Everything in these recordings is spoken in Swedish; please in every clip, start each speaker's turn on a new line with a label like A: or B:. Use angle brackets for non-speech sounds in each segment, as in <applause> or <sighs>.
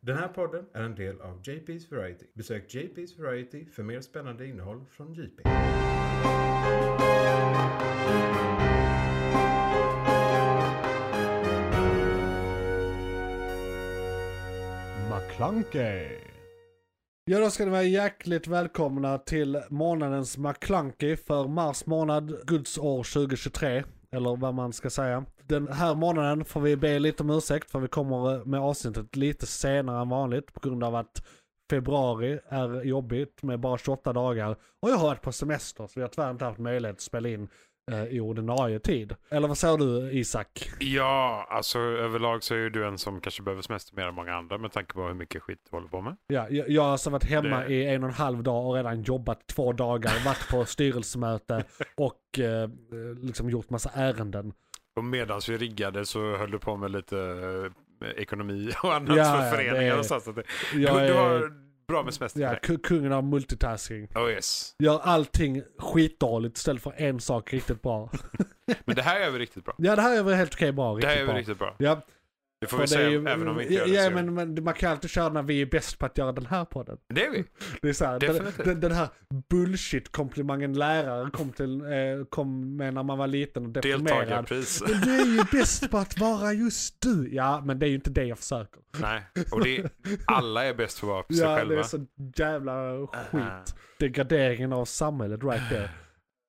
A: Den här podden är en del av JP's Variety. Besök JP's Variety för mer spännande innehåll från JP.
B: McClunkey. Ja, då ska ni vara hjärtligt välkomna till månadens McClunkey för mars månad, Guds år 2023. Eller vad man ska säga. Den här månaden får vi be lite om ursäkt för vi kommer med avsnittet lite senare än vanligt på grund av att februari är jobbigt med bara 28 dagar. Och jag har varit på semester så vi har tyvärr inte haft möjlighet att spela in eh, i ordinarie tid. Eller vad säger du Isak?
C: Ja, alltså överlag så är ju du en som kanske behöver semester mer än många andra med tanke på hur mycket skit du håller på med.
B: Ja, jag, jag har alltså varit hemma
C: Det-
B: i en och en halv dag och redan jobbat två dagar, varit på styrelsemöte och eh, liksom gjort massa ärenden.
C: Och medan vi riggade så höll du på med lite eh, ekonomi och annat
B: Ja, ja,
C: för föreningar
B: det-
C: och sånt. Så att det-
B: Jag
C: du, du
B: är
C: har bra med semester.
B: ja,
C: för dig.
B: ku- kungen av multitasking.
C: Oh yes.
B: Gör allting skitdåligt istället för en sak riktigt bra.
C: Men det här gör vi riktigt bra.
B: Ja, det här är väl helt okej bra.
C: Det här gör vi
B: bra.
C: riktigt bra.
B: Ja,
C: Det får
B: för
C: vi
B: det är
C: säga
B: ju-
C: även om vi inte
B: ja,
C: gör det. så
B: Ja,
C: gör
B: men, men man kan alltid köra när vi är bäst på att göra den här podden.
C: vi. Det är vi.
B: Det är så här, den,
C: Definitivt.
B: den, den här bullshit-komplimangen läraren kom, till, eh, kom med när man var liten och deprimerad.
C: Deltagarpris.
B: Men du är ju bäst på att vara just du. Ja, men det är ju inte det jag försöker.
C: Nej, och
B: <laughs>
C: det, alla är bäst för att vara sig
B: Ja,
C: själva.
B: det är så jävla skit. Degraderingen av samhället right there.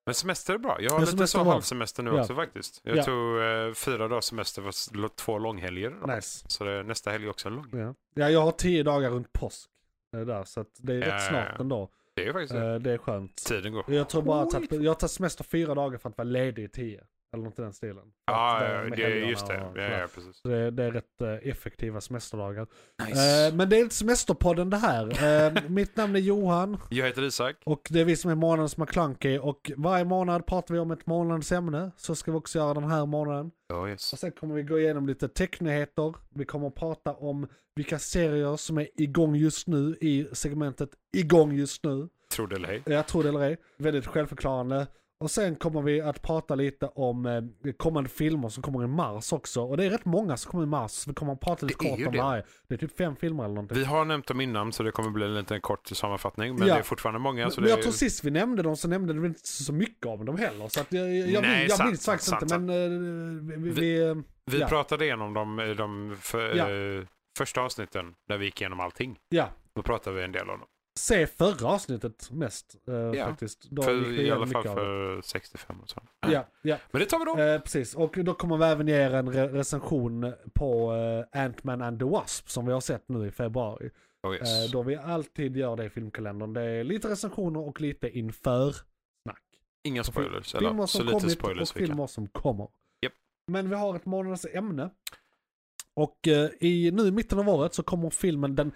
C: Men semester är bra. Jag har
B: Ja,
C: lite
B: semester
C: så
B: var-
C: halvsemester nu
B: Ja.
C: också faktiskt. Jag
B: Ja.
C: tog eh, fyra dagars semester för s- lo- två långhelger. idag.
B: Nice.
C: Så det, är nästa helg är också en lång.
B: Ja. ja, jag har tio dagar runt påsk. eh, Där, så att det är
C: Ja,
B: rätt
C: ja,
B: snart
C: ja.
B: ändå.
C: Det är faktiskt det.
B: Eh, Det är skönt.
C: Tiden går.
B: Jag tror bara att jag har tagit- jag har tagit semester fyra dagar för att vara ledig i tio. Eller något i den stilen. För att
C: Ja,
B: vara
C: ja,
B: med
C: det är
B: helgerna
C: just det.
B: och
C: Ja,
B: sådär.
C: ja, precis.
B: Så det, det är rätt eh, effektiva semesterdagar.
C: Nice.
B: Eh, Men det är inte semesterpodden det här. Eh, Mitt namn är Johan.
C: Jag heter Isak.
B: Och det är vi som är månadens McClunky och varje månad pratar vi om ett månadens ämne. Så ska vi också göra den här månaden.
C: Ja, yes.
B: Och sen kommer vi gå igenom lite technyheter. Vi kommer att prata om vilka serier som är igång just nu i segmentet igång just nu.
C: Tror det eller ej.
B: Jag tror det eller ej. Väldigt självförklarande. Och sen kommer vi att prata lite om eh, kommande filmer som kommer i mars också. Och det är rätt många som kommer i mars. Så vi kommer att prata lite
C: Det är
B: kort
C: ju
B: om
C: det.
B: varje. Det är typ fem filmer eller någonting.
C: Vi har nämnt dem innan så det kommer bli en liten kort sammanfattning. Men
B: Ja.
C: det är fortfarande många. Så
B: men
C: Alltså, det
B: jag
C: är...
B: tror sist vi nämnde dem så nämnde vi inte så mycket om dem heller. Så att jag, jag, jag,
C: Nej,
B: minns- jag
C: sant,
B: minns faktiskt
C: sant,
B: inte.
C: sant.
B: Men eh, vi, vi, eh,
C: Vi
B: ja.
C: pratade igenom dem i de för,
B: Ja.
C: eh, första avsnitten när vi gick igenom allting.
B: ja,
C: Då pratade vi en del om dem.
B: se förra avsnittet mest eh,
C: Ja.
B: faktiskt. Då gick
C: För,
B: vi
C: I alla
B: igenom
C: fall
B: mycket av det.
C: för 65 och så.
B: Ja, ja.
C: Men det tar vi då.
B: Eh, precis, och då kommer vi även ge er en re- recension på eh, Ant-Man and the Wasp som vi har sett nu i februari.
C: Oh, yes.
B: Eh, då vi alltid gör det i filmkalendern. Det är lite recensioner och lite inför snack.
C: Inga spoilers.
B: filmer
C: Eller så
B: som
C: lite
B: kommit
C: spoilers
B: och
C: vi kan.
B: filmer som kommer.
C: Japp.
B: Men vi har ett månadens ämne. Och eh, i, nu i mitten av året så kommer filmen, den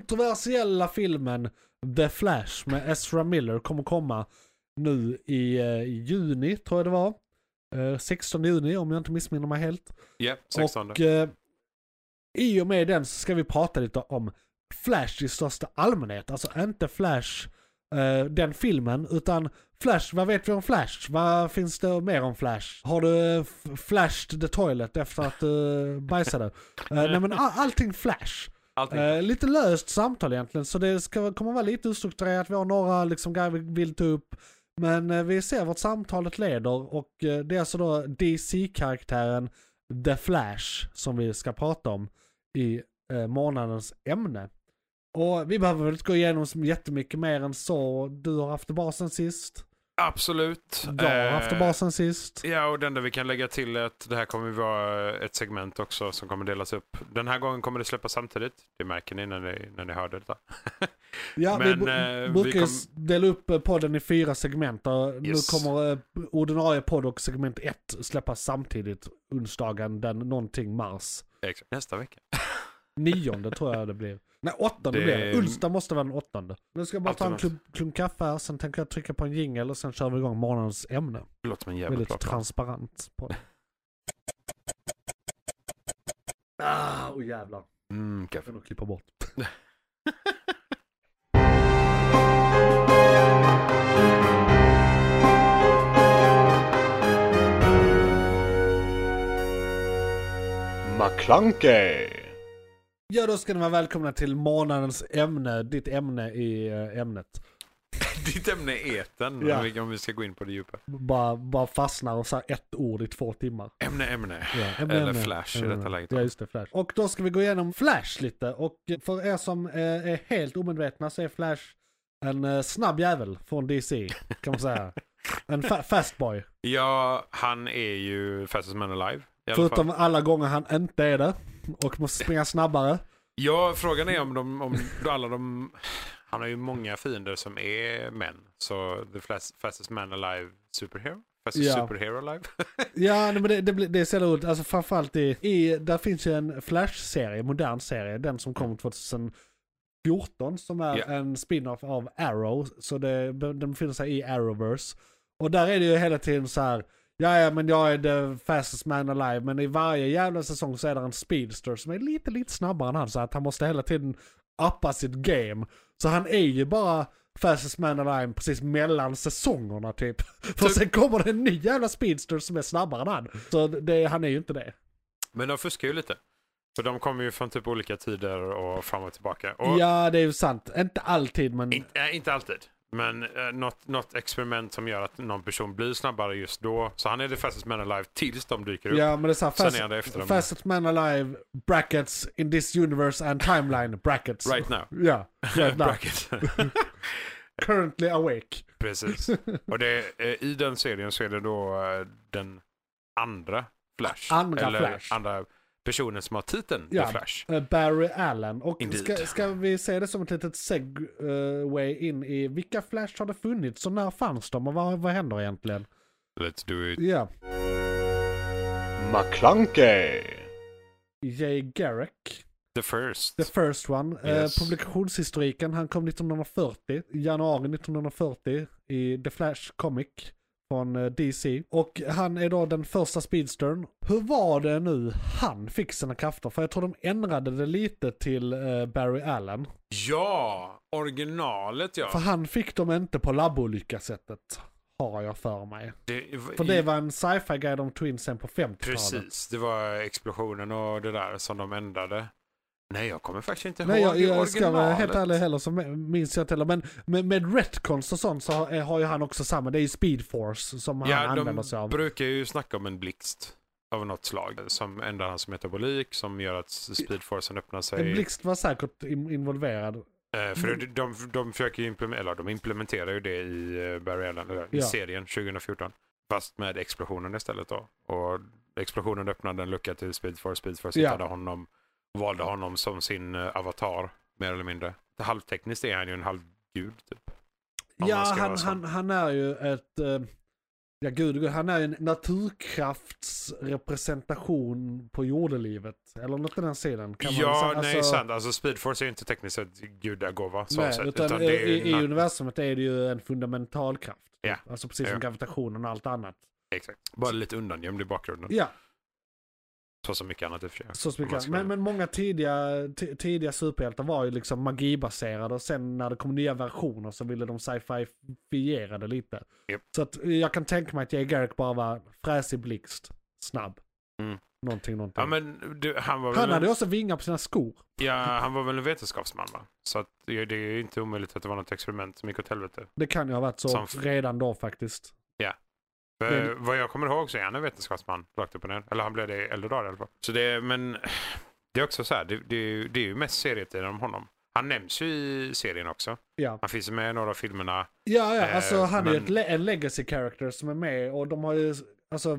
B: kontroversiella filmen The Flash med Ezra Miller kommer komma nu i eh, juni tror jag det var. Eh, 16 juni om jag inte missminner mig helt.
C: Ja, 16.
B: Och eh, i och med den så ska vi prata lite om Flash i största allmänhet. Alltså inte Flash, eh, den filmen, utan Flash, vad vet vi om Flash? Vad finns det mer om Flash? Har du eh, f- flashed the toilet efter att du bajsade? Eh, nej men all- allting Flash.
C: Allting.
B: Eh, lite löst samtal egentligen, så det ska, kommer vara lite ostrukturerat. Vi har några liksom, grejer vi vill ta upp. Men eh, vi ser vart samtalet leder och eh, det är alltså då DC-karaktären The Flash som vi ska prata om i eh, månadens ämne. Och vi behöver väl inte gå igenom så jättemycket mer än så. Du har haft det bra sen sist.
C: Absolut.
B: Jag har haft det
C: Eh,
B: bra sen sist.
C: Ja, och det enda vi kan lägga till är att det här kommer vara ett segment också som kommer delas upp. Den här gången kommer det släppas samtidigt. Det märker ni när ni, när ni hörde detta.
B: Ja, vi
C: men,
B: bu-
C: eh, vi
B: brukar ju
C: kom-
B: s- dela upp eh, podden i fyra segment. och
C: Yes.
B: Nu kommer eh, ordinarie podd och segment 1 släppas samtidigt onsdagen den någonting mars.
C: Exakt. Nästa vecka.
B: Nionde tror jag det blir. <laughs> Nej, åttonde
C: Det-
B: blir det. Onsdag måste vara den åttonde. Nu ska jag bara ta en
C: Alltid
B: klunk, klunk kaffe här, sen tänker jag trycka på en jingel och sen kör vi igång morgonens ämne.
C: Det låter som en jävla bra
B: Väldigt
C: plan.
B: transparent podd. Ah, oh jävlar.
C: Mm,
B: Jag får
C: kaffe.
B: nog klippa bort. McClunkey. Ja, då ska ni vara välkomna till månadens ämne, ditt ämne i eh, ämnet.
C: Ditt ämne är eten,
B: Ja.
C: om vi- om vi ska gå in på det djupa.
B: Bara, bara fastnar och så här ett ord i två timmar.
C: Ämne, ämne.
B: Ja, ämne,
C: Eller
B: ämne,
C: Flash i
B: ämne.
C: detta läget.
B: Ja, just det, Flash. Och då ska vi gå igenom Flash lite. Och för er som eh, är helt omedvetna så är Flash en eh, snabb jävel från DC, kan
C: <laughs>
B: man säga. En fa- fast boy.
C: Ja, han är ju Fastest Man Alive. I alla fall.
B: Förutom alla gånger han inte är det och måste springa snabbare.
C: Ja, frågan är om, de, om alla de... Han har ju många fiender som är män. Så The Flas- Fastest Man Alive Superhero? Fastest
B: Ja.
C: Superhero Alive? <laughs>
B: Ja, nej, men det, det, blir- det är så jävla roligt. Alltså framförallt i, i, där finns ju en Flash-serie, modern serie, den som kom 2014 som är
C: Mm. Ja.
B: en spin-off av Arrow. Så det, den befinner sig i Arrowverse. Och där är det ju hela tiden så här, ja ja men jag är the fastest man alive, men i varje jävla säsong så är det en speedster som är lite, lite snabbare än han. Så att han måste hela tiden uppa sitt game. Så han är ju bara fastest man alive precis mellan säsongerna typ. <laughs> För
C: Typ.
B: sen kommer det en ny jävla speedster som är snabbare än han. Så det, han är ju inte det.
C: Men de fuskar ju lite. För de kommer ju från typ olika tider och fram och tillbaka. Och
B: Ja, det är ju sant. Inte alltid men...
C: in, äh, inte alltid. Men eh, något, något experiment som gör att någon person blir snabbare just då. Så han är the fastest man alive tills de dyker upp.
B: Ja, men det är såhär,
C: Sen
B: fast,
C: är det efter dem.
B: fastest man alive, brackets, in this universe and timeline, brackets.
C: Right now. <laughs>
B: Ja, right now.
C: Bracket.
B: <laughs> Currently awake.
C: Precis. Och det, eh, i den serien så är det då eh, den andra Flash.
B: Andra
C: eller
B: Flash.
C: andra personen som har titeln
B: Ja.
C: The Flash.
B: Eh, Barry Allen. Och
C: Indeed.
B: ska, ska vi se det som ett litet segway in i vilka Flash har det funnits och när fanns de och vad, vad händer egentligen?
C: Let's do it.
B: Ja.
D: McClunkey.
B: Jay Garrick.
C: The first.
B: The first one. Eh,
C: Yes.
B: publikationshistoriken. Han kom 1940. i Januari 1940 i The Flash Comic från eh, DC. Och han är då den första speedstern. Hur var det nu han fick sina krafter? För jag tror de ändrade det lite till eh, Barry Allen.
C: Ja! Originalet ja.
B: För han fick dem inte på labbolycka-sättet. Har jag för mig.
C: Det,
B: För det var en sci-fi guide om Twinsen på 50-talet.
C: Precis, det var explosionen och det där som de ändrade. Nej, jag kommer faktiskt inte
B: Nej,
C: ihåg
B: jag,
C: i
B: jag ska vara
C: originalet.
B: helt ärlig heller så minns jag inte heller. Men med, med retcons och sånt så har, eh, har ju han också samma. Det är ju Speed Force som han
C: Ja,
B: använder
C: de
B: sig av.
C: brukar ju snacka om en blixt av något slag som ändrar hans metabolik som gör att speedforcen öppnar sig.
B: En blixt var säkert in, involverad.
C: Eh, för
B: Mm.
C: de, de, de försöker ju implementera, eller de implementerar ju det i eh, Barry Allen, eller, i
B: Ja.
C: serien 2014. Fast med explosionen istället då. Och explosionen öppnade en lucka till Speedforce. Speedforce
B: Ja.
C: hittade honom, valde honom som sin eh, avatar, mer eller mindre. Halvtekniskt är han ju en halvgud typ. Om
B: Ja,
C: man ska
B: han,
C: vara sån.
B: han, han är ju ett... eh, Ja, gud, gud, han är ju en naturkraftsrepresentation på jordelivet. Eller något i den sidan. Kan man
C: ja,
B: säga.
C: nej
B: Alltså-
C: sant. Alltså Speedforce är ju inte tekniskt sett gudagåva. så
B: Nej,
C: sett,
B: utan,
C: utan
B: i,
C: det är ju
B: i,
C: na-
B: universumet är det ju en fundamental kraft. typ.
C: Ja.
B: Alltså precis
C: Ja.
B: som gravitationen och allt annat.
C: Exakt. Bara lite undangömd i bakgrunden.
B: Ja,
C: Så som mycket annat i och för sig.
B: Så
C: Om man
B: mycket.
C: ska-
B: Men, men många tidiga, ti- tidiga superhjältar var ju liksom magibaserade och sen när det kom nya versioner så ville de sci-fi-fiera det lite.
C: Japp.
B: Så att eh, jag kan tänka mig att Jay Garrick bara var fräsig blixt, snabb.
C: Mm.
B: Någonting, någonting.
C: Ja, men du, han var
B: Han
C: väl en-
B: hade ju också vingar på sina skor.
C: Ja, han var väl en vetenskapsman va? Så att det det är ju inte omöjligt att det var något experiment som gick åt helvete.
B: Det kan ju ha varit så
C: Som f-
B: redan då faktiskt.
C: För
B: Men-
C: Vad jag kommer ihåg så är han en vetenskapsman rakt upp och ner. Eller han blev det i äldre dagar i alla fall. Så det, men <sighs> det är också så här, det, det, är ju- det är ju mest serietidningar om honom. Han nämns ju i serien också.
B: Ja,
C: Han finns ju med i några av filmerna.
B: ja, ja
C: Eh,
B: alltså han är ju
C: men-
B: ett le- en legacy character som är med och de har ju, alltså,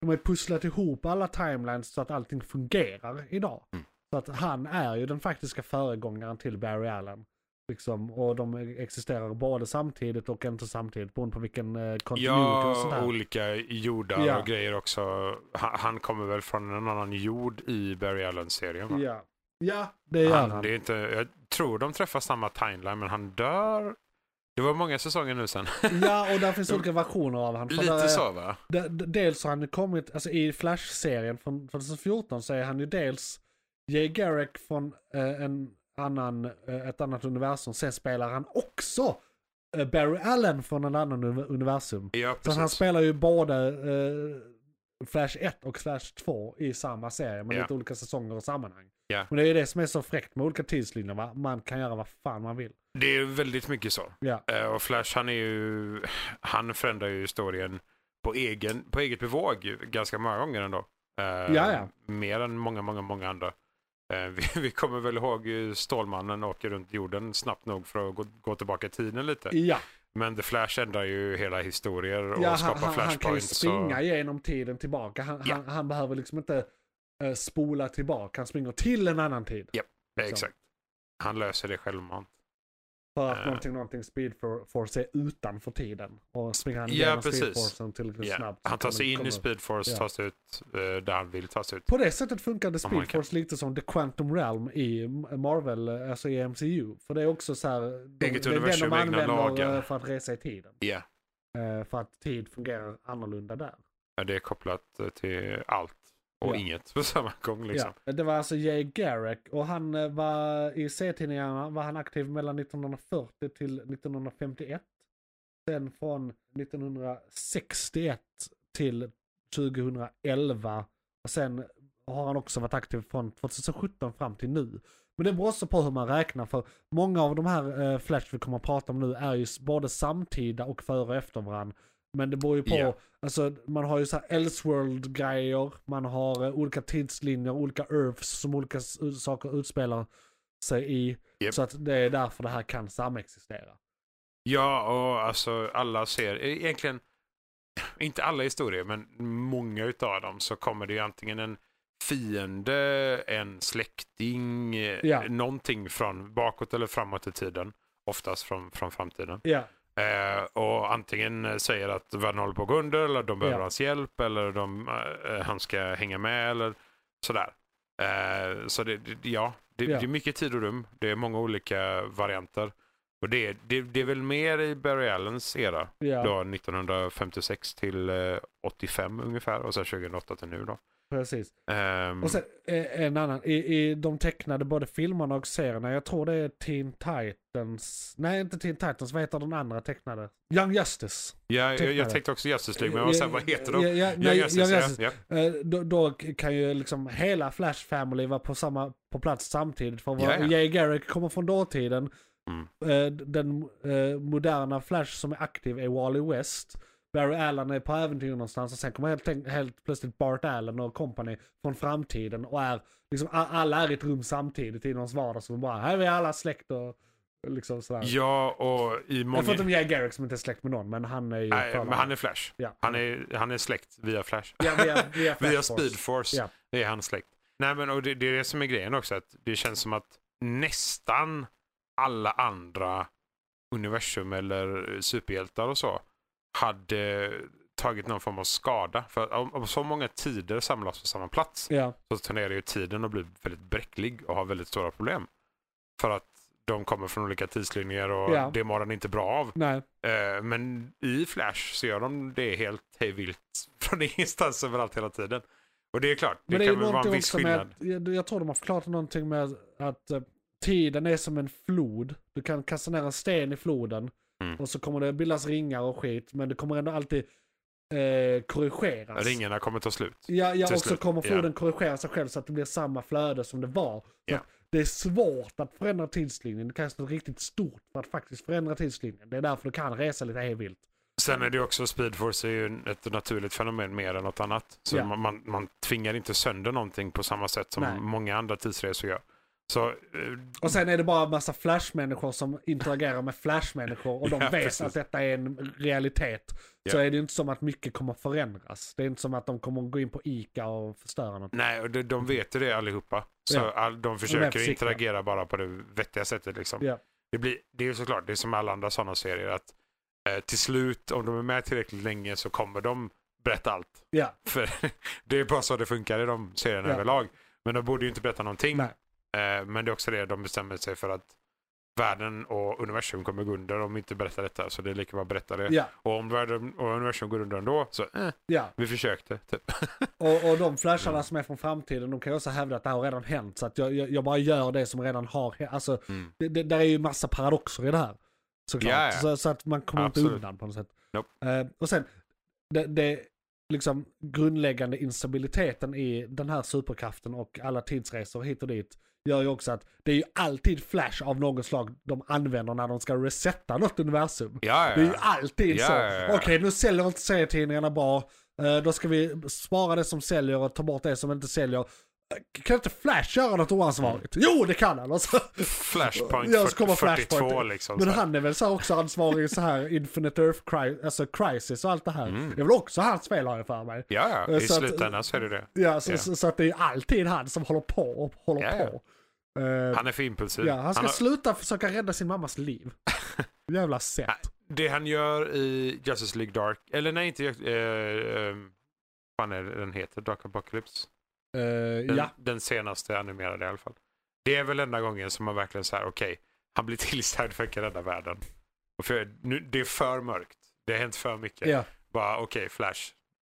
B: de har ju pusslat ihop alla timelines så att allting fungerar idag.
C: Mm.
B: Så att han är ju den faktiska föregångaren till Barry Allen. Liksom, och de existerar både samtidigt och inte samtidigt beroende på vilken eh, continuity och
C: Ja,
B: sådär.
C: olika jordar
B: Ja.
C: och grejer också. Han, han kommer väl från en annan jord i Barry Allen-serien va?
B: Ja. ja, det gör han.
C: han, det är inte, jag tror de träffar samma timeline men han dör. Det var många säsonger nu sen.
B: Ja, och
C: <laughs>
B: där finns olika versioner av han. För där är-
C: Lite så va?
B: D- d- dels har han ju kommit, alltså i Flash-serien från 2014 så är han ju dels Jay Garrick från eh, en annan, eh, ett annat universum. Sen spelar han också eh, Barry Allen från en annan univ- universum.
C: Ja,
B: Så han
C: precis.
B: spelar ju både eh, Flash 1 och Flash 2 i samma serie med
C: Ja.
B: lite olika säsonger och sammanhang.
C: Ja.
B: Men det är ju det som är så fräckt med olika tidslinjer va? Man kan göra vad fan man vill.
C: Det är väldigt mycket så.
B: Ja.
C: Eh, Och Flash han är ju, han förändrar ju historien på, egen, på eget bevåg ju ganska många gånger ändå. Eh,
B: ja.
C: Mer än många, många, många andra. Eh, <laughs> Vi, vi kommer väl ihåg ju Stålmannen åker runt jorden snabbt nog för att gå, gå tillbaka i tiden lite.
B: Ja,
C: Men The Flash ändrar ju hela historier och
B: ja han,
C: skapar
B: han, han kan ju
C: flashpoints. och-
B: springa genom tiden tillbaka. Han,
C: Ja.
B: han, han behöver liksom inte eh, spola tillbaka. Han springer till en annan tid.
C: Ja, Exakt. Han löser det självmant.
B: För att
C: Eh.
B: någonting, någonting Speed for- Force är utanför tiden. Och springer han
C: Ja,
B: genom
C: precis.
B: Speed Forcen tillräckligt
C: Ja.
B: snabbt. så
C: Han tar
B: kan
C: sig
B: den
C: in
B: komma
C: i
B: upp.
C: Speedforce,
B: Ja.
C: tar sig ut eh, där han vill ta sig ut.
B: På det sättet funkade
C: Oh my
B: Speed Force lite som The Quantum Realm i Marvel, alltså i MCU. För det är också så här, de,
C: Eget
B: det är
C: universum,
B: den de
C: egna
B: använder
C: lagar.
B: eh, för att resa i tiden.
C: Ja.
B: Eh, För att tid fungerar annorlunda där.
C: Ja, det är kopplat eh, till allt och
B: Ja.
C: inget på samma gång. Liksom.
B: Ja, det var alltså Jay Garrick och han eh, var i serietidningarna var han aktiv mellan 1940 till 1951. Sen från 1961 till 2011. Och sen har han också varit aktiv från 2017 fram till nu. Men det beror också på hur man räknar för många av de här eh, Flash vi kommer att prata om nu är ju s- både samtida och före och efter varandra. Men det beror ju på,
C: Ja.
B: alltså man har ju så här Elseworld-grejer, man har eh, olika tidslinjer, olika Earths som olika s- saker utspelar sig i.
C: Japp.
B: Så att det är därför det här kan samexistera.
C: Ja, och alltså alla ser, egentligen <clears throat> inte alla historier, men många utav dem så kommer det ju antingen en fiende, en släkting, eh,
B: Ja.
C: någonting från bakåt eller framåt i tiden. Oftast från, från framtiden.
B: Ja,
C: Eh, och antingen eh, säger att världen håller på att gå under eller de behöver
B: Ja.
C: hans hjälp eller de, eh, han ska hänga med eller sådär. Eh, så det, det, ja, det,
B: Ja.
C: det är mycket tid och rum. Det är många olika varianter. Och det, det, det är väl mer i Barry Allens era,
B: ja
C: då 1956 till eh, 85 ungefär och sen 2008 till nu då.
B: precis.
C: Ehm,
B: Och sen eh, en annan, i, i de tecknade både filmerna och serierna, jag tror det är Teen Titans, nej inte Teen Titans, vad heter den andra tecknade? Young Justice.
C: ja, jag, jag
B: tecknare.
C: tänkte också Justice League, men jag var såhär, vad heter de?
B: Ja,
C: Ja,
B: ja, nej,
C: Justice,
B: Young
C: ja,
B: Justice.
C: ja.
B: Eh, Då, då kan ju liksom hela Flash Family vara på, samma, på plats samtidigt. För
C: Ja, ja.
B: vad Jay Garrick kommer från dåtiden.
C: Mm.
B: Eh, Den eh, moderna Flash som är aktiv är Wally West. Barry Allen är på äventyr någonstans och sen kommer helt, tänk- helt plötsligt Bart Allen och company från framtiden och är liksom a- alla är i ett rum samtidigt i någons vardag så bara här är vi alla släkt och liksom sådär.
C: ja, och i många...
B: Förutom Jay Garrick som inte är släkt med någon men han är ju...
C: Nej,
B: för-
C: men han är Flash.
B: Ja.
C: Han, är, han är släkt via Flash.
B: Ja, via,
C: <laughs>
B: via,
C: Via
B: Flash Force.
C: Speed Force
B: Ja.
C: är han släkt. Nej, men och det, det är det som är grejen också. Att det känns som att nästan alla andra universum eller superhjältar och så hade tagit någon form av skada. För om, om så många tider samlas på samma plats
B: Ja,
C: så tenderar ju tiden att bli väldigt bräcklig och ha väldigt stora problem. För att de kommer från olika tidslinjer och
B: Ja.
C: det mår den inte bra av.
B: nej.
C: Eh, Men i Flash så gör de det helt hejvilt <laughs> från ingenstans överallt hela tiden. Och det är klart, det,
B: Men det, är
C: kan
B: ju
C: väl vara en
B: någonting
C: viss
B: också med,
C: skillnad.
B: att- jag, jag tror de har förklarat någonting med att eh, tiden är som en flod. Du kan kasta ner en sten i floden
C: Mm.
B: och så kommer det bildas ringar och skit men det kommer ändå alltid eh, korrigeras.
C: Ringarna kommer ta slut.
B: Ja, ja
C: till
B: och så
C: slut,
B: kommer
C: ja.
B: floden korrigera sig själv så att det blir samma flöde som det var. Så
C: Ja.
B: att Det är svårt att förändra tidslinjen. Det krävs något riktigt stort för att faktiskt förändra tidslinjen. Det är därför du kan resa lite hejvilt.
C: Sen är det ju också, Speedforce är ju ett naturligt fenomen mer än något annat. Så
B: Ja.
C: man, man, man tvingar inte sönder någonting på samma sätt som
B: Nej.
C: många andra tidsresor gör. Så eh,
B: Och sen är det bara en massa flashmänniskor som interagerar med flashmänniskor och de
C: <laughs> Ja,
B: vet
C: precis.
B: att detta är en realitet. Så
C: Ja.
B: är det ju inte som att mycket kommer förändras. Det är inte som att de kommer gå in på ICA och förstöra något.
C: nej, och de, de vet ju det allihopa. Så
B: Ja.
C: all, de försöker
B: försiktiga.
C: interagera bara på det vettiga sättet. Liksom.
B: Ja.
C: Det, blir, det är ju såklart, det är som alla andra sådana serier att eh, till slut, om de är med tillräckligt länge så kommer de berätta allt. <laughs>
B: Ja,
C: För det är bara så det funkar i de serierna
B: Ja.
C: överlag. Men de borde ju inte berätta någonting.
B: nej.
C: Eh, men det är också det de bestämmer sig för att världen och universum kommer gå under om vi inte berättar detta. Så det är lika bra att berätta det.
B: Ja,
C: Och om världen och universum går under ändå så eh,
B: ja.
C: vi försökte. Typ. <laughs>
B: Och, och de flasharna som är från framtiden, de kan ju också hävda att det här har redan hänt. Så att jag, jag, jag bara gör det som redan har hänt. Alltså,
C: Mm.
B: det, det, där är ju massa paradoxer i det här. Såklart.
C: Ja, ja.
B: Så, så att man kommer
C: Absolut.
B: inte undan på något sätt.
C: Nope.
B: Eh, och sen, det, det liksom grundläggande instabiliteten i den här superkraften och alla tidsresor hit och dit gör ju också att det är ju alltid flash av något slag de använder när de ska resetta något universum.
C: Ja, ja.
B: Det är ju alltid
C: Ja,
B: så.
C: ja, ja.
B: Okej, nu säljer inte serietidningarna bra. Eh, Då ska vi spara det som säljer och ta bort det som inte säljer. Eh, Kan inte Flash göra något oansvarigt?
C: Mm.
B: Jo, det kan han! Alltså.
C: Flashpoint
B: Ja, så kommer
C: 40, 42
B: Flashpoint.
C: liksom.
B: Men
C: så här.
B: han är väl så här också ansvarig i så här Infinite Earth cri- alltså crisis och allt det här. Det är väl också hans fel har jag för mig.
C: Mm. Ja, ja.
B: Eh,
C: I
B: så att-
C: slutändan så är det det.
B: Ja, så,
C: Ja.
B: Så, så att det är alltid han som håller på och håller
C: Ja, ja.
B: på. Eh,
C: Han är för impulsiv.
B: ja, han ska
C: har-
B: sluta försöka rädda sin
C: <laughs>
B: mammas liv. Jävla sätt.
C: det han gör i Justice League Dark, eller nej inte, eh, eh, vad är det den heter? Dark Apocalypse?
B: Eh,
C: Den,
B: ja.
C: den senaste animerade i alla fall. Det är väl enda gången som man verkligen så här, okej, han blir <laughs> tillsagd för att rädda världen. Och för, nu, det är för mörkt. Det har hänt för mycket.
B: ja.
C: Bara okej, Flash,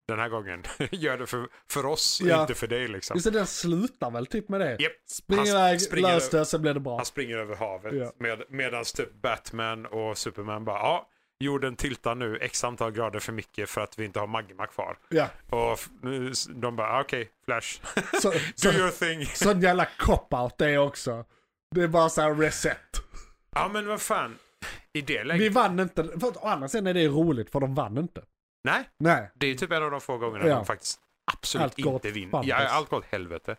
C: den här gången, <laughs> gör det för, för oss,
B: Ja.
C: inte för dig liksom.
B: Just det, den slutar väl typ med det?
C: Japp.
B: Spring
C: Han
B: iväg,
C: springer
B: lös det, sen blir det bra.
C: Han springer över havet
B: Ja.
C: med, medan typ Batman och Superman bara, ja, jorden tiltar nu x antal grader för mycket för att vi inte har magma kvar.
B: Ja.
C: Och f- nu- s- de bara, "Ah, okej,
B: <laughs>
C: Flash, <laughs>
B: Så, så,
C: do your thing.
B: sån jävla cop-out det också. Det är bara så här reset.
C: Ja men vad fan, i det läget.
B: Vi vann inte, för att, å andra sidan är det roligt för de vann inte.
C: Nej,
B: Nej.
C: det är typ en av de få gångerna
B: Ja.
C: de faktiskt absolut
B: Allt går
C: inte
B: åt
C: vinner.
B: fantes.
C: Ja, allt går åt helvete.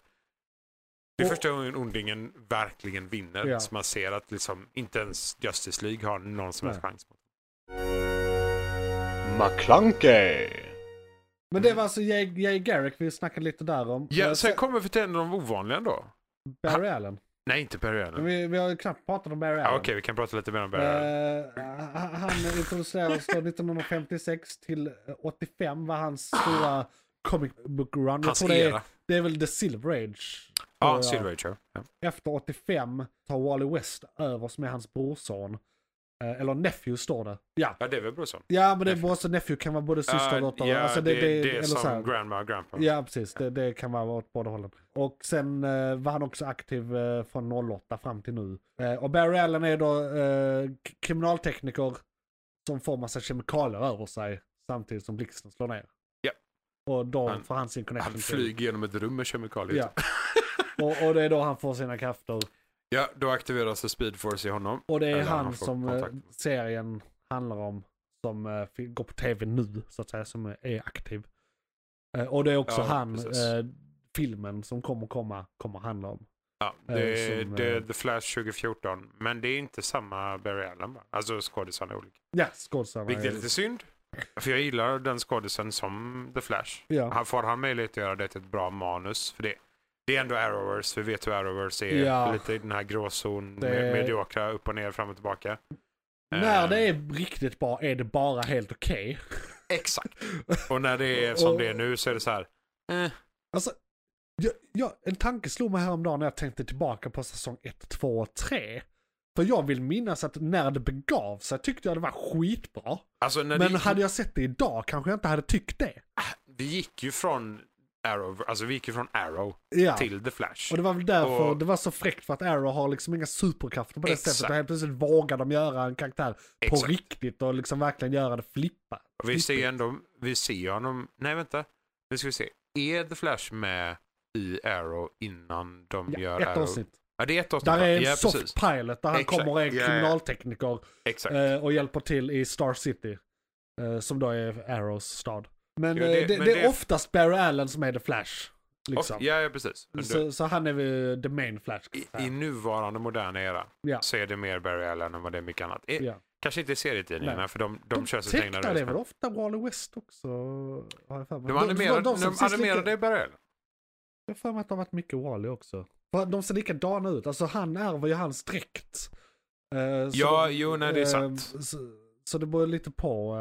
C: Det är
B: Och-
C: första gången ondingen verkligen vinner.
B: Ja.
C: Så man ser att liksom, inte ens Justice League har någon som helst
B: Nej.
C: chans. Mot.
D: McClunkey.
B: Men det var alltså Jay, Jay Garrick vi snackade lite där om.
C: Ja,
B: Eh,
C: sen kommer vi till en av de ovanliga då.
B: Barry Allen.
C: Nej, inte Barry Allen.
B: Men Vi, vi har ju knappt pratat om Barry
C: Ja,
B: Allen.
C: Okej, vi kan prata lite mer om Barry Allen.
B: Eh, han- han introducerades då 1956 till 85 var hans stora comic book run. Jag
C: Hans
B: tror det, är,
C: era.
B: det är väl The Silver Age. tror
C: Ja,
B: jag.
C: Silver Age. ja. Ja.
B: Efter 85 tar Wally West över som är hans brorson. Eh, Eller nephew står det. Ja.
C: Ja, det är väl brorson.
B: Ja men det är brorson, nephew kan vara både syster och dotter.
C: Ja,
B: alltså
C: det, det, är
B: eller
C: som
B: så här.
C: grandma och grandpa.
B: Ja, precis. Det, det kan vara åt båda hållen. Och sen eh, var han också aktiv eh, från 08 fram till nu. Eh, och Barry Allen är då eh, k- kriminaltekniker som får massa kemikalier över sig samtidigt som blixten slår ner.
C: Ja.
B: Och då
C: Han-
B: får han sin connection
C: Han flyger genom ett rum med kemikalier. <laughs>
B: Ja. Och, och det är då han får sina krafter.
C: Ja, då aktiveras det Speed Force i honom.
B: Och det är
C: Eller
B: han,
C: han får
B: som eh,
C: kontakt.
B: serien handlar om. Som eh, fi- går på tv nu, så att säga, som är aktiv. Eh, och det är också
C: Ja,
B: han,
C: precis.
B: eh, filmen som kommer komma, kommer handla om.
C: Ja, det,
B: eh,
C: är
B: som,
C: det är
B: eh,
C: The Flash 2014. Men det är inte samma Barry Allen va? Alltså skådisarna är olika.
B: Ja, skådisarna.
C: Vilket är lite synd. För jag gillar den skådisen som The Flash.
B: Ja.
C: Han får han möjlighet att göra det till ett bra manus. För det, det är ändå Arrowverse. Vi vet hur Arrowverse är.
B: Ja.
C: Lite i den här gråzon.
B: Det-
C: Med, mediokra, upp och ner, fram och tillbaka.
B: När
C: Eh,
B: det är riktigt bra är det bara helt okej.
C: Eh, Exakt. Och när det är som
B: <laughs> Och-
C: det är nu så är det så här. Eh,
B: Alltså, jag, jag, en tanke slog mig häromdagen när jag tänkte tillbaka på säsong 1, 2 och 3. För jag vill minnas att när det begav sig tyckte jag det var skitbra.
C: alltså när
B: Men
C: det,
B: hade jag sett det idag kanske jag inte hade tyckt det.
C: vi gick ju från Arrow, alltså vi gick ju från Arrow
B: Ja.
C: till The Flash.
B: Och det var väl därför
C: Och-
B: det var så fräckt för att Arrow har liksom inga superkrafter på det
C: Exakt.
B: sättet. Och helt plötsligt vågar de göra en karaktär på
C: Exakt.
B: riktigt och liksom verkligen göra det flippa.
C: Och Vi ser ju
B: flippigt.
C: ändå, vi ser ju honom, nej vänta, nu ska vi se. Är The Flash med i Arrow innan de gör
B: ja, ett
C: Arrow?
B: avsnitt.
C: Ja, det är ett avsnitt.
B: Där är en
C: ja,
B: soft
C: precis.
B: pilot där han
C: Exakt.
B: kommer och är
C: Ja, ja.
B: kriminaltekniker
C: Exakt.
B: eh, och hjälper till i Star City. eh, Som då är Arrows stad. Men,
C: Jo,
B: eh,
C: det-
B: det, det,
C: men
B: är
C: det-
B: oftast Barry Allen som är The Flash. Liksom.
C: Och- ja, ja, precis.
B: så, så han är väl the main Flash. kan
C: I,
B: jag säga.
C: I nuvarande moderna era
B: Ja.
C: så är det mer Barry Allen än vad det är mycket annat. Eh,
B: Ja.
C: Kanske inte i serietidningarna
B: Nej.
C: för de, de, kör sina egna
B: tecknar det
C: rörelser.
B: väl ofta Wally West också? Har jag för mig.
C: De animerade, de,
B: ser precis lika-
C: animerade Barry Allen.
B: Jag har för mig att det har varit mycket Wally också. För de ser likadana ut. Alltså han ärver ju hans dräkt. Eh, så
C: Ja,
B: de-
C: jo, nej, det är
B: eh,
C: sant.
B: Så, så det beror lite på.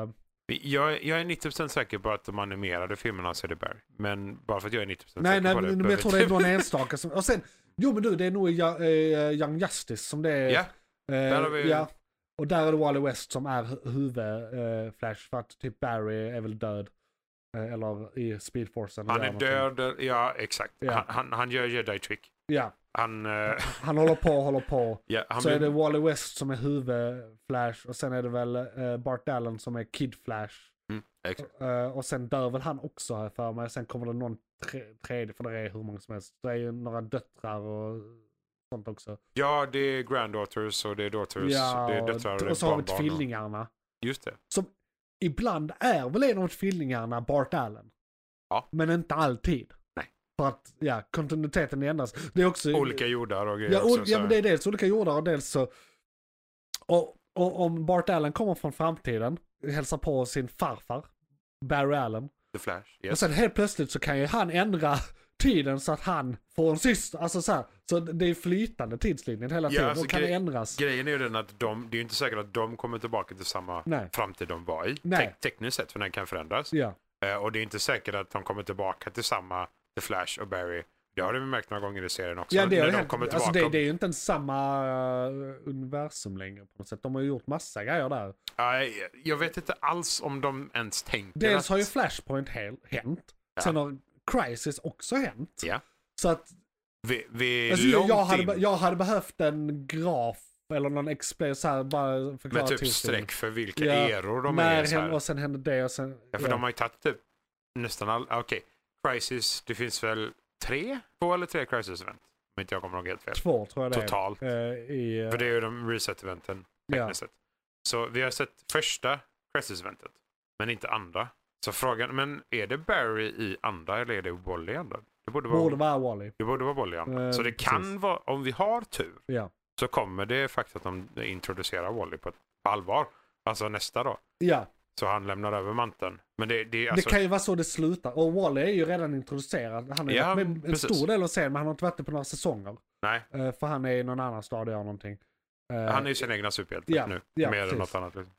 B: eh,
C: Jag, jag är 90% säker på att de animerade filmerna så är det Barry. Men bara för att jag är 90%
B: Nej,
C: säker
B: nej,
C: på det.
B: men men
C: behöver
B: jag tror det är
C: inte-
B: någon enstaka som... Och sen, jo men du, det är nog i Ju- eh, Young Justice som det är.
C: Ja,
B: eh,
C: där har vi-
B: ja. Och där är det Wally West som är hu- huvud eh, Flash för att typ Barry är väl död. Eh, eller i Speedforcen.
C: han
B: gör
C: är
B: någonting.
C: död, ja exakt.
B: Ja.
C: Han, han, han gör jedi trick.
B: Ja,
C: Han, eh,
B: han håller på, håller på.
C: ja, han
B: så
C: blir-
B: är det Wally West som är huvud Flash och sen är det väl eh, Bart Allen som är Kid Flash.
C: Mm. Exakt.
B: Eh, och sen dör väl han också här för mig. Sen kommer det någon tre, tredje, för det är hur många som helst. Det är ju några döttrar och sånt också.
C: Ja, det är granddaughters och det är daughters. det är döttrar och,
B: och,
C: det är
B: och så har vi
C: barnbarn och-
B: tvillingarna.
C: Just det.
B: Ibland är väl en av tvillingarna Bart Allen.
C: Ja.
B: Men inte alltid.
C: Nej.
B: För att, ja, kontinuiteten ändras. Det är också...
C: Olika jordar och grejer
B: Ja,
C: också.
B: och, ja
C: så-
B: men det är dels olika jordar och dels så... Och, och om Bart Allen kommer från framtiden, hälsar på sin farfar, Barry Allen.
C: The Flash.
B: Och
C: Yes.
B: sen helt plötsligt så kan ju han ändra <laughs> tiden så att han får en syster. Alltså så här, så det är flytande tidslinjen hela
C: Ja,
B: tiden.
C: alltså
B: och kan
C: grej-
B: ändras.
C: Grejen är ju den att de, det är ju inte säkert att de kommer tillbaka till samma
B: Nej.
C: framtid de var i.
B: Nej.
C: Tek- tekniskt sett, för den kan förändras.
B: Ja.
C: Eh, och det är inte säkert att de kommer tillbaka till samma The Flash och Barry. Det har vi märkt några gånger i serien också.
B: Ja, det, har
C: när
B: ju
C: de
B: hänt.
C: kommer
B: alltså
C: tillbaka.
B: det, det är ju inte ens samma eh, universum längre på något sätt. De har ju gjort massa grejer där.
C: Nej, jag vet inte alls om de ens tänker
B: Dels
C: att...
B: har ju Flashpoint hel- hänt.
C: Ja.
B: Sen har Crisis också hänt.
C: Ja.
B: Så att
C: Vi, vi
B: Alltså,
C: långt
B: jag, hade,
C: in
B: be- jag hade behövt en graf eller någon explain så här bara förklara
C: med typ
B: till sig.
C: streck för vilka
B: Ja,
C: eror de
B: När
C: är i. så här.
B: hände, och sen hände det och sen...
C: Ja, för de har ju tagit typ nästan all... ah, Okej, Crisis, det finns väl tre? Två eller tre Crisis-event? Om inte jag kommer ihåg helt fel.
B: Två tror jag det är.
C: Totalt.
B: Eh, i, eh,
C: För det är ju de reset-eventen.
B: ja.
C: Sett. Så vi har sett första Crisis-eventet, men inte andra. Så frågan, men är det Barry i andra eller är det Wally i andra? Det borde vara,
B: Borde vara Wally.
C: det borde vara Wally i andra.
B: Eh,
C: så det kan
B: precis.
C: vara, om vi har tur,
B: Ja.
C: så kommer det faktiskt att de introducerar Wally på, ett, på allvar. Alltså nästa då.
B: Ja,
C: Så han lämnar över manteln. Men det, det är alltså...
B: det kan ju vara så det slutar. Och Wally är ju redan introducerad. Han är
C: Ja,
B: ja, med en
C: precis.
B: stor del av serien men han har inte varit det på några säsonger.
C: Nej,
B: Eh, för han är i någon annan stad och gör någonting. Eh,
C: han är ju sin egna superhjälte
B: ja,
C: nu.
B: ja,
C: mer än
B: precis.
C: något annat. Liksom.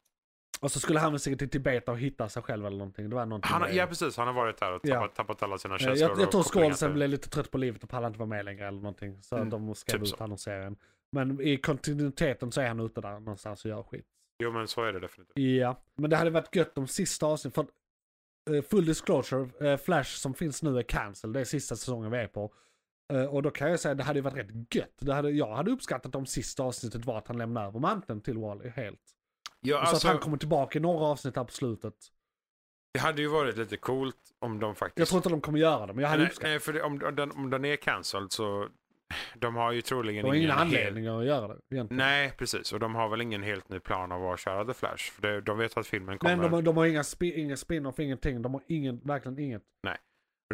B: Och så skulle han väl säkert till Tibet och hitta sig själv eller någonting. Det var någonting
C: Han har,
B: med-
C: ja, precis. Han har varit där och
B: Ja.
C: tappat, tappat alla sina
B: Eh,
C: känslor.
B: Jag, jag
C: och
B: tror
C: kopplingar
B: skådisen
C: till-
B: blev lite trött på livet och pallade inte vara med längre eller någonting. Så
C: Mm,
B: de skrev
C: typ
B: ut
C: så.
B: honom ur serien. Men i kontinuiteten så är han ute där någonstans och gör skit.
C: Jo, men så är det definitivt.
B: Ja, men det hade varit gött om sista avsnittet. För eh, full disclosure, eh, Flash som finns nu är cancel. Det är sista säsongen vi är på. Eh, Och då kan jag säga att det hade varit rätt gött. Det hade, jag hade uppskattat om sista avsnittet var att han lämnar över manteln till Wally helt.
C: Ja,
B: så att han kommer tillbaka i några avsnitt här på slutet.
C: Det hade ju varit lite coolt om de faktiskt...
B: Jag tror inte de kommer göra det, men jag hade
C: nej,
B: uppskattat.
C: nej, för det, om, om, den, om den är cancelled så... De har ju troligen
B: Det var ingen
C: hel-
B: anledning att göra det egentligen.
C: Nej, precis. Och de har väl ingen helt ny plan av att köra The Flash. För det, de vet att filmen kommer.
B: Men de, har- de har inga, spi, inga spin-off, ingenting. De har ingen, verkligen inget.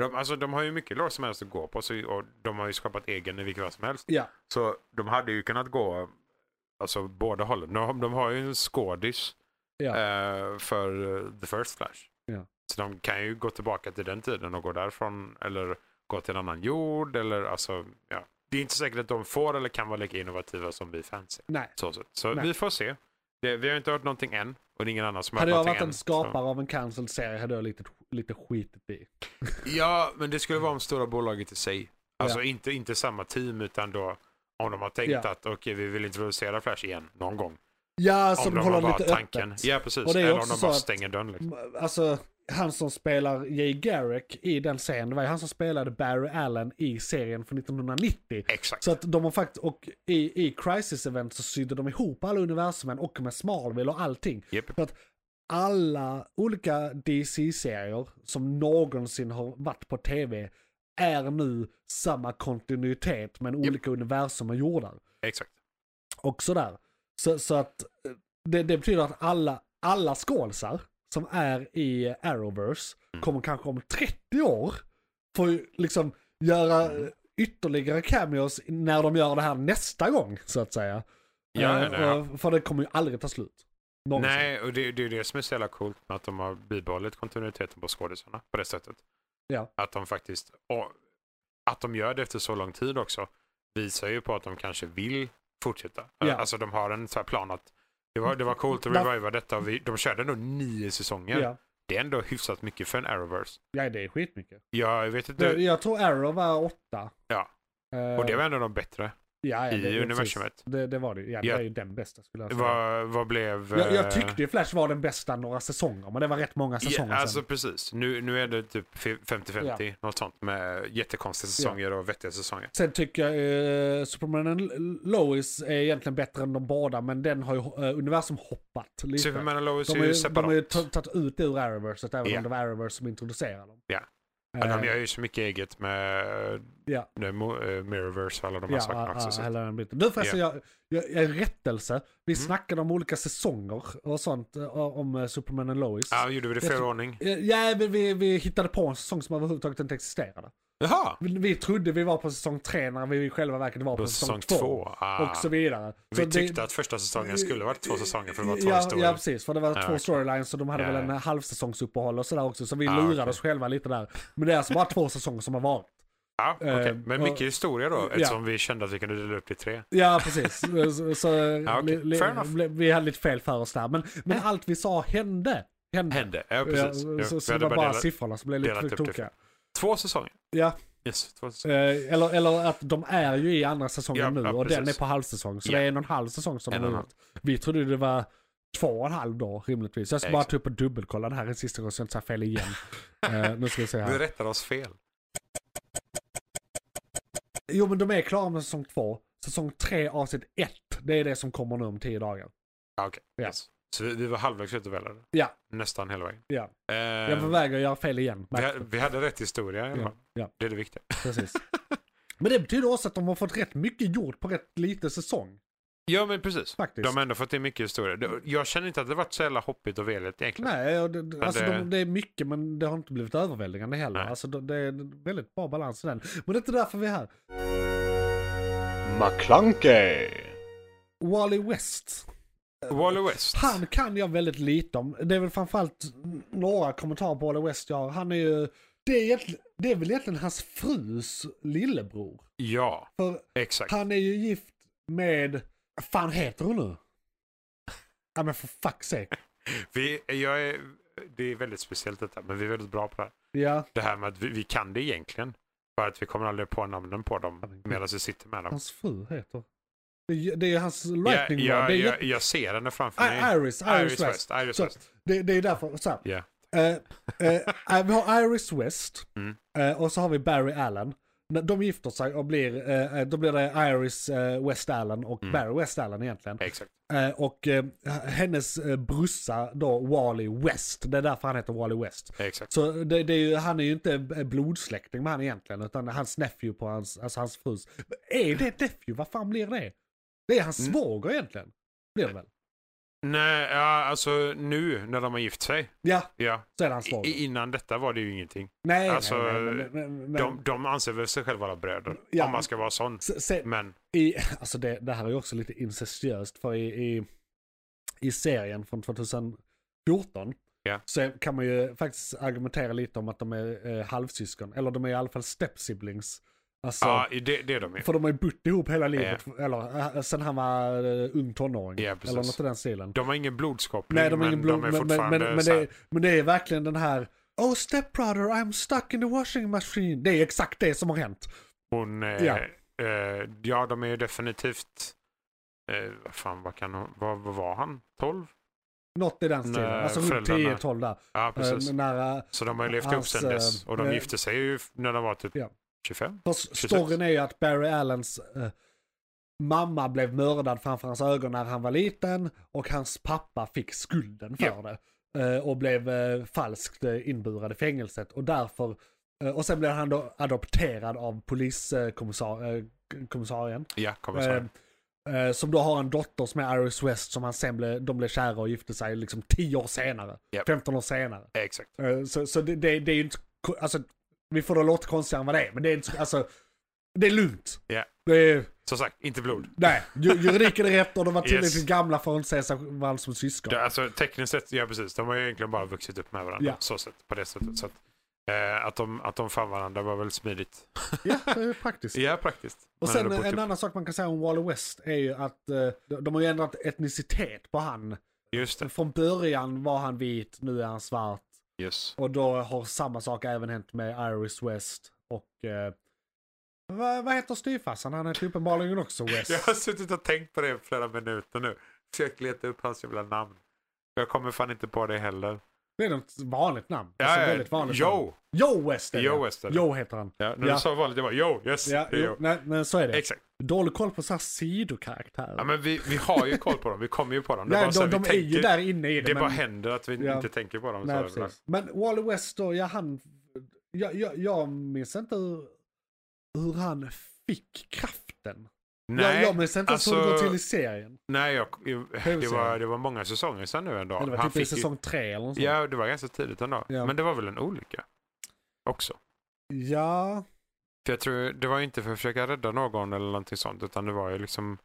C: de, alltså, de har ju mycket lår som helst att gå på. Så, och de har ju skapat egen i vilket fall som helst.
B: Ja,
C: Så de hade ju kunnat gå alltså, båda hållen. De, de har ju en skådis
B: Ja.
C: eh, för eh, The First Flash.
B: Ja.
C: Så de kan ju gå tillbaka till den tiden och gå därifrån eller gå till en annan jord. Eller, alltså, ja. Det är inte säkert att de får eller kan vara lika innovativa som vi fans är.
B: nej.
C: Så, så så
B: Nej.
C: vi får se. Det, vi har inte hört någonting än och det är ingen annan som har
B: Hade
C: hört
B: jag
C: någonting
B: varit en
C: än,
B: skapare av en cancelled serie hade jag lite, lite skitit
C: Så.
B: i. Typ.
C: Ja, men det skulle vara om stora bolaget i sig. Alltså inte, inte samma team utan då om de har tänkt
B: Ja.
C: att okej vi vill introducera Flash igen någon gång.
B: Ja,
C: om
B: som
C: de har
B: Alltså, håller
C: bara
B: lite
C: tanken.
B: öppet.
C: Ja, precis.
B: Och det är
C: Eller om
B: också
C: de
B: så
C: bara
B: att-
C: stänger dörren. Liksom.
B: M- Alltså, han som spelar Jay Garrick i den serien, det var ju han som spelade Barry Allen i serien från 1990.
C: Exakt.
B: Så att de har faktiskt, och i, i Crisis Event så sydde de ihop alla universumen och med Smallville och allting.
C: Japp.
B: För att alla olika DC-serier som någonsin har varit på tv är nu samma kontinuitet men olika universum är gjorda.
C: Exakt.
B: Och sådär. Så, så att eh, det, det betyder att alla, alla skålsar som är i Arrowverse
C: Mm.
B: kommer kanske om 30 år få ju liksom göra eh,
C: Mm.
B: ytterligare cameos när de gör det här nästa gång så att säga.
C: Ja,
B: Eh,
C: nej, ja.
B: och- För det kommer ju aldrig ta slut. Någonsin.
C: Nej, och det, det är det som är så jävla coolt med att de har bibehållit kontinuiteten på skådisarna på det sättet.
B: Ja.
C: Att de faktiskt, och att de gör det efter så lång tid också, visar ju på att de kanske vill fortsätta.
B: Ja.
C: Alltså de har en så här plan att det var, det var coolt
B: <laughs>
C: att
B: Där-
C: reviva detta och vi, de körde ändå nio säsonger.
B: Ja.
C: Det är ändå hyfsat mycket för en Arrowverse.
B: ja, det är skitmycket.
C: Ja, jag vet inte.
B: Jag, jag tror Arrow var åtta.
C: Ja.
B: Eh,
C: Och det var ändå de bättre.
B: Ja, ja,
C: I
B: det- precis.
C: universumet.
B: Det, det var det ju. Ja, det
C: Ja.
B: var ju den bästa skulle jag säga.
C: Vad, vad blev...
B: jag, jag
C: eh,
B: tyckte ju Flash var den bästa några säsonger, men det var rätt många säsonger
C: Ja, alltså
B: sen.
C: precis. Nu, nu är det typ fi- 50-50, något sånt med jättekonstiga säsonger och vettiga säsonger.
B: Sen tycker jag eh, Superman and L- Lois är egentligen bättre än de båda, men den har ju eh, universum hoppat lite.
C: Superman och Lois
B: de
C: är
B: har
C: ju
B: ju, de
C: separat.
B: har ju t- tagit ut det ur Arrowverse, även
C: Ja.
B: om det var Arrowverse som introducerade dem.
C: Ja. ja, de
B: Eh,
C: gör ju så mycket eget med
B: Ja.
C: eh, Mo- eh, Mirrorverse och alla de här
B: ja,
C: sakerna också.
B: ja,
C: så-
B: hela den biten. Du förresten, jag, jag, jag rättelse. Vi
C: Mm.
B: snackade om olika säsonger och sånt eh, om eh, Superman and Lois.
C: Ja, gjorde vi det i
B: Jag
C: fel
B: tror-
C: ordning?
B: Eh, Ja, men vi, vi hittade på en säsong som överhuvudtaget inte existerade.
C: Jaha!
B: Vi, vi trodde vi var på säsong tre när vi i själva verket var
C: Då
B: på
C: säsong
B: säsong,
C: två. Ah.
B: Och så vidare.
C: Vi
B: så
C: tyckte att första säsongen skulle varit två säsonger för det var två
B: ja,
C: historier.
B: Ja, precis. För det var
C: Ja,
B: två
C: okej.
B: storylines och de hade
C: Ja,
B: väl en
C: ja.
B: halvsäsongsuppehåll och sådär också. Så vi
C: Ah,
B: lurade
C: okej.
B: oss själva lite där. Men det är alltså bara två säsonger som har varit.
C: Ja, okej.
B: Eh,
C: Men
B: och-
C: mycket historia då,
B: Ja.
C: eftersom vi kände att vi kunde dela upp det i tre.
B: Ja, precis. Så, så,
C: Ja, okej.
B: li- li-
C: Fair enough.
B: li- vi hade lite fel för oss där. Men, men allt vi sa hände. Hände.
C: Hände, ja precis.
B: Ja,
C: Ja,
B: så,
C: vi
B: så det
C: hade
B: var bara
C: delat-
B: siffrorna som blev
C: delat upp
B: lite
C: det.
B: tokiga.
C: Två säsonger.
B: Ja,
C: Yes, två säsonger.
B: eh, eller, eller att de är ju i andra säsongen
C: Ja,
B: nu
C: ja,
B: och den är
C: precis.
B: på halvsäsong. Så
C: Ja.
B: det är en och en halv säsong som
C: En
B: har
C: och en halv.
B: varit. Vi trodde det var två och en halv dag rimligtvis. Jag ska
C: Ja,
B: bara
C: exakt.
B: ta upp och dubbelkolla det här en sista gång så jag inte säger
C: <laughs>
B: fel igen. Eh, nu ska vi se
C: Vi
B: här.
C: rättade oss fel.
B: Jo men de är klara med säsong två. Säsong tre avsnitt ett, det är det som kommer nu om tio dagar.
C: Ja, okej.
B: Ja.
C: Yes. Så vi, vi var halvvägs ut och väl, eller?
B: Ja.
C: Nästan hela vägen.
B: Ja.
C: Eh,
B: Jag är på väg att göra fel igen.
C: vi, ha- vi hade rätt historia i alla
B: Ja,
C: fall.
B: ja,
C: Det är det
B: <laughs>
C: viktiga. <laughs>
B: precis. Men det betyder också att de har fått rätt mycket gjort på rätt lite säsong.
C: Ja, men precis.
B: Faktiskt.
C: De har ändå fått in mycket historia. Det- Jag känner inte att det varit så jävla hoppigt och veligt egentligen.
B: Nej, och det, det- alltså
C: det-
B: De, det är mycket men det har inte blivit överväldigande heller.
C: Nej.
B: Alltså, de- det är en väldigt bra balans i den. Men det är inte därför vi är här.
D: McClunkey.
B: Wally West.
C: Wally West.
B: Han kan jag väldigt lite om. Det är väl framförallt några kommentarer på Wally West jag har. Han är ju... Det är, egentligen- det är väl egentligen hans frus lillebror.
C: Ja,
B: För
C: exakt.
B: han är ju gift med... Vad fan heter hon nu? Ja men för fuck's sake.
C: Vi, jag är, det är väldigt speciellt detta, men vi är väldigt bra på det här.
B: Ja,
C: Det här med att vi, vi kan det egentligen. För att vi kommer aldrig på namnen på dem medan vi sitter med dem.
B: hans fru heter... Det är ju- Det är ju hans
C: Jag,
B: lightning rod.
C: jag,
B: Det är
C: jag, jag ser henne framför
B: I-
C: mig.
B: Iris, Iris, West.
C: Iris
B: Så,
C: West.
B: det, det är därför, så här,
C: Ja.
B: eh, eh, Vi har Iris West
C: Mm.
B: eh, och så har vi Barry Allen. När De gifter sig och blir, eh, eh, då blir det Iris eh, West Allen och
C: Mm.
B: Barry West Allen egentligen.
C: Exakt.
B: Eh, och eh, hennes eh, brorsa då, Wally West, det är därför han heter Wally West.
C: Exakt.
B: Så det, det är ju, han är ju inte b- blodsläkting med han egentligen, utan hans nephew på hans, alltså hans frus. Är det ett nephew? Vad fan blir det? Det är hans
C: Mm.
B: svåger egentligen. Blir det väl?
C: Nej, ja, alltså nu när de har gift sig.
B: Ja,
C: Ja.
B: så är det hans svåger.
C: I, innan detta var det ju ingenting.
B: Nej,
C: Alltså,
B: nej, nej, men, men, men,
C: De, de anser väl sig själva vara bröder.
B: Ja.
C: Om man ska vara sån.
B: se, se,
C: Men
B: i, alltså det, det här är ju också lite incestuöst för i, i, i serien från 2014
C: Ja.
B: så kan man ju faktiskt argumentera lite om att de är eh, halvsyskon, eller de är i alla fall stepsiblings. Alltså,
C: ja, det, det är de ju.
B: För de har ju bott ihop hela livet, eller äh, sen han var äh, ung tonåring.
C: Ja, precis.
B: eller något i den stilen.
C: De har ingen blodskoppling,
B: Nej, de har ingen blod,
C: men de är
B: men, men,
C: fortfarande
B: men, men,
C: så
B: det,
C: här,
B: är- men det är verkligen den här Oh stepbrother, I'm stuck in the washing machine. Det är exakt det som har hänt.
C: hon... Eh,
B: Ja.
C: ja. Eh, ja, de är ju definitivt... Eh, vad fan, vad kan hon... Vad, vad var han? 12?
B: Något i den stilen.
C: När
B: alltså runt
C: föräldrarna-
B: 10-12 där.
C: Ja, precis.
B: Äh, när, äh,
C: så de har ju levt upp
B: hans,
C: sen dess.
B: eh,
C: Och de
B: eh,
C: gifte sig ju f- när de var typ
B: ja.
C: 25.
B: för
C: Precis.
B: storyn är ju att Barry Allens äh, mamma blev mördad framför hans ögon när han var liten och hans pappa fick skulden för
C: Ja.
B: det. Eh, och blev eh, falskt eh, inburad i fängelset och därför eh, och sen blev han då adopterad av eh, poliskommissarien.
C: Ja, kommer så.
B: Ehm.
C: här.
B: Eh, som då har en dotter som är Iris West som han sen blev, de blev kära och gifte sig liksom 10 år senare.
C: Japp.
B: 15 år senare.
C: Exakt.
B: Eh, Så, så det, det, det är ju inte, ko- alltså, vi får det låta konstigare än vad det är, men det är inte, alltså, det är lugnt.
C: Ja.
B: Det är,
C: Som sagt, inte blod.
B: nej, ju- juridiken är rätt och de var tillräckligt
C: Yes.
B: gamla för att inte se sig varandra som syskon.
C: Det, alltså tekniskt sett, ja precis. De har ju egentligen bara vuxit upp med varandra.
B: Ja.
C: Så sett, på det sättet. Så att, eh, att, de, att de fann varandra var väl smidigt.
B: Ja, det är praktiskt.
C: Ja, praktiskt.
B: Och
C: Man
B: sen
C: hade
B: en
C: bott ihop.
B: annan sak man kan säga om Wally West är ju att eh, de- de har ju ändrat etnicitet på han.
C: Just det.
B: Från början var han vit, nu är han svart.
C: Yes.
B: Och då har samma sak även hänt med Iris West och eh, Va, vad heter styvfarsan? Han heter ju uppenbarligen också Wes.
C: Jag har suttit och tänkt på det i flera minuter nu. Försökt leta upp hans jävla namn. Jag kommer fan inte på det heller.
B: Det är något vanligt namn.
C: Ja,
B: alltså,
C: ja,
B: väldigt vanligt namn.
C: Joe!
B: Joe West är det.
C: Joe West är det.
B: Joe heter han.
C: Ja, när
B: Ja.
C: du sa vanligt, jag bara Joe, yes,
B: Ja,
C: det är
B: jo,
C: Joe.
B: nej, men så är det.
C: Exakt.
B: Dålig koll på så här sidokaraktärer.
C: Ja, men vi, vi har ju koll på dem, vi kommer ju på dem. Det är
B: Nej,
C: bara så
B: de,
C: här, vi
B: de är
C: tänker,
B: ju där inne i det.
C: Det bara
B: men-
C: händer att vi
B: Ja.
C: inte tänker på dem.
B: Nej,
C: så här.
B: precis. Men Wally West då, ja han... Jag, jag, jag minns inte hur, hur han fick kraften.
C: nej, alltså,
B: jag, jag minns inte ens hur det går till i serien.
C: nej jag, det, var,
B: Huvudserien.
C: det var många säsonger sedan nu ändå.
B: Eller det var
C: Han
B: typ i
C: fick ju-
B: säsong tre eller något sånt.
C: Ja, det var ganska tidigt ändå.
B: Ja.
C: Men det var väl en olycka också.
B: Ja,
C: För jag tror, det var ju inte för att försöka rädda någon eller någonting sånt, utan det var ju liksom...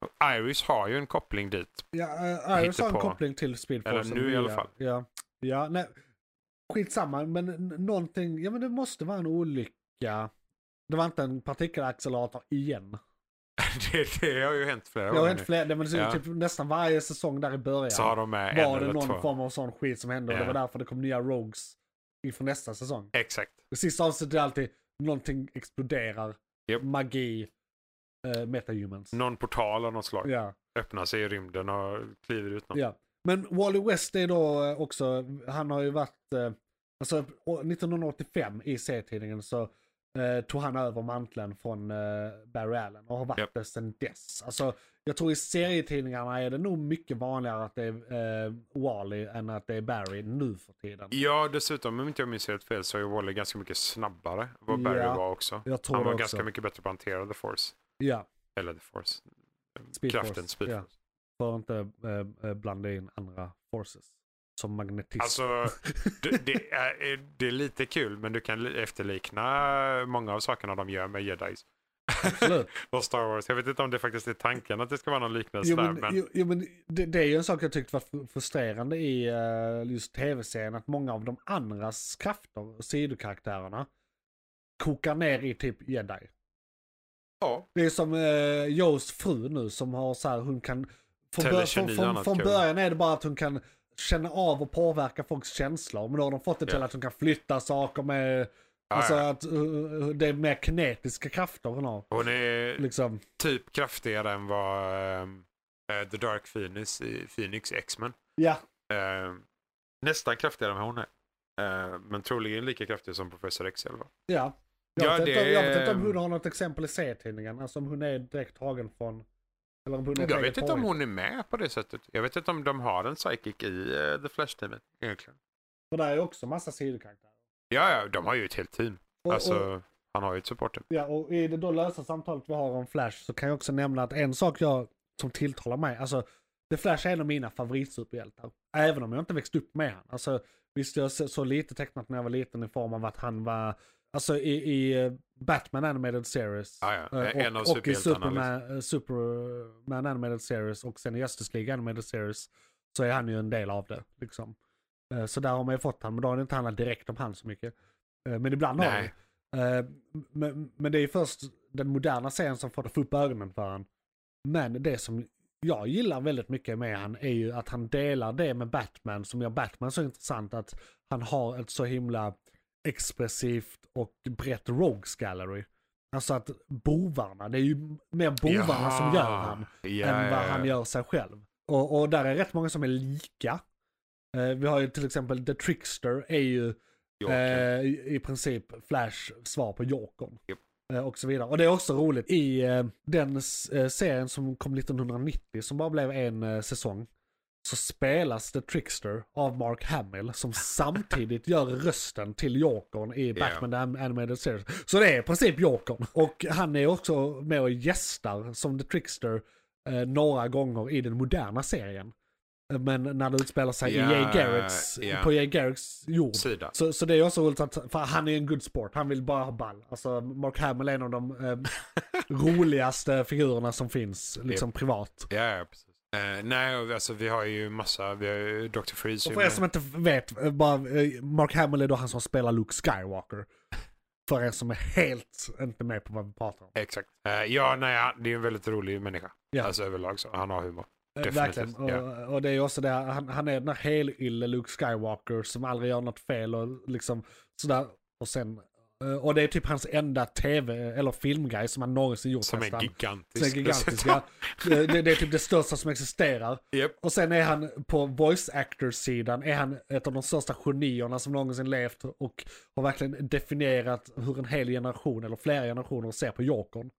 C: Och Iris har ju en koppling dit. <laughs>
B: ja eh, Iris har en
C: Hittepå.
B: koppling till Speedforce.
C: Eller nu i alla fall.
B: Ja, ja nej. Skitsamma, men n- någonting, ja men det måste vara en olycka. Det var inte en partikelaccelerator igen.
C: det, det har ju hänt flera
B: Jag har
C: gånger
B: inte fler, det var
C: Ja.
B: typ nästan varje säsong där i början.
C: nu. Så har de med en
B: var det
C: eller
B: någon
C: två.
B: form av sån skit som hände och
C: Ja.
B: det var därför det kom nya rogues inför nästa säsong.
C: Exakt.
B: Det sista avsnittet är alltid någonting exploderar,
C: Japp.
B: magi, eh, metahumans.
C: Någon portal av något slag
B: Ja,
C: öppnar sig i rymden och kliver ut någon.
B: ja. Men Wally West är då eh, också, han har ju varit, eh, alltså å- 1985 i serietidningen så eh, tog han över manteln från eh, Barry Allen och har varit
C: Japp.
B: det sedan dess. Alltså jag tror i serietidningarna är det nog mycket vanligare att det är eh, Wally än att det är Barry nu för tiden.
C: Ja, dessutom om inte jag minns helt fel så är Wally ganska mycket snabbare än vad Barry
B: Ja,
C: var också.
B: Jag tror
C: Han var
B: det också.
C: ganska mycket bättre på att hantera The Force.
B: Ja,
C: Eller The Force.
B: Speedforce,
C: Kraften Speed
B: ja.
C: Force.
B: för att inte eh, eh, blanda in andra forces. Som magnetism. <laughs>
C: Alltså, det, det, är, eh, det är lite kul men du kan li- efterlikna många av sakerna de gör med jedis.
B: Absolut.
C: <laughs> och Star Wars. Jag vet inte om det faktiskt är tanken att det ska vara någon liknelse
B: Jo
C: Alltså där.
B: men,
C: Men,
B: jo, jo, men det, det är ju en sak jag tyckte var fr- frustrerande i eh, just tv-serien. Att många av de andras krafter, och sidokaraktärerna, kokar ner i typ jedi.
C: ja,
B: Det är som eh, Joes fru nu som har så här, hon kan... Från, bör,
C: Telekini
B: från, från,
C: annat
B: från
C: kul.
B: början är det bara att hon kan känna av och påverka folks känslor. Men då har de fått det till
C: Ja.
B: att hon kan flytta saker med...
C: Ja,
B: alltså
C: ja.
B: att eh, det är mer kinetiska krafter hon har.
C: hon är
B: Liksom.
C: typ kraftigare än vad ehm, eh, The Dark Phoenix i Phoenix X-Men.
B: Ja,
C: Ehm, nästan kraftigare än vad hon är. Ehm, men troligen lika kraftig som Professor X i alla fall.
B: ja. Jag,
C: Ja,
B: vet
C: det
B: inte, om- jag vet
C: är-
B: inte om hon har något exempel i serietidningen. Alltså om hon är direkt tagen från... Eller om hon är
C: Jag
B: direkt
C: vet inte om
B: påhitt.
C: hon är med på det sättet. Jag vet inte om de har en psychic i eh, The Flash-teamet egentligen.
B: För där är också massa sidokaraktärer.
C: Ja, ja, de har ju ett helt team.
B: Och, och,
C: Alltså, han har ju ett supportteam.
B: ja, och i det då lösa samtalet vi har om Flash så kan jag också nämna att en sak jag, som tilltalar mig, alltså The Flash är en av mina favoritsuperhjältar. Även om jag inte växt upp med han. Alltså visst jag så- så lite tecknat när jag var liten i form av att han var, alltså i, i eh, Batman Animated Series.
C: Ja, ja.
B: Eh,
C: En av
B: och, och i
C: superhjältarna, liksom.
B: Superman, eh, Superman Animated Series och sen i Justice League Animated Series så är han ju en del av det. Liksom. Eh, Så där har man ju fått han, men då har det inte handlat direkt om han så mycket. Eh, Men ibland har
C: Nej.
B: det. Eh, Men, men det är ju först den moderna serien som får få upp ögonen för han. Men det som jag gillar väldigt mycket med han är ju att han delar det med Batman som gör Batman så intressant att han har ett så himla expressivt och brett Rogues Gallery. Alltså att bovarna, det är ju mer bovarna som gör han
C: ja,
B: än vad
C: ja,
B: han
C: ja.
B: gör sig själv. Och, och där är rätt många som är lika. Eh, vi har ju till exempel The Trickster är ju
C: Joker.
B: eh, i, i princip Flash svar på Jokern.
C: Japp.
B: Eh, och så vidare. Och det är också roligt i eh, den s- eh, serien som kom 1990 som bara blev en eh, säsong. Så spelas The Trickster av Mark Hamill
C: <laughs>
B: som samtidigt gör rösten till Jokern i
C: Ja.
B: Batman yeah. Animated Series. Så det är i princip Jokern. Och han är också med och gästar som The Trickster eh, några gånger i den moderna serien. Eh, Men när det utspelar sig
C: Ja,
B: i Jay Garricks,
C: ja.
B: på Jay Garricks jord.
C: Sida.
B: Så, så det är också roligt att, för han är en good sport, han vill bara ha ball. Alltså Mark Hamill är en av de
C: <laughs>
B: eh, roligaste figurerna som finns, liksom privat.
C: Ja, ja, precis. Eh, nej, och vi- alltså vi har ju massa, vi har ju Dr. Freeze.
B: Och
C: är
B: för er
C: med.
B: som inte vet, eh, bara, eh, Mark Hamill är då han som spelar Luke Skywalker. För er som är helt inte med på vad vi pratar om.
C: Exakt. Eh, ja, nej, han- det är en väldigt rolig människa.
B: Ja.
C: Alltså överlag så. Han har humor.
B: Eh,
C: Definitivt,
B: Verkligen. Och, eh, och det är också det, här, han, han är den här helylle Luke Skywalker som aldrig gör något fel och liksom sådär. Och sen Eh, Och det är typ hans enda tv eller filmgrej som han någonsin gjort
C: Som är
B: nästan.
C: gigantisk.
B: Som är gigantisk, ja. Eh, det, det är typ det största som existerar.
C: <laughs> Japp.
B: Och sen är han på voice actor-sidan, är han ett av de största genierna som någonsin levt och har verkligen definierat hur en hel generation eller flera generationer ser på Jokern.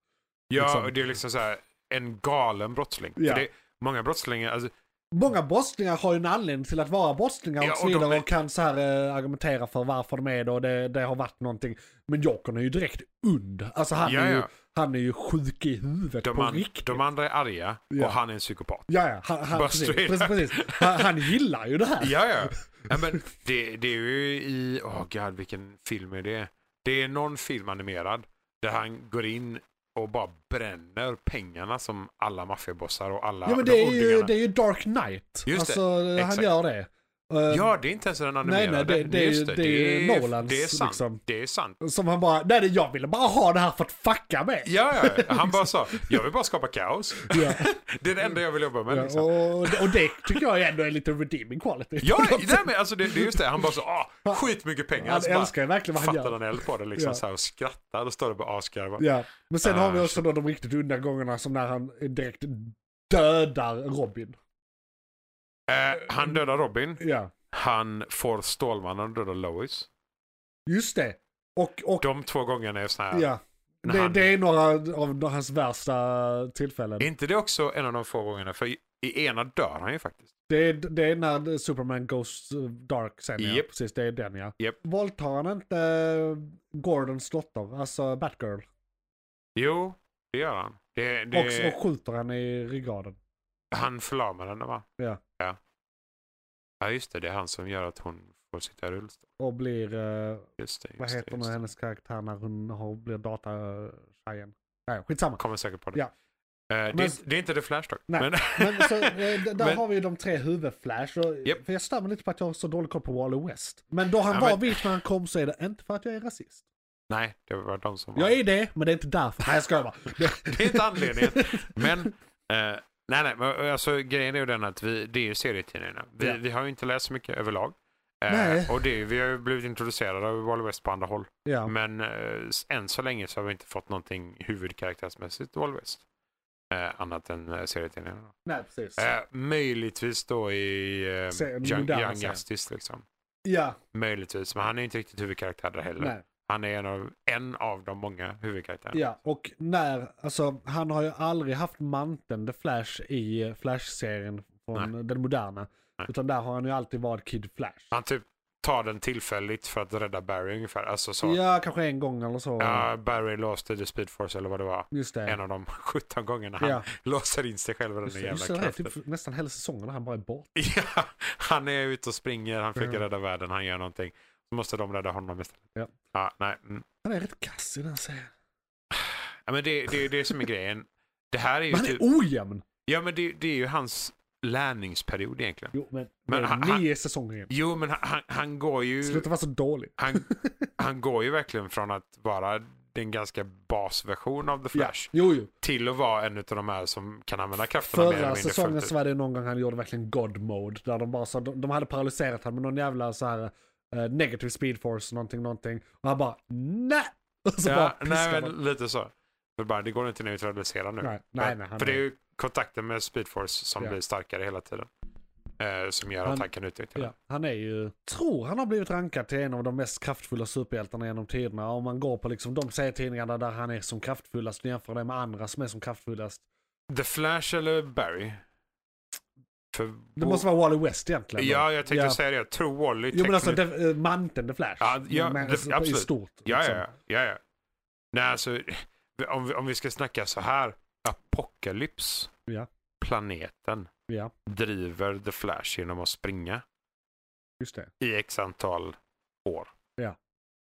C: Ja,
B: liksom.
C: och det är liksom så här en galen brottsling.
B: Ja.
C: För det, många brottslingar, alltså,
B: Många brottslingar har ju en anledning till att vara brottslingar och
C: Ja,
B: så
C: och de
B: vidare och,
C: är-
B: kan så här eh, argumentera för varför de är det och det, det har varit någonting. Men Jokern är ju direkt und. Alltså han,
C: Ja,
B: är, ju,
C: ja.
B: han är ju sjuk i huvudet
C: de,
B: på
C: an,
B: riktigt.
C: de andra är arga
B: Ja.
C: och han är en psykopat.
B: Ja, ja, han, han,
C: Bara
B: precis,
C: straight
B: precis,
C: up.
B: precis. Han, han gillar ju det här.
C: <laughs> Ja, ja. ja
B: <laughs>
C: men det, det är ju i, åh god vilken film är det? Det är någon film animerad där han går in och bara bränner pengarna som alla maffiabossar och alla
B: Ja men
C: de
B: det är, ju,
C: ondingarna.
B: det är ju Dark Knight.
C: Just det,
B: alltså han
C: exakt.
B: gör det. Eh,
C: Ja, det är inte ens den
B: nej,
C: animerade.
B: det- det är
C: Just
B: ju- det är ju Nolans,
C: Det är sant.
B: liksom.
C: Det är sant.
B: Som han bara, nej nej, jag ville bara ha det här för att fucka med.
C: Ja, ja. han bara sa, jag vill bara skapa kaos. <laughs>
B: Ja.
C: Det är det enda jag vill jobba med.
B: Ja,
C: liksom.
B: och, och det tycker jag ändå är lite redeeming quality. <laughs>
C: Ja, nej, men alltså det, det är just det. Han bara så, ah, skitmycket pengar.
B: Han
C: Så bara
B: älskar ju verkligen vad han
C: Fattar
B: gör.
C: han eld på det liksom
B: Ja.
C: så här och skrattar och står och bara "Ah, asgarvar.
B: Ja. Men sen har vi
C: Ah,
B: också då de riktigt onda gångerna som när han direkt dödar Robin.
C: Eh, han dödar Robin.
B: Ja,
C: Han får Stålmannen att döda Lois.
B: just det. Och, och
C: De två gångerna är såna här.
B: ja.
C: när
B: Det,
C: han-
B: det är några av hans värsta tillfällen.
C: Är inte det också en av de få gångerna? För i, i ena dör han ju faktiskt.
B: Det är, det är när Superman Goes eh, Dark sen ja.
C: Japp.
B: Precis, det är den ja.
C: Japp.
B: Våldtar han inte eh, Gordons dotter, alltså Batgirl?
C: Jo, det gör han. Det, det,
B: Och, och skjuter han i ryggraden.
C: Han förlamar henne va?
B: Ja.
C: ja. Ja, just det. Det är han som gör att hon får sitta i rullstol.
B: Och blir, eh,
C: Just det. Just
B: vad
C: det,
B: heter nu
C: just det.
B: hennes karaktär när hon har, blir datatjejen? Nej, skitsamma.
C: Kommer säkert på det.
B: Ja.
C: Eh, det,
B: Men-
C: är, det är inte The Flash dock.
B: Nej, men,
C: Men,
B: så,
C: <laughs>
B: eh, d- där
C: Men-
B: har vi ju de tre huvudflash. Och,
C: Japp.
B: För jag stämmer lite på att jag har så dålig koll på Wally West. Men då han
C: Ja,
B: var
C: men-
B: vit när han kom så är det inte för att jag är rasist.
C: nej, det var de som var...
B: Jag är det, men det är inte därför. Nej, jag skojar bara. <laughs>
C: Det är inte anledningen. Men, eh, nej, nej, men alltså, grejen är ju den att vi, det är ju serietidningarna. Vi,
B: Ja.
C: vi har ju inte läst så mycket överlag. Eh,
B: Nej.
C: och det, vi har ju blivit introducerade av Wally West på andra håll.
B: Ja.
C: Men eh, s- än så länge så har vi inte fått någonting huvudkaraktärsmässigt Wally West. Eh, annat än eh, serietidningarna.
B: Nej, precis.
C: Eh, möjligtvis då i eh,
B: Se-
C: Young,
B: moderna
C: Young
B: serien.
C: Justice. Liksom.
B: Ja,
C: Möjligtvis, men han är inte riktigt huvudkaraktär där heller.
B: nej.
C: Han är en av, en av de många huvudkaraktärerna.
B: Ja, och när, alltså han har ju aldrig haft manteln The Flash i eh, Flash-serien från den moderna.
C: Nej.
B: Utan där har han ju alltid varit Kid Flash.
C: Han typ tar den tillfälligt för att rädda Barry ungefär. Alltså så.
B: Ja, kanske en gång eller så.
C: Ja, Barry låste The Speed Force eller vad det var.
B: Just det.
C: En av de <laughs> 17 gångerna han
B: ja,
C: låser in sig själv i den
B: just
C: där
B: det, just
C: jävla
B: det, det är
C: kraften.
B: typ nästan hela säsongen när han bara är bort.
C: <laughs> Ja, han är ute och springer, han försöker
B: Ja.
C: rädda världen, han gör någonting. Så måste de rädda honom istället.
B: Ja.
C: nej. Mm.
B: Han är rätt kass i den serien.
C: Ja, men det, det är ju det som är grejen. Det här är ju
B: Men han är
C: typ,
B: ojämn!
C: ja, men det, det är ju hans lärningsperiod egentligen.
B: Jo, men,
C: Men
B: det är
C: han-
B: nio säsonger igen.
C: Jo, men han- han, han går ju...
B: Sluta vara så dålig. <laughs>
C: han, han går ju verkligen från att vara den ganska basversion av The
B: Ja,
C: Flash
B: jo, jo.
C: till att vara en av de här som kan använda krafterna mer eller
B: Förra
C: mindre
B: säsongen
C: fullt
B: så
C: ut.
B: var det någon gång han gjorde verkligen God mode. Där de bara sa, de, de hade paralyserat honom med någon jävla så här eh, negative speed force någonting, någonting. Och han bara nej! <laughs> Och så bara
C: Ja, nej,
B: piskade
C: men
B: de.
C: lite så. Det, bara, det går inte neutralisera nu.
B: Nej, nej, nej, han
C: För det är
B: är-
C: ju kontakten med Speedforce som
B: Ja.
C: blir starkare hela tiden. Eh, som gör att
B: Han-
C: han, kan utnyttja
B: Ja, han är ju, tror han har blivit rankad till en av de mest kraftfulla superhjältarna genom tiderna. Om man går på liksom de serietidningarna där han är som kraftfullast och jämför det med andra som är som kraftfullast.
C: det. The Flash eller Barry? För
B: Det måste vara Wally West egentligen. då.
C: Ja, jag tänkte
B: Ja.
C: säga det. Jag tror Wally
B: Jo men alltså
C: tekniskt-
B: det, eh, manteln The Flash.
C: Ja, ja,
B: Men,
C: det-
B: alltså, I
C: absolut.
B: stort.
C: Ja,
B: liksom.
C: ja, ja, ja. Nej, alltså, <laughs> om vi, om vi ska snacka så här. Apokalyps,
B: Ja.
C: planeten,
B: ja,
C: driver The Flash genom att springa
B: just det.
C: i x antal år.
B: Ja.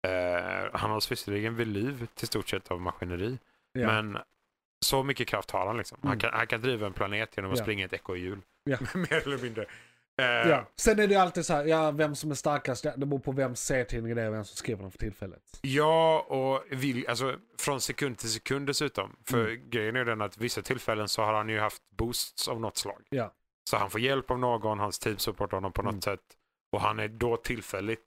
C: Eh, han hålls visserligen vid liv till stort sett av maskineri,
B: Ja.
C: men så mycket kraft har han. liksom. Han,
B: Mm.
C: kan, han kan driva en planet genom att
B: Ja.
C: springa ett ekorrhjul.
B: Ja.
C: <laughs> Mer eller mindre. Eh,
B: Ja. Sen är det ju alltid så här, ja, vem som är starkast, ja, det beror på vem serietidningen är och vem som skriver den för tillfället.
C: Ja, och vill, alltså, från sekund till sekund dessutom. För
B: Mm.
C: grejen är ju den att vissa tillfällen så har han ju haft boosts av något slag.
B: Ja.
C: Så han får hjälp av någon, hans team supportar honom på något
B: Mm.
C: sätt. Och han är då tillfälligt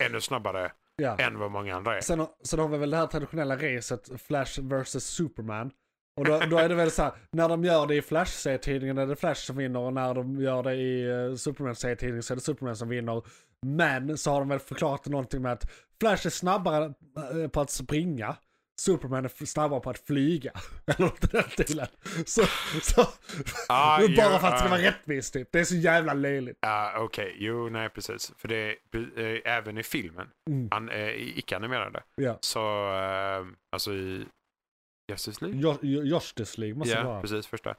C: ännu snabbare
B: Ja.
C: än vad många andra är.
B: Sen, har- sen har vi väl det här traditionella racet Flash vs Superman. Och då, då är det väl så här, när de gör det i Flash-serietidningen är det Flash som vinner och när de gör det i eh, Superman-serietidningen så är det Superman som vinner. Men så har de väl förklarat någonting med att Flash är snabbare eh, på att springa. Superman är f- snabbare på att flyga. <laughs> Eller något i den stilen. Så, så
C: Ah,
B: bara
C: jo,
B: för att det ska
C: ah.
B: vara rättvist typ. Det är så jävla löjligt.
C: Ja, Ah, Okej, jo, nej precis. För det är eh, även i filmen,
B: Mm.
C: an, eh, i icke-animerade,
B: Ja.
C: så, eh, alltså i Justice League?
B: Jo- Jo- Justice League Mm, måste
C: Ja,
B: det vara.
C: precis, första. Eh,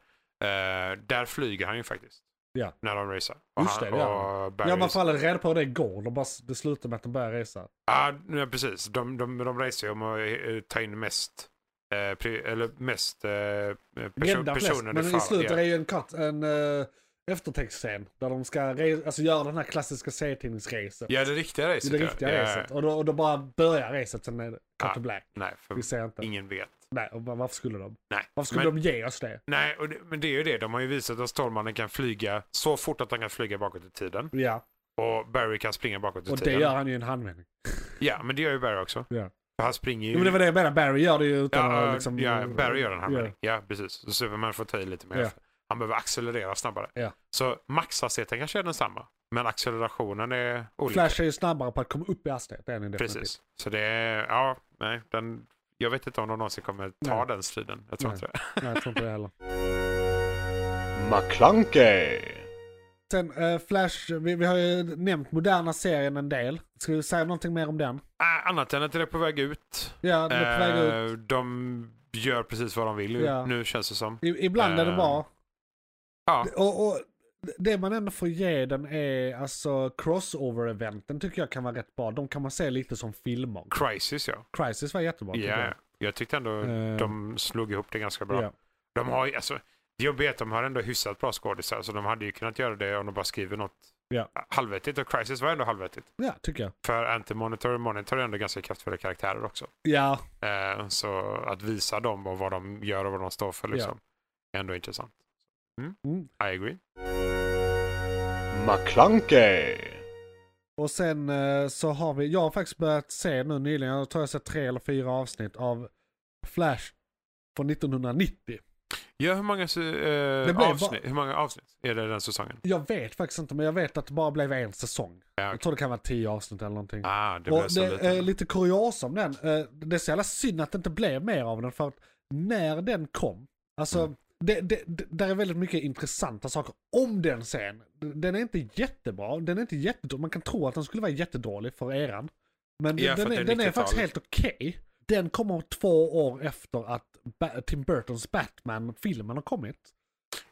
C: där flyger han ju faktiskt.
B: Ja.
C: När de racear. Och
B: Just
C: han,
B: det, det gör
C: och Barry
B: Ja, man
C: racear.
B: får aldrig reda på hur det går. De bara s- det slutar med att de börjar resa.
C: Ja, nej, precis. De, de, de reser ju om att eh, ta in mest, eh, pri, eller mest eh, perso-
B: Rädda flest.
C: personer
B: Men i slutet
C: ja.
B: är det ju en, cut, en eh, eftertextscen där de ska re- alltså, göra den här klassiska serietidningsracet.
C: Ja, det riktiga
B: Det är
C: racet.
B: det
C: ja.
B: riktiga
C: ja.
B: racet. Och då, och då bara börjar racet, sen är det cut
C: Ah.
B: to black.
C: Nej, för
B: Vi ser inte.
C: ingen vet.
B: Nej, och bara, varför skulle de?
C: Nej.
B: Varför skulle
C: men,
B: de ge oss det?
C: nej och det, men det är ju det. De har ju visat att Stålmannen kan flyga så fort att han kan flyga bakåt i tiden.
B: Ja,
C: Och Barry kan springa bakåt i
B: och det
C: tiden.
B: gör han ju i en handvändning.
C: Ja, men det gör ju Barry också.
B: Ja.
C: För han springer ju...
B: Jo, men det var det jag menade, Barry gör det ju utan
C: Mm. Ja,
B: att liksom...
C: ja, Barry gör den här
B: Ja.
C: yeah. Ja, precis. Så Superman får ta i lite mer.
B: Ja.
C: Han behöver accelerera snabbare.
B: Ja.
C: Så maxhastigheten kanske är densamma, men accelerationen är olika.
B: Flash är ju snabbare på att komma upp i hastighet. Det är han ju definitivt.
C: Precis. Så det är, ja, nej, den, jag vet inte om de någonsin kommer ta
B: Nej.
C: den striden. Jag tror
B: Nej.
C: inte det. <laughs>
B: Nej, jag tror inte det heller.
A: McClunkey!
B: Sen eh, Flash, vi, vi har ju nämnt moderna serien en del. Ska vi säga någonting mer om den?
C: Äh, annat än att det är på väg ut.
B: Ja, den är på väg ut.
C: Eh, de gör precis vad de vill ju,
B: Ja.
C: nu känns det som.
B: I, ibland är det
C: eh,
B: bra.
C: ja.
B: Och, och det man ändå får ge den är, alltså crossover-eventen tycker jag kan vara rätt bra. De kan man se lite som filmer.
C: Crisis ja.
B: Crisis var jättebra.
C: Ja,
B: tycker jag.
C: jag tyckte ändå
B: Eh.
C: de slog ihop det ganska bra.
B: Ja.
C: De har ju, alltså, det jobbiga är att de har ändå hyfsat bra skådisar, så de hade ju kunnat göra det om de bara skriver något
B: Ja.
C: halvvettigt. Och Crisis var ändå halvvettigt.
B: ja, tycker jag.
C: För Anti-Monitor och Monitor är ändå ganska kraftfulla karaktärer också.
B: Ja,
C: Eh, så att visa dem och vad de gör och vad de står för liksom, är ändå intressant. Mm.
B: Mm.
C: I agree.
A: McClunkey!
B: och sen eh, så har vi, jag har faktiskt börjat se nu nyligen, jag tror jag sett tre eller fyra avsnitt av Flash från 1990.
C: Ja, hur många, se- eh,
B: Det blev
C: avsnitt, hur många avsnitt är det den säsongen?
B: Jag vet faktiskt inte, men jag vet att det bara blev en säsong.
C: Ja,
B: Jag
C: okej.
B: tror det kan vara tio avsnitt eller någonting.
C: Ah, det blev
B: Och
C: så
B: det är
C: lite.
B: lite kuriosa om den. Eh, Det är så jävla synd att det inte blev mer av den för att när den kom, alltså
C: Mm.
B: det, det, det, där är väldigt mycket intressanta saker om den sen. Den är inte jättebra, den är inte jättedålig. Man kan tro att den skulle vara jättedålig för eran. Men
C: Ja, för
B: den,
C: att
B: är,
C: det är
B: den är faktiskt
C: 90-talet.
B: helt okej. Den kommer två år efter att ba- Tim Burtons Batman-filmen har kommit.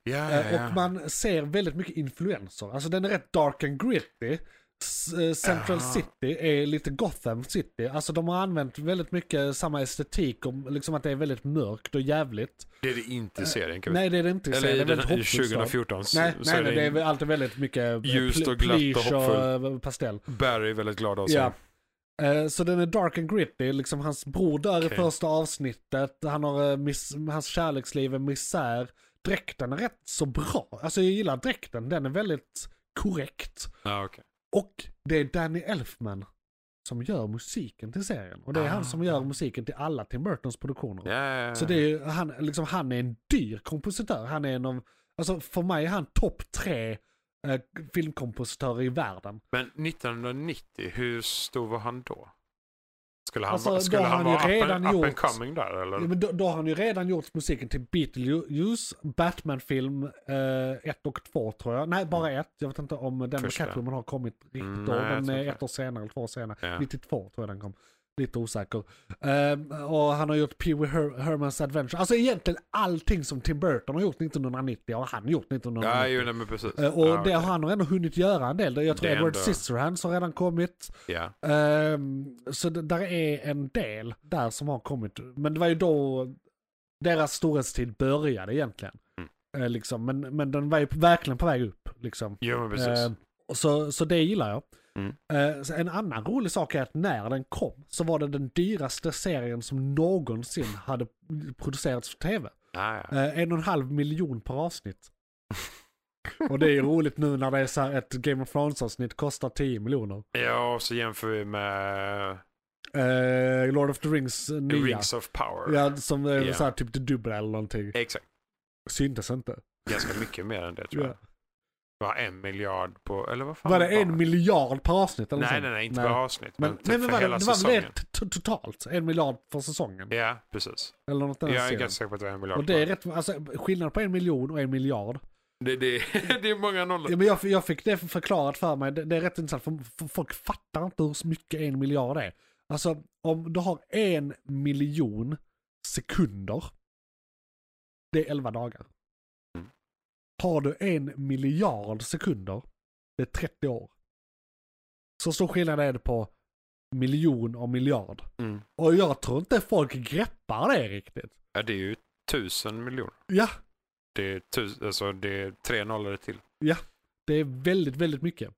C: Ja,
B: Eh,
C: ja,
B: Och
C: ja.
B: man ser väldigt mycket influenser. Alltså den är rätt dark and gritty. S- eh, Central
C: Jaha.
B: City är lite Gotham City. Alltså de har använt väldigt mycket samma estetik. Och liksom att det är väldigt mörkt och jävligt.
C: Det är det inte i serien. Kan vi...
B: Eh, Nej det är det inte. i
C: Eller
B: serien.
C: i
B: det är
C: den,
B: väldigt
C: i
B: hoppfull stad.
C: 2014 s-
B: Nej,
C: så
B: nej,
C: är
B: nej,
C: det,
B: det är väl alltid väldigt mycket eh,
C: ljust
B: pl-
C: och glatt och
B: plysch eh, pastell.
C: Barry väldigt glad av sig.
B: Ja. Eh, Så den är dark and gritty, liksom hans bror dör i
C: Okej.
B: första avsnittet, han har, eh, miss, hans kärleksliv är misär. Dräkten är rätt så bra, alltså jag gillar dräkten, den är väldigt korrekt.
C: Ah, okej.
B: Och det är Danny Elfman som gör musiken till serien. Och det är
C: Ah.
B: han som gör musiken till alla Tim Burtons produktioner.
C: Ja, ja, ja.
B: Så det är ju, han, liksom, han är en dyr kompositör. Han är en av, alltså för mig är han topp tre eh, filmkompositörer i världen.
C: Men 1990, hur stor var han då? Skulle han,
B: Alltså,
C: vara-
B: då
C: skulle
B: har
C: han
B: han ju
C: vara up, and,
B: redan
C: up and
B: gjort-
C: coming där? Eller?
B: Ja, men då, då har han ju redan gjort musiken till Beetlejuice, Batman-film 1 och 2 tror jag. Nej, bara ett. Jag vet inte om den med
C: Första.
B: Catwoman har kommit riktigt
C: Mm,
B: då.
C: nej, jag
B: Den
C: tror
B: är
C: inte
B: ett år senare eller två år senare.
C: Ja.
B: 92 tror jag den kom. Lite osäker. Ehm, och han har gjort Pee Wee Her- Hermans Adventure. Alltså egentligen allting som Tim Burton har gjort 1990 har han gjort 1990.
C: ja, ju, nej, men precis.
B: Eh, Och
C: ja,
B: det
C: okej.
B: har han ändå hunnit göra en del. Jag tror
C: Det är
B: Edward
C: ändå-
B: Scissorhands har redan kommit.
C: ja.
B: Ehm, så det, där är en del där som har kommit. Men det var ju då deras storhetstid började egentligen.
C: Mm.
B: Eh, liksom. men, men den var ju verkligen på väg upp. Liksom.
C: Jo, men precis.
B: Ehm, och så, så det gillar jag.
C: Mm.
B: Eh, så en annan rolig sak är att när den kom så var det den dyraste serien som någonsin hade producerats för tv.
C: ah, ja.
B: Eh, en och en halv miljon per
C: <laughs>
B: avsnitt. och det är ju roligt nu när det är så här ett Game of Thrones-avsnitt kostar 10 miljoner.
C: ja, och så jämför vi med
B: eh, Lord of the Rings eh, nya.
C: Rings of Power.
B: Ja, som är
C: Ja.
B: så här, typ det dubbla eller någonting.
C: Exakt.
B: Syntes inte.
C: Ganska mycket mer än det tror
B: Ja.
C: jag. Det var en miljard på, eller vad fan
B: Var det en miljard per avsnitt? Eller
C: Nej,
B: sånt?
C: nej, nej, inte per avsnitt. Men,
B: Men,
C: typ
B: nej, men
C: för
B: var det,
C: hela
B: det var väl
C: säsongen.
B: det t- totalt? En miljard för säsongen?
C: Ja, precis.
B: Eller något
C: Jag är
B: annat
C: ganska säker på att det var en miljard.
B: Och det är rätt, alltså skillnad på en miljon och en miljard.
C: det, det, <laughs> det är många nollor.
B: Ja, men jag, jag fick det förklarat för mig, det, det är rätt intressant, för, för folk fattar inte hur mycket en miljard är. Alltså om du har en miljon sekunder, det är elva dagar.
C: Mm.
B: Har du en miljard sekunder, det är 30 år. Så stor skillnad är det på miljon och miljard.
C: Mm.
B: Och jag tror inte folk greppar det riktigt.
C: Ja, det är ju tusen miljoner.
B: Ja,
C: Det är, tus, alltså, det är tre nollor till.
B: det är väldigt, väldigt mycket.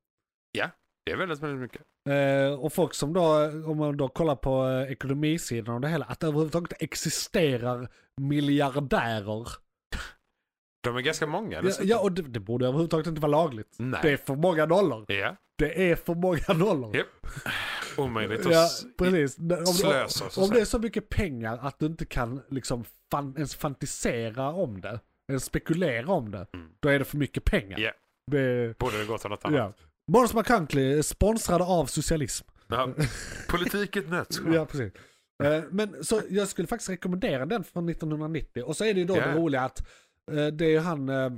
C: Det är väldigt, väldigt mycket.
B: Eh, och folk som då, om man då kollar på eh, ekonomisidan och det hela, att det överhuvudtaget existerar miljardärer.
C: De är ganska många.
B: Ja,
C: dessutom.
B: ja och det, det borde överhuvudtaget inte vara lagligt.
C: Nej.
B: Det är för många nollor.
C: Ja,
B: Det är för många nollor.
C: Japp. omöjligt att...
B: Ja,
C: s-
B: precis. Om, om,
C: slösa, så att
B: om det
C: säga.
B: är så mycket pengar att du inte kan liksom fan, ens fantisera om det, ens spekulera om det,
C: Mm.
B: då är det för mycket pengar.
C: Ja.
B: Det,
C: Borde det gått till något annat.
B: ja. Måns McCunckley är sponsrade av socialism.
C: Ja. Politik i ett nötskal.
B: Ja, precis. Eh, Men så jag skulle faktiskt rekommendera den från 1990. Och så är det ju då
C: Ja.
B: det roliga att eh, det är ju han, eh, eh,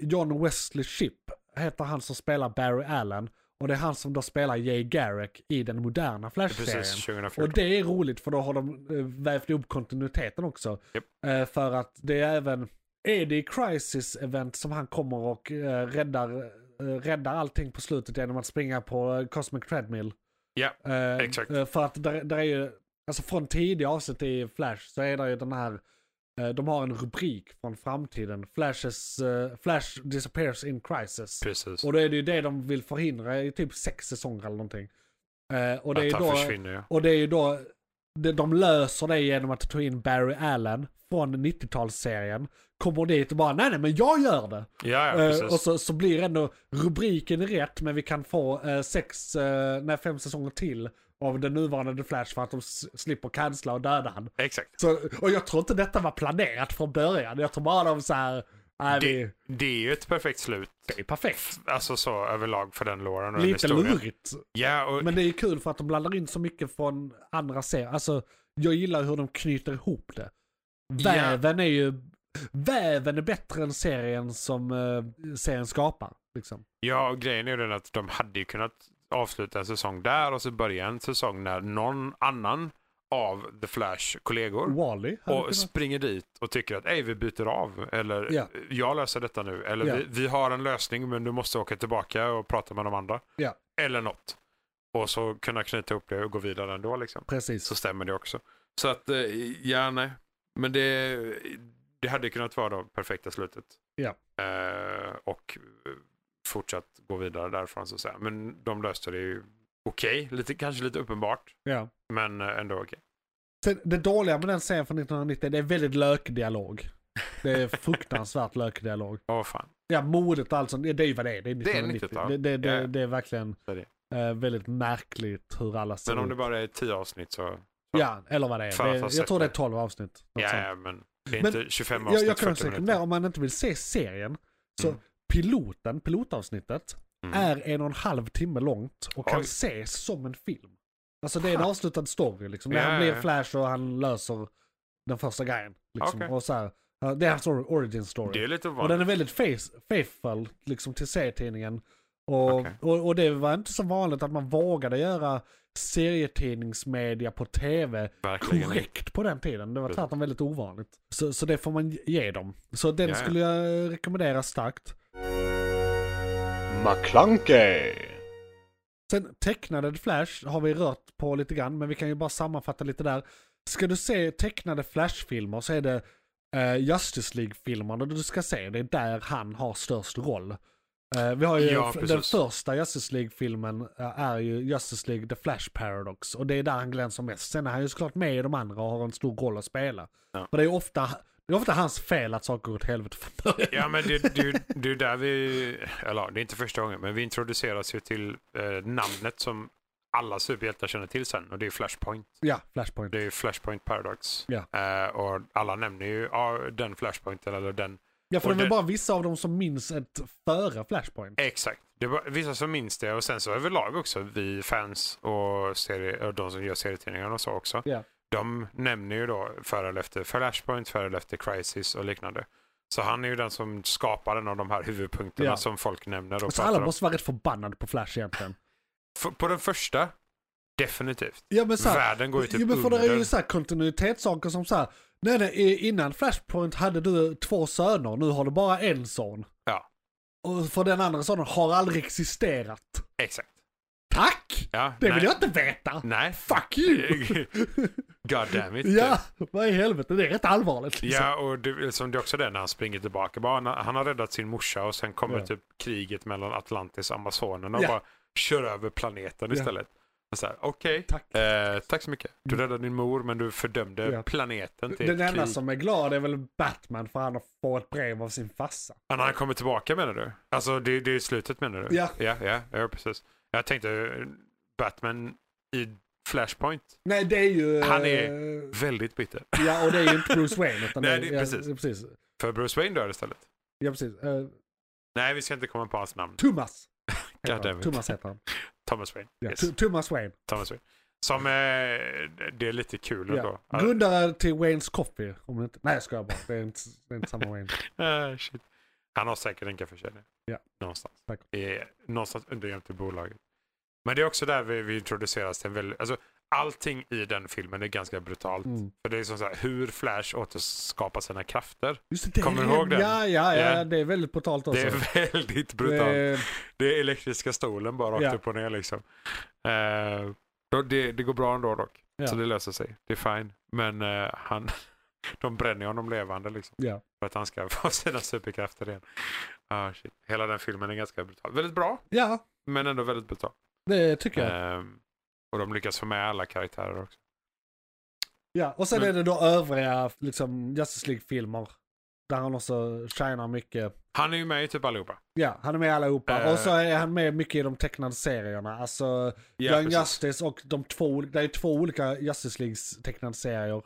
B: John Wesley Shipp, heter han som spelar Barry Allen. Och det är han som då spelar Jay Garrick i den moderna
C: Precis,
B: Flash-serien.
C: 2014.
B: Och det är roligt för då har de eh, vävt ihop kontinuiteten också.
C: Japp.
B: Eh, För att det är även, är det i Crisis Event som han kommer och eh, räddar, eh, räddar allting på slutet genom att springa på eh, Cosmic Treadmill.
C: Ja,
B: Eh,
C: Exakt.
B: eh, För att där, där är ju, alltså från tidiga avsnitt i Flash så är det ju den här, eh, de har en rubrik från framtiden, Flashes, eh, Flash disappears in crisis.
C: precis.
B: Och då är det ju det de vill förhindra i typ sex säsonger eller någonting. Eh, Och det är
C: att
B: ju
C: han
B: då,
C: försvinner ja.
B: och det är ju då de, de löser det genom att ta in Barry Allen från 90-talsserien. Kommer dit och bara nej nej men jag gör det.
C: Ja, ja
B: Eh,
C: precis.
B: och så, så blir ändå rubriken rätt men vi kan få eh, sex, eh, nej, fem säsonger till av den nuvarande The Flash för att de s- slipper cancella och döda han.
C: Exakt.
B: Så, och jag tror inte detta var planerat från början. Jag tror bara de så här, nej vi,
C: Det, det är ju ett perfekt slut.
B: det är perfekt.
C: Alltså så överlag för den låren och den
B: Lite
C: historien.
B: lurigt.
C: Ja, och
B: Men det är ju kul för att de blandar in så mycket från andra serier. Alltså, jag gillar hur de knyter ihop det.
C: Ja.
B: Väven är ju, väven är bättre än serien som eh, serien skapar. Liksom.
C: Ja, och grejen är ju den att de hade ju kunnat avsluta en säsong där och så börja en säsong när någon annan av The Flash kollegor
B: Wally hade
C: och
B: kunnat-
C: springer dit och tycker att Ey, vi byter av eller
B: Ja.
C: jag löser detta nu eller
B: Ja.
C: vi, vi har en lösning men du måste åka tillbaka och prata med de andra.
B: Ja.
C: Eller något. Och så kunna knyta ihop det och gå vidare ändå liksom.
B: Precis.
C: Så stämmer det också. Så att, eh, ja nej. Men det, det hade kunnat vara det perfekta slutet.
B: Ja.
C: Eh, och eh, fortsatt gå vidare därifrån så att säga. Men de löste det ju okej, lite, kanske lite uppenbart.
B: Ja.
C: Men eh, ändå okej.
B: Sen, det dåliga med den serien från 1990, det är väldigt lökdialog. Det
C: <laughs>
B: är fruktansvärt lökdialog.
C: Åh fan.
B: Ja, modet och allt sånt, det, det är ju vad det är. Det är
C: Det är
B: 1990.
C: 90-tal.
B: Det, det, det,
C: Ja.
B: det är verkligen
C: Det är
B: eh, väldigt märkligt hur alla ser
C: Men om det
B: ut.
C: bara är tio avsnitt så,
B: Ja, eller vad det
C: För att
B: är.
C: ha
B: Det, jag
C: sett
B: tror det är
C: det.
B: 12 avsnitt. något
C: ja,
B: sånt.
C: ja men det är
B: Men
C: inte 25
B: jag,
C: avsnitt,
B: jag kan också
C: 40
B: rekommendera
C: minuter.
B: om man inte vill se serien. Så
C: Mm.
B: piloten, pilotavsnittet,
C: Mm.
B: är en och en halv timme långt och kan
C: Oj.
B: ses som en film. Alltså det är en avslutad story liksom. När
C: Ja,
B: han
C: ja,
B: blir
C: ja.
B: Flash och han löser den första grejen. Liksom.
C: Okej.
B: Och så här, ja, det är hans or- origin
C: Det
B: story.
C: är lite
B: Och
C: ovanligt.
B: den är väldigt faith- faithful liksom, till serietidningen. Och,
C: Okej.
B: och, och det var inte så vanligt att man vågade göra serietidningsmedia på tv
C: Verkligen.
B: korrekt på den tiden. Det var
C: Precis.
B: tvärtom väldigt ovanligt. Så, så det får man ge dem. Så den
C: Ja, ja.
B: skulle jag rekommendera starkt.
A: McClunkey!
B: Sen tecknade The Flash har vi rört på lite grann, men vi kan ju bara sammanfatta lite där. Ska du se tecknade Flash-filmer så är det eh, Justice League-filmerna du ska se. Det är där han har störst roll. Eh, vi har ju
C: Ja,
B: f- den
C: precis.
B: första Justice League-filmen eh, är ju Justice League The Flash Paradox och det är där han glänser mest. Sen är han ju såklart med i de andra och har en stor roll att spela.
C: Ja.
B: Men det är ju ofta, det är ofta hans fel att saker går åt helvete från början.
C: Ja, men det, det, det är där vi, eller ja, det är inte första gången, men vi introduceras ju till eh, namnet som alla superhjältar känner till sen och det är Flashpoint.
B: <laughs> Ja, Flashpoint.
C: Det är ju Flashpoint Paradox.
B: Ja.
C: Eh, och alla nämner ju ja, den Flashpointen eller den.
B: Ja, för
C: och
B: det är väl
C: det-
B: bara vissa av dem som minns ett före Flashpoint.
C: Exakt. Det var vissa som minns det och sen så överlag också vi fans och, serie, och de som gör serietidningarna och så också.
B: Ja.
C: De nämner ju då före eller efter Flashpoint, före eller efter Crisis och liknande. Så han är ju den som skapar en av de här huvudpunkterna
B: Ja.
C: som folk nämner och
B: Så
C: pratar
B: Alltså, alla
C: om.
B: måste vara rätt förbannade på Flash egentligen.
C: F- På den första, definitivt.
B: Ja men såhär,
C: Världen går ju typ
B: jo, men för det är
C: under.
B: ju såhär kontinuitetssaker som såhär, nej nej i- innan Flashpoint hade du två söner, nu har du bara en son.
C: Ja.
B: Och för den andra sonen har aldrig existerat.
C: Exakt.
B: Tack!
C: Ja,
B: Det
C: nej.
B: vill jag inte veta!
C: Nej.
B: Fuck you!
C: <laughs> God damn it.
B: ja, vad i helvete, det är rätt allvarligt liksom.
C: Ja, och det, som det är också det när han springer tillbaka. Bara, han, han har räddat sin morsa och sen kommer
B: Ja.
C: typ kriget mellan Atlantis och Amazonerna och
B: Ja.
C: bara kör över planeten
B: Ja.
C: istället. Och så här, Okej,
B: Tack. Mm.
C: eh, tack så mycket. Du räddade din mor men du fördömde
B: Ja.
C: planeten till
B: Den
C: ett
B: enda
C: krig.
B: som är glad är väl Batman för han får ett brev av sin farsa.
C: Ja, när han kommer tillbaka menar du? Alltså det, det är slutet menar du?
B: Ja.
C: ja. Ja, ja, precis. Jag tänkte eh, Batman i Flashpoint,
B: Nej det är ju...
C: Han
B: är...
C: väldigt bitter.
B: Ja och det är ju inte Bruce Wayne utan
C: Nej,
B: det,
C: det-
B: ja,
C: precis.
B: Ja, precis.
C: För Bruce Wayne dör istället.
B: Ja, precis. Eh,
C: Nej, vi ska inte komma på hans namn.
B: Thomas. heter
C: God damn
B: han.
C: it.
B: Thomas heter han.
C: Thomas Wayne.
B: Ja,
C: Yes.
B: Th- Thomas Wayne.
C: Thomas Wayne. Som, eh, det är lite kul
B: Ja.
C: ändå. Att-
B: Grundare till Waynes Coffee. Om det inte... Nej jag skojar bara. Det är inte, det är inte samma Wayne.
C: Ah, shit. Han har säkert en kaffekedja.
B: Ja.
C: Någonstans.
B: Tack.
C: I, någonstans underjämte bolaget. Men det är också där vi, vi introduceras till en väldigt, alltså allting i den filmen är ganska brutalt.
B: Mm.
C: För det är som så här, hur Flash återskapar sina krafter.
B: Just det, det, är
C: Kommer du
B: det-
C: ihåg den?
B: Ja, ja, ja.
C: Ja.
B: Det är väldigt brutalt också.
C: Det är väldigt brutalt.
B: Eh,
C: Det är elektriska stolen bara rakt
B: Ja.
C: upp och ner liksom. Eh, då, det, det går bra ändå dock.
B: Ja.
C: Så det löser sig. Det är fine. Men eh, han, <laughs> de bränner honom levande liksom.
B: Ja.
C: För att han ska <laughs> få sina superkrafter igen. Ah, shit. Hela den filmen är ganska brutal. Väldigt bra,
B: ja,
C: men ändå väldigt brutal.
B: det tycker jag.
C: Ehm, och de lyckas få med alla karaktärer också.
B: Ja, och sen
C: Men-
B: är det då övriga liksom, Justice League-filmer. Där han också shinar mycket.
C: Han är ju med i typ allihopa.
B: Ja, han är med i allihopa.
C: Eh.
B: och så är han med mycket i de tecknade serierna. Alltså, Young
C: precis.
B: Justice och de två, det är två olika Justice Leagues tecknade serier.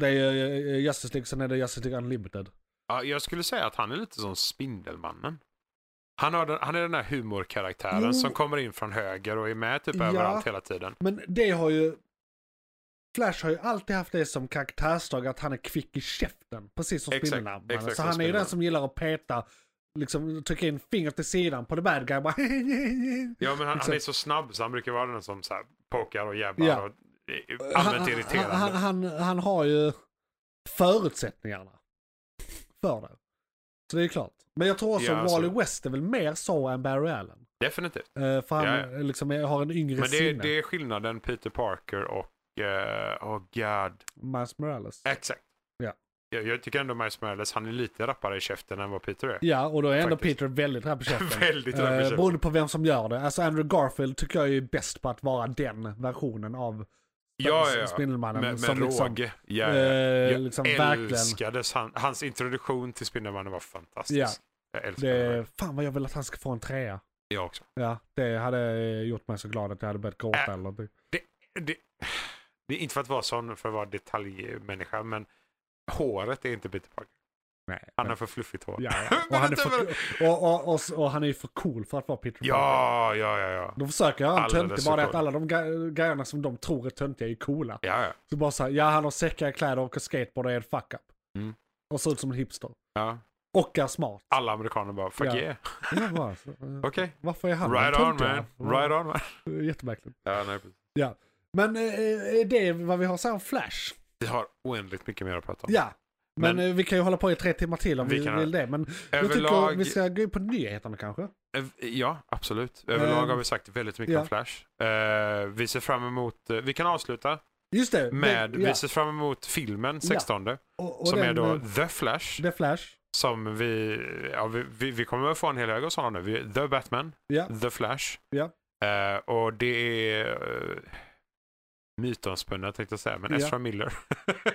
B: Det är eh, Justice League, sen är det Justice League Unlimited.
C: Ja, jag skulle säga att han är lite som Spindelmannen. Han, har den, han är den här humorkaraktären
B: Jo.
C: som kommer in från höger och är med typ
B: Ja.
C: överallt hela tiden.
B: Men det har ju... Flash har ju alltid haft det som karaktärsdrag att han är kvick i käften. Precis som
C: Exakt,
B: Spindelmannen.
C: exakt
B: Så
C: som
B: han är ju
C: Spindelmannen.
B: den som gillar att peta, liksom trycka in fingret till sidan på the bad guy. <laughs> Bara
C: Ja, men han, han
B: Liksom.
C: är så snabb så han brukar vara den som så här, pokar och jävlar
B: Ja.
C: och är allmänt irriterande.
B: Han, han, han, han har ju förutsättningarna för det. Så det är klart. Men jag tror också
C: Ja,
B: att Wally
C: alltså-
B: West är väl mer så än Barry Allen.
C: Definitivt.
B: Eh, för han
C: Ja, ja.
B: eh, liksom är- har en yngre
C: Men det,
B: sinne.
C: är- det är skillnaden Peter Parker och... eh, oh god.
B: Miles Morales.
C: Exakt.
B: Ja.
C: Jag, jag tycker ändå Miles Morales, han är lite rappare i käften än vad Peter är. <laughs>
B: Ja, och då är ändå
C: Faktiskt.
B: Peter väldigt rapp i
C: <laughs>
B: käften.
C: Väldigt rapp i
B: Eh,
C: käften.
B: Beroende på vem som gör det. Alltså Andrew Garfield tycker jag är bäst på att vara den versionen av
C: Ja, ja, ja.
B: Spindelmannen.
C: Men, men
B: som liksom,
C: råge. Ja, ja.
B: eh,
C: Jag
B: liksom verkligen.
C: älskades han, hans introduktion till Spindelmannen var fantastisk.
B: Ja.
C: Jag älskar det...
B: Det, fan vad jag vill att han ska få en trea.
C: Jag också.
B: Ja, det hade gjort mig så glad att jag hade börjat gråta
C: Äh.
B: eller någonting.
C: Det, det är inte för att vara sån, för att vara detaljmänniska, men håret är inte Peter Parker.
B: Nej.
C: Han har för fluffigt hår.
B: Ja, ja.
C: <laughs> Men
B: Och, han är
C: inte
B: för,
C: för-
B: och, och, och, och han är ju för cool för att vara Peter Parker.
C: Ja, ja, ja, ja.
B: De försöker göra en
C: Alldeles
B: töntig,
C: för
B: bara det att
C: cool.
B: alla de gre- grejerna som de tror är töntiga är coola.
C: Ja, ja.
B: Så bara såhär, ja han har säckar i kläder, åker skateboard och är en fuck-up.
C: Mm.
B: Och ser ut som en hipster.
C: ja.
B: Och
C: <laughs>
B: är smart.
C: Alla amerikaner bara, fuck
B: Ja.
C: yeah.
B: Ja, bara, så, eh,
C: Okej.
B: Varför är han
C: Right
B: den
C: on
B: töntiga?
C: man. Right on man.
B: Eh, Jättemärkligt.
C: Ja, nej, precis.
B: Ja. Men eh, är det vad vi har att säga om Flash?
C: Vi har oändligt mycket mer att prata om.
B: Ja. Men,
C: Men-
B: eh, vi kan ju hålla på i tre timmar till om
C: Vi
B: vi,
C: kan-
B: vill det. Men jag tycker
C: Överlag,
B: vi ska gå in på nyheterna kanske.
C: ev- ja absolut. Överlag
B: Ehm,
C: har vi sagt väldigt mycket
B: ja.
C: om Flash. Eh, vi ser fram emot, eh, vi kan avsluta
B: Just det.
C: med,
B: det, ja.
C: vi ser fram emot filmen 16.
B: och, och
C: som
B: den,
C: är då
B: eh,
C: The Flash.
B: The Flash.
C: Som vi, ja, vi, vi, vi kommer att få en hel hög av sådana nu. Vi- The Batman,
B: Ja.
C: The Flash.
B: Ja.
C: Eh, och det är uh, mytomspunnet tänkte jag säga, men
B: Ja.
C: Ezra Miller.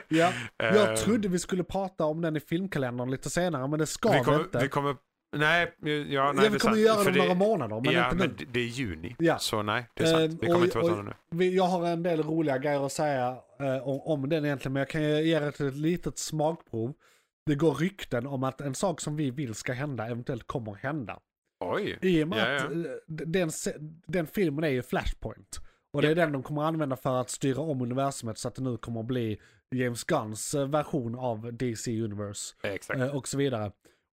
B: ja.
C: Eh, <laughs>
B: Jag trodde vi skulle prata om den i filmkalendern lite senare men det ska vi
C: vi kommer,
B: inte.
C: vi kommer Nej, ja, nej
B: ja, vi kommer
C: sant.
B: ju göra
C: För
B: det om några månader, men
C: ja,
B: inte
C: men
B: nu.
C: det- Det är juni,
B: Ja.
C: så nej, det är
B: Eh,
C: sant. Det kommer
B: och-
C: inte vara
B: och-
C: tal om nu.
B: Vi, jag har en del roliga grejer att säga eh, om, om den egentligen, men jag kan ju ge er ett, ett litet smakprov. Det går rykten om att en sak som vi vill ska hända eventuellt kommer hända.
C: Oj,
B: I och med
C: Ja, ja.
B: att eh, d- den, se- den filmen är ju Flashpoint. Och det är den de kommer använda för att styra om universumet så att det nu kommer att bli James Gunns eh, version av DC Universe
C: exakt.
B: eh, och så vidare.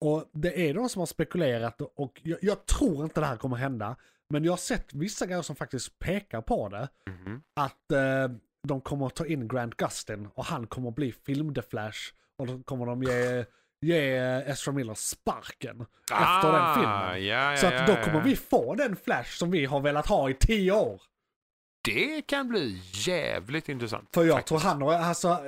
B: Och det är de som har spekulerat och jag, jag tror inte det här kommer hända. Men jag har sett vissa grejer som faktiskt pekar på det.
C: Mhm.
B: Att eh, de kommer att ta in Grant Gustin och han kommer att bli film The Flash. Och då kommer de ge, ge Ezra Miller sparken eh, efter den filmen.
C: Ah, Ja, ja,
B: Så att då
C: ja, ja.
B: kommer vi få den Flash som vi har velat ha i tio år.
C: Det kan bli jävligt intressant.
B: För jag
C: faktiskt.
B: tror han har, alltså,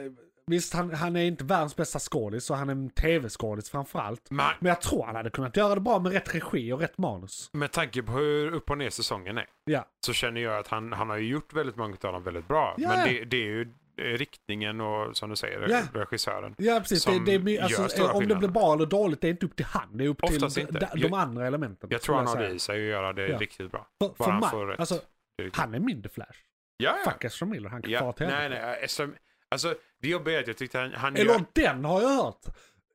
B: visst han, han är inte världens bästa skådis och han är en tv-skådis framförallt.
C: Men
B: Men jag tror han hade kunnat göra det bra med rätt regi och rätt manus.
C: med tanke på hur upp och ner säsongen är
B: Ja,
C: så känner jag att han, han har ju gjort väldigt många av dem väldigt bra.
B: Ja,
C: Men
B: ja.
C: det, det är ju eh, riktningen och som du säger,
B: Ja.
C: regissören.
B: ja precis. Det,
C: Som
B: det är, my-
C: gör
B: alltså,
C: stora
B: eh, om det
C: skillnader.
B: blir bra eller dåligt, det är inte upp till han. Det är upp till
C: Oftast
B: de,
C: inte.
B: de, de
C: Jag-
B: andra elementen.
C: Jag tror
B: skulle
C: han har
B: säga.
C: det i sig att göra det
B: Ja.
C: riktigt bra.
B: För,
C: Bara
B: för
C: han
B: mig,
C: får rätt.
B: alltså,
C: Det är riktigt-
B: han är min The Flash.
C: ja, ja.
B: Fuck Ezra Miller, han kan
C: ja.
B: fara till
C: Nej,
B: helvete.
C: nej. Ezra, alltså, det jobbiga är att jag tyckte han... han
B: Eller
C: gör,
B: den har jag hört.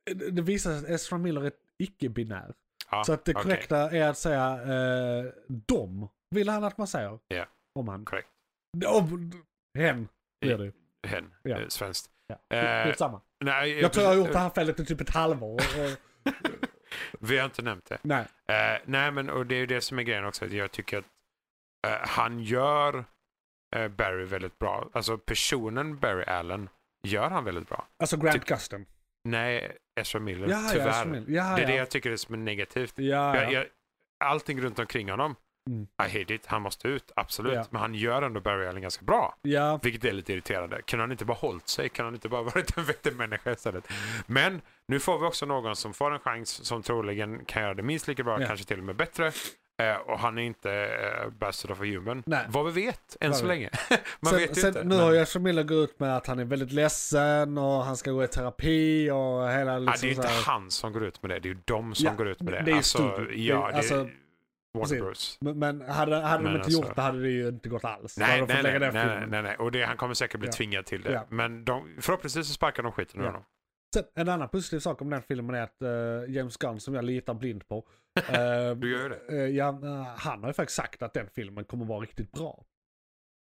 B: Det det visar sig att Ezra Miller är icke-binär.
C: ja,
B: så att det
C: okej.
B: korrekta är att säga eh, dom. Vill han att man säger.
C: Ja.
B: Om han.
C: Korrekt.
B: Om, hen blir det ju.
C: Hen,
B: Ja.
C: eh, svenskt.
B: Ja.
C: Eh,
B: Skitsamma.
C: nej,
B: Jag tror jag har gjort det här felet i typ ett halvår. Och,
C: <laughs>
B: och,
C: eh, Vi har inte nämnt det.
B: nej.
C: Eh, nej, men och det är ju det som är grejen också. att Jag tycker att eh, han gör eh, Barry väldigt bra. Alltså personen Barry Allen gör han väldigt bra.
B: Alltså
C: Typ.
B: Grant Gustin.
C: Nej, Ezra Miller,
B: Ja,
C: tyvärr.
B: ja, Ezra Miller. ja,
C: Det är det
B: ja.
C: jag tycker är som är negativt.
B: Ja, ja.
C: Jag, jag, allting runt omkring honom,
B: Mm.
C: I hate it, han måste ut, absolut.
B: Ja.
C: Men han gör ändå Barry Allen ganska bra.
B: ja.
C: Vilket är lite irriterande. Kunde han inte bara hållit sig? Kunde han inte bara <laughs> varit en vettig människa istället? Men nu får vi också någon som får en chans som troligen kan göra det minst lika bra,
B: Ja.
C: kanske till och med bättre. Eh, och han är inte eh, bäst of a human.
B: Nej.
C: Vad vi vet än
B: Vad
C: så
B: vi-
C: länge. <laughs> Man
B: sen,
C: vet ju
B: sen,
C: inte.
B: Nu
C: men-
B: har Ezra Miller gått ut med att han är väldigt ledsen och han ska gå i terapi och hela
C: Ja, det är
B: liksom
C: ju inte
B: så här-
C: han som går ut med det. Det är ju de som
B: Ja,
C: går ut med det.
B: det är ju
C: alltså,
B: studion. Det är-
C: ja, det,
B: alltså, precis.
C: Warner Bros.
B: Men, men hade, hade
C: Men
B: de inte
C: alltså-
B: gjort det hade det ju inte gått alls. Då hade
C: Nej,
B: de fått
C: nej,
B: lägga
C: nej,
B: ner
C: nej,
B: filmen.
C: nej, nej, nej. Och det, han kommer säkert bli
B: Ja.
C: tvingad till det.
B: Ja.
C: Men de, förhoppningsvis så sparkar de skiten ur
B: Ja.
C: honom.
B: Sen, en annan positiv sak om den filmen är att eh, James Gunn, som jag litar
C: <laughs>
B: blind på, eh,
C: Du gör ju det.
B: eh, ja, eh, han har ju faktiskt sagt att den filmen kommer vara riktigt bra.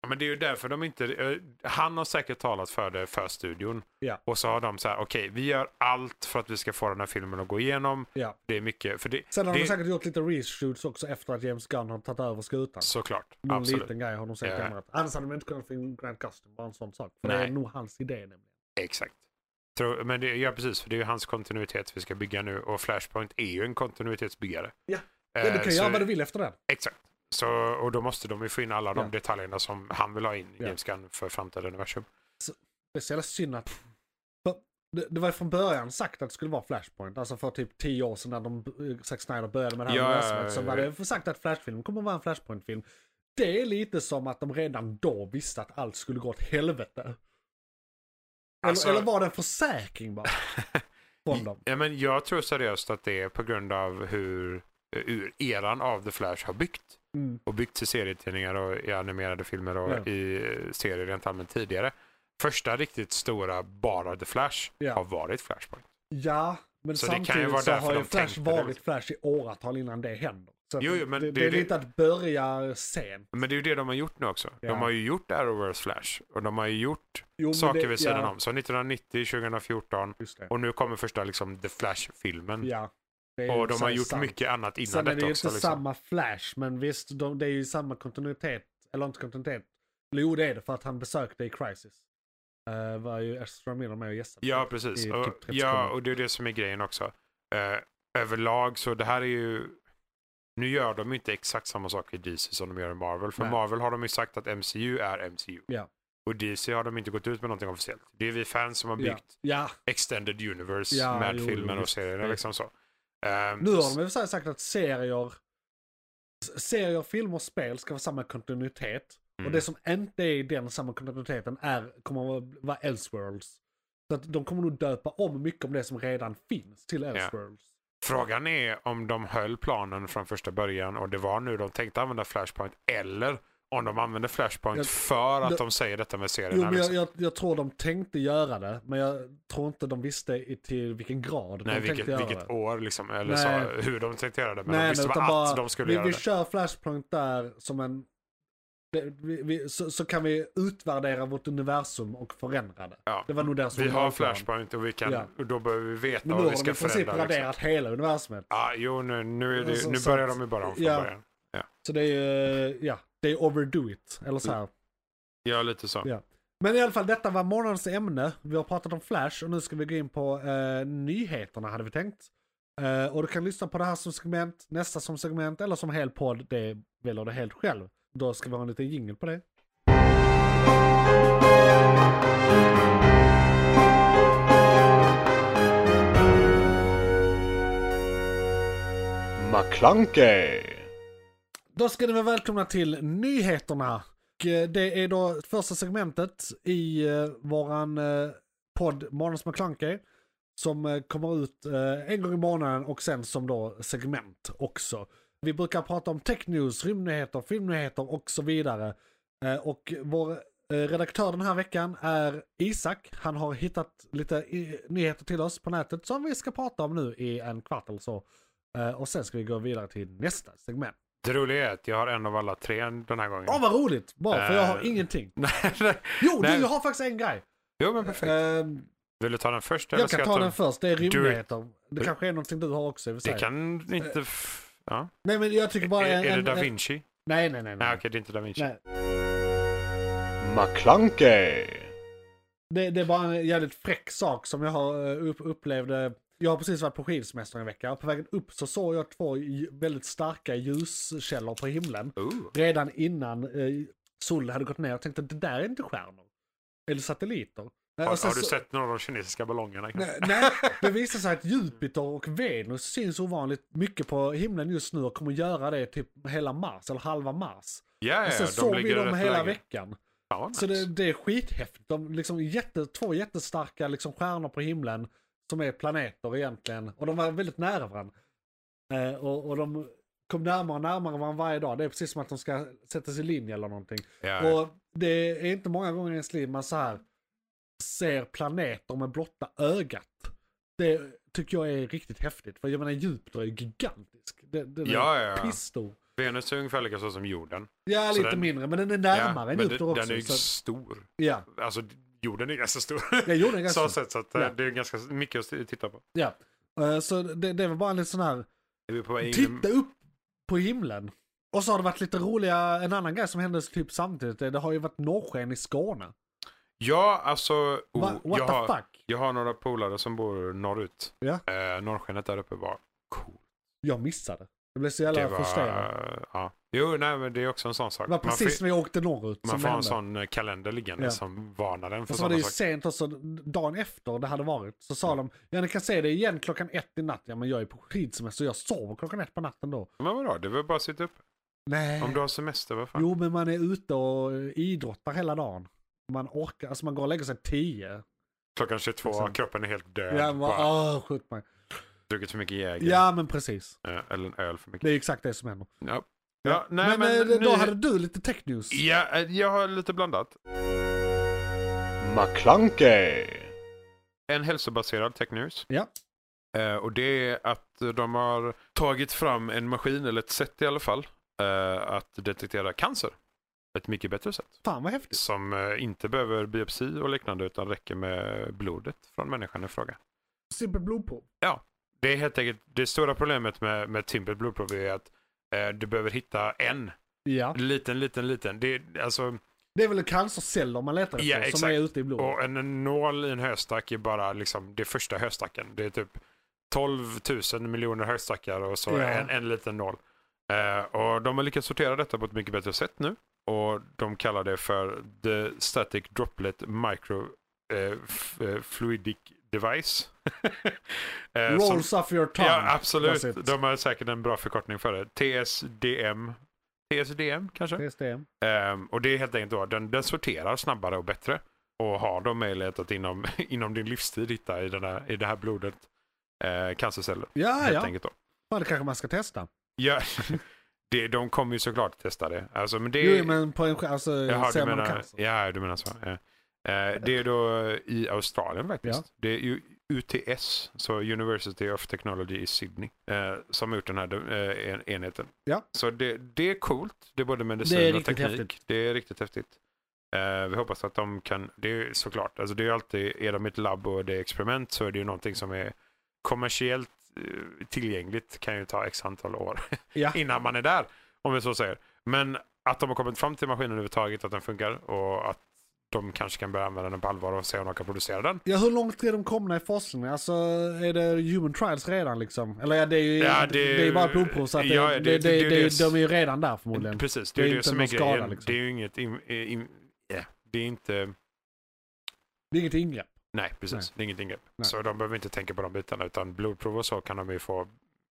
C: Ja, Men det är ju därför de inte... eh, Han har säkert talat för det för studion.
B: Ja.
C: Och så har de så här, okej, vi gör allt för att vi ska få den här filmen att gå igenom.
B: Ja.
C: Det är mycket, för det...
B: Sen har
C: det
B: de säkert gjort lite reshoots också efter att James Gunn har tagit över skutan.
C: Såklart,
B: Någon
C: absolut.
B: liten grej har de säkert
C: Ja.
B: ändrat. Annars hade de inte kunnat få in Grant Gustin, bara en sån sak. För det är
C: Nej.
B: nog hans idé nämligen.
C: Exakt. Tror- Men det, ja, precis, för det är ju hans kontinuitet vi ska bygga nu och Flashpoint är ju en kontinuitetsbyggare.
B: Ja.
C: Eh,
B: Ja, du kan
C: så-
B: göra vad du vill efter den.
C: Exakt. Så, och då måste de ju få in alla de
B: Ja.
C: detaljerna som han vill ha in,
B: Ja.
C: James Gunn, för framtida universum.
B: Det är så jävla synd att... För det, det var ju från början sagt att det skulle vara Flashpoint. Alltså för typ tio år sedan när de, eh, Zack Snyder började med det här
C: Ja,
B: universumet.
C: ja,
B: så
C: ja,
B: var
C: ja.
B: det sagt att Flashfilm kommer att vara en Flashpoint-film. Det är lite som att de redan då visste att allt skulle gå åt helvete. Eller,
C: Alltså-
B: eller var det en
C: <laughs>
B: försäkring bara? Från dem.
C: Ja, men jag tror seriöst att det är på grund av hur ur eran av The Flash har byggt.
B: Mm.
C: Och byggt till serietidningar och i animerade filmer och
B: Ja.
C: i eh, serier rent allmänt tidigare. Första riktigt stora bara The Flash
B: Ja.
C: har varit Flashpoint.
B: Ja, men
C: Så det kan ju
B: samtidigt
C: vara
B: så
C: därför
B: har ju
C: de
B: Flash
C: tänkte det,
B: varit
C: liksom.
B: Flash i åratal innan det händer. Så att
C: Jo, jo, men
B: det,
C: det
B: det är
C: är det-
B: lite att börja sent.
C: Men det är ju det de har gjort nu också.
B: Ja.
C: De har ju gjort Arrowverse Flash och de har ju gjort
B: Jo, men
C: saker
B: det-
C: vid sidan
B: ja,
C: om. Så 1990, 2014
B: Just det.
C: och nu kommer första liksom The Flash-filmen.
B: Ja. Det är
C: Mm. Och
B: ju
C: de
B: så
C: har
B: här
C: gjort
B: sant.
C: mycket annat innan
B: Sen är det
C: detta
B: ju
C: också.
B: inte
C: liksom.
B: samma Flash, men visst, de, det är ju samma kontinuitet. Eller inte kontinuitet. Eller jo, det är det, för att han besökte i Crisis. Eh, var ju Ezra Miller med och gästade.
C: Ja, precis.
B: i
C: Och,
B: typ 30
C: ja,
B: sekunder.
C: och det är det som är grejen också. Eh, överlag så det här är ju... Nu gör de ju inte exakt samma sak i DC som de gör i Marvel. För
B: Nej.
C: Marvel har de ju sagt att MCU är MCU.
B: Ja.
C: Och DC har de inte gått ut med någonting officiellt. Det är vi fans som har
B: Ja.
C: byggt
B: ja,
C: Extended Universe
B: Ja,
C: med
B: jo,
C: filmer
B: jo,
C: och
B: visst.
C: serierna
B: Det-
C: liksom så.
B: nu har de i och för sig sagt att serier, s- serier, filmer och spel ska vara samma kontinuitet. Och
C: Mm.
B: det som inte är i den samma kontinuiteten är, kommer att vara Elseworlds. Så att de kommer nog döpa om mycket om det som redan finns till Elseworlds.
C: Frågan är om de höll planen från första början och det var nu de tänkte använda Flashpoint eller om de använde Flashpoint
B: Jag-
C: för att
B: det-
C: de säger detta med serierna.
B: Jo, men jag,
C: liksom.
B: jag, jag tror de tänkte göra det, men jag tror inte de visste i, till vilken grad
C: Nej,
B: de
C: vilket,
B: tänkte göra det.
C: vilket år liksom, eller
B: Nej.
C: så, hur de tänkte göra det. Men de visste
B: utan
C: bara att de skulle
B: vi,
C: göra
B: vi
C: det.
B: kör Flashpoint där som en... Det, vi, vi, så, så kan vi utvärdera vårt universum och förändra det.
C: Ja.
B: Det var nog deras
C: Vi har
B: originalplan.
C: Flashpoint och vi kan,
B: Ja.
C: och då behöver vi veta
B: Men nu
C: vad
B: har
C: vi
B: de
C: ska
B: i princip
C: förändra. Liksom.
B: raderat hela universumet.
C: Ja, jo, nu, nu, är det,
B: Så-
C: nu
B: så
C: börjar
B: att-
C: de ju bara om från
B: ja.
C: början.
B: Så det är ju, ja, det är overdo it. Eller så här.
C: Ja, lite så.
B: Ja. Men i alla fall, detta var morgonens ämne. Vi har pratat om Flash och nu ska vi gå in på eh, nyheterna hade vi tänkt. Eh, och du kan lyssna på det här som segment, nästa som segment eller som hel podd. Det väljer du helt själv. Då ska vi ha en liten jingle på det.
D: McClunkey.
B: Då ska ni vara välkomna till nyheterna. Och, eh, Det är då första segmentet i eh, våran eh, podd Månadens McKlunky som eh, kommer ut eh, en gång i månaden och sen som då segment också. Vi brukar prata om tech news, rymdnyheter, filmnyheter och så vidare. Eh, Och vår eh, redaktör den här veckan är Isak. Han har hittat lite i- nyheter till oss på nätet som vi ska prata om nu i en kvart eller så. Eh, Och sen ska vi gå vidare till nästa segment.
C: Det roliga är att jag har en av alla tre den här gången.
B: Åh vad roligt! Bara för jag har
C: Eh,
B: ingenting.
C: <laughs> Nej, nej.
B: Jo,
C: nej.
B: du jag har faktiskt en grej.
C: Jo, men perfekt.
B: Ehm,
C: Vill du ta den först? eller
B: jag
C: ska
B: kan ta den först, det är
C: Do
B: rymdnyheter. Det kanske är någonting du har också i och för sig.
C: Det kan inte... F... Ja.
B: Nej Eh, men jag tycker bara...
C: Är,
B: en,
C: är det
B: en,
C: Da
B: en-
C: Vinci?
B: Nej nej nej.
C: Nej,
B: nej.
C: okej, det är inte Da Vinci.
B: nej.
D: McClunkey.
B: Det, det är bara en jävligt fräck sak som jag har eh, upp, upplevde. Jag har precis varit på skidsemester en vecka. På vägen upp så såg jag två lj- väldigt starka ljuskällor på himlen.
C: Ooh.
B: Redan innan eh, solen hade gått ner. Jag tänkte det där är inte stjärnor. Eller satelliter. Eh, och
C: Har,
B: sen
C: har du
B: så-
C: sett några av de kinesiska ballongerna?
B: Nej, nej, det visar sig att Jupiter och Venus syns ovanligt mycket på himlen just nu och kommer göra det typ hela mars eller halva mars.
C: Ja,
B: Och
C: ja,
B: sen
C: de
B: såg Alltså, vi
C: ligger
B: dem
C: rätt
B: hela
C: läge.
B: veckan.
C: Ja, vad
B: Så det,
C: nice.
B: det är skithäftigt. De liksom jätte, två jättestarka liksom stjärnor på himlen som är planeter egentligen. Och de var väldigt nära varandra. Eh, och, och de kom närmare och närmare varandra varje dag. Det är precis som att de ska sätta sig i linje eller någonting.
C: ja, ja.
B: Och det är inte många gånger i ens liv man så här ser planeter med blotta ögat. Det tycker jag är riktigt häftigt. För jag menar Jupiter är gigantisk. Den, den
C: Ja,
B: är
C: ja, ja.
B: pissstor.
C: Venus är ungefär lika stor som jorden.
B: Ja,
C: Så
B: lite
C: den-
B: mindre. Men den är
C: ja,
B: närmare än
C: men
B: Jupiter
C: den,
B: också.
C: den är ju
B: så,
C: stor.
B: ja,
C: Alltså, jorden är ganska stor.
B: ja, jorden
C: <laughs>
B: är
C: så
B: ganska stor.
C: sett, så att, eh,
B: Ja.
C: det är ganska mycket att titta på.
B: Ja. Eh, Så det, det var bara en liten sån här,
C: Är vi på väg in i-
B: titta upp på himlen. Och så har det varit lite roliga, en annan grej som hände typ samtidigt, det det har ju varit norrsken i Skåne.
C: Ja, alltså... Oh,
B: Va, what
C: jag,
B: the
C: har,
B: fuck?
C: jag har några polare som bor norrut.
B: Ja.
C: Eh, norrskenet där uppe var coolt.
B: Jag missade. Jag blev så jävla frustrerad.
C: ja. Jo, nej, men det är också en sån sak.
B: Det var precis
C: man
B: när jag åkte norrut
C: får,
B: som
C: man får ha
B: det
C: en
B: hände.
C: sån eh, kalender liggande
B: Ja.
C: som varnar den för
B: Och så var det
C: sådana
B: ju
C: saker.
B: sent också, dagen efter det hade varit, så sa de ja ni kan se det igen klockan ett i natt. Ja men jag är på skidsemester, jag sover klockan ett på natten då.
C: Men vadå, det är väl bara att sitta upp.
B: Nej.
C: Om du har semester, vad fan.
B: Jo men man är ute och eh, idrottar hela dagen. Man orkar, alltså man går och lägger sig tio.
C: Klockan 22,
B: Liksom.
C: kroppen är helt död.
B: Ja, man,
C: bara
B: åh, skjut mig.
C: druckit för mycket Jäger.
B: ja men precis,
C: Eh, Eller en öl för mycket.
B: det är exakt det som händer.
C: Ja. Ja, nej, men,
B: men eh, då
C: ni-
B: hade du lite tech news.
C: ja, eh, jag har lite blandat.
D: McClunkey.
C: En hälsobaserad tech news.
B: Ja.
C: Eh, och det är att de har tagit fram en maskin, eller ett sätt i alla fall, eh, att detektera cancer. Ett mycket bättre sätt.
B: Fan vad häftigt.
C: Som eh, inte behöver biopsi och liknande utan räcker med blodet från människan i fråga.
B: Simpel blodprov.
C: Det är helt enkelt det stora problemet med, med simpelt blodprov är att eh, du behöver hitta en
B: Ja,
C: liten, liten, liten. Det är, alltså,
B: det är väl cancerceller man letar efter
C: Ja,
B: som
C: exakt.
B: är ute i blodet.
C: och en nål i en höstack är bara liksom det första höstacken. Det är typ 12 000 miljoner höstackar och så
B: Ja.
C: en, en liten nål. Eh, och de har lyckats sortera detta på ett mycket bättre sätt nu. Och de kallar det för The Static Droplet Micro eh, f- eh, Fluidic Device. <laughs> Eh, som-
B: Rolls off your tongue.
C: Ja,
B: That's it.
C: absolut. De har säkert en bra förkortning för det. TSDM. TSDM kanske?
B: TSDM.
C: Ehm, och det är helt enkelt då, den, den sorterar snabbare och <laughs> bättre. Och har de möjlighet att inom, inom din livstid hitta i, den här, i det här blodet eh, cancerceller.
B: Ja,
C: Helt
B: Ah, ja.
C: enkelt då.
B: Fan, det kanske man ska testa.
C: Ja, <laughs> det, de kommer ju såklart testa det. Alltså, men det
B: Jo, men på en skär, alltså,
C: Jaha,
B: ser
C: du
B: man
C: menar,
B: cancer.
C: ja, du menar så. Ja. Eh, Det är då i Australien faktiskt. Det är ju UTS, så University of Technology i Sydney, eh, som har gjort den här eh, en- enheten.
B: Ja.
C: Så det, det är coolt. Det är både medicin
B: Det är
C: och
B: riktigt
C: teknik.
B: häftigt.
C: Det är riktigt häftigt. Eh, Vi hoppas att de kan, det är såklart, alltså det är ju alltid, är de ett labb och det är experiment så är det ju någonting som är kommersiellt eh, tillgängligt kan ju ta x antal år <laughs>
B: Ja.
C: innan man är där, om vi så säger. Men att de har kommit fram till maskinen överhuvudtaget, att den funkar och att de kanske kan börja använda den på allvar och se om de kan producera den.
B: Ja, hur långt är de komna i forskningen? Alltså, är det human trials redan liksom? Eller ja, det är ju
C: Ja,
B: det,
C: det-
B: är ju bara provprov, så att
C: ja, det-
B: det, det, det,
C: det- det-
B: det, de är ju redan där förmodligen.
C: Precis,
B: Det
C: det
B: är
C: är det
B: inte
C: som
B: någon
C: är
B: skada,
C: grejen.
B: liksom.
C: Det är ju inget... im- eh, im- eh, Det är inte...
B: Det är inget ingrepp.
C: Nej, precis.
B: Nej.
C: Det är inget ingrepp.
B: Nej.
C: Så de behöver inte tänka på de bitarna, utan blodprov och så kan de ju få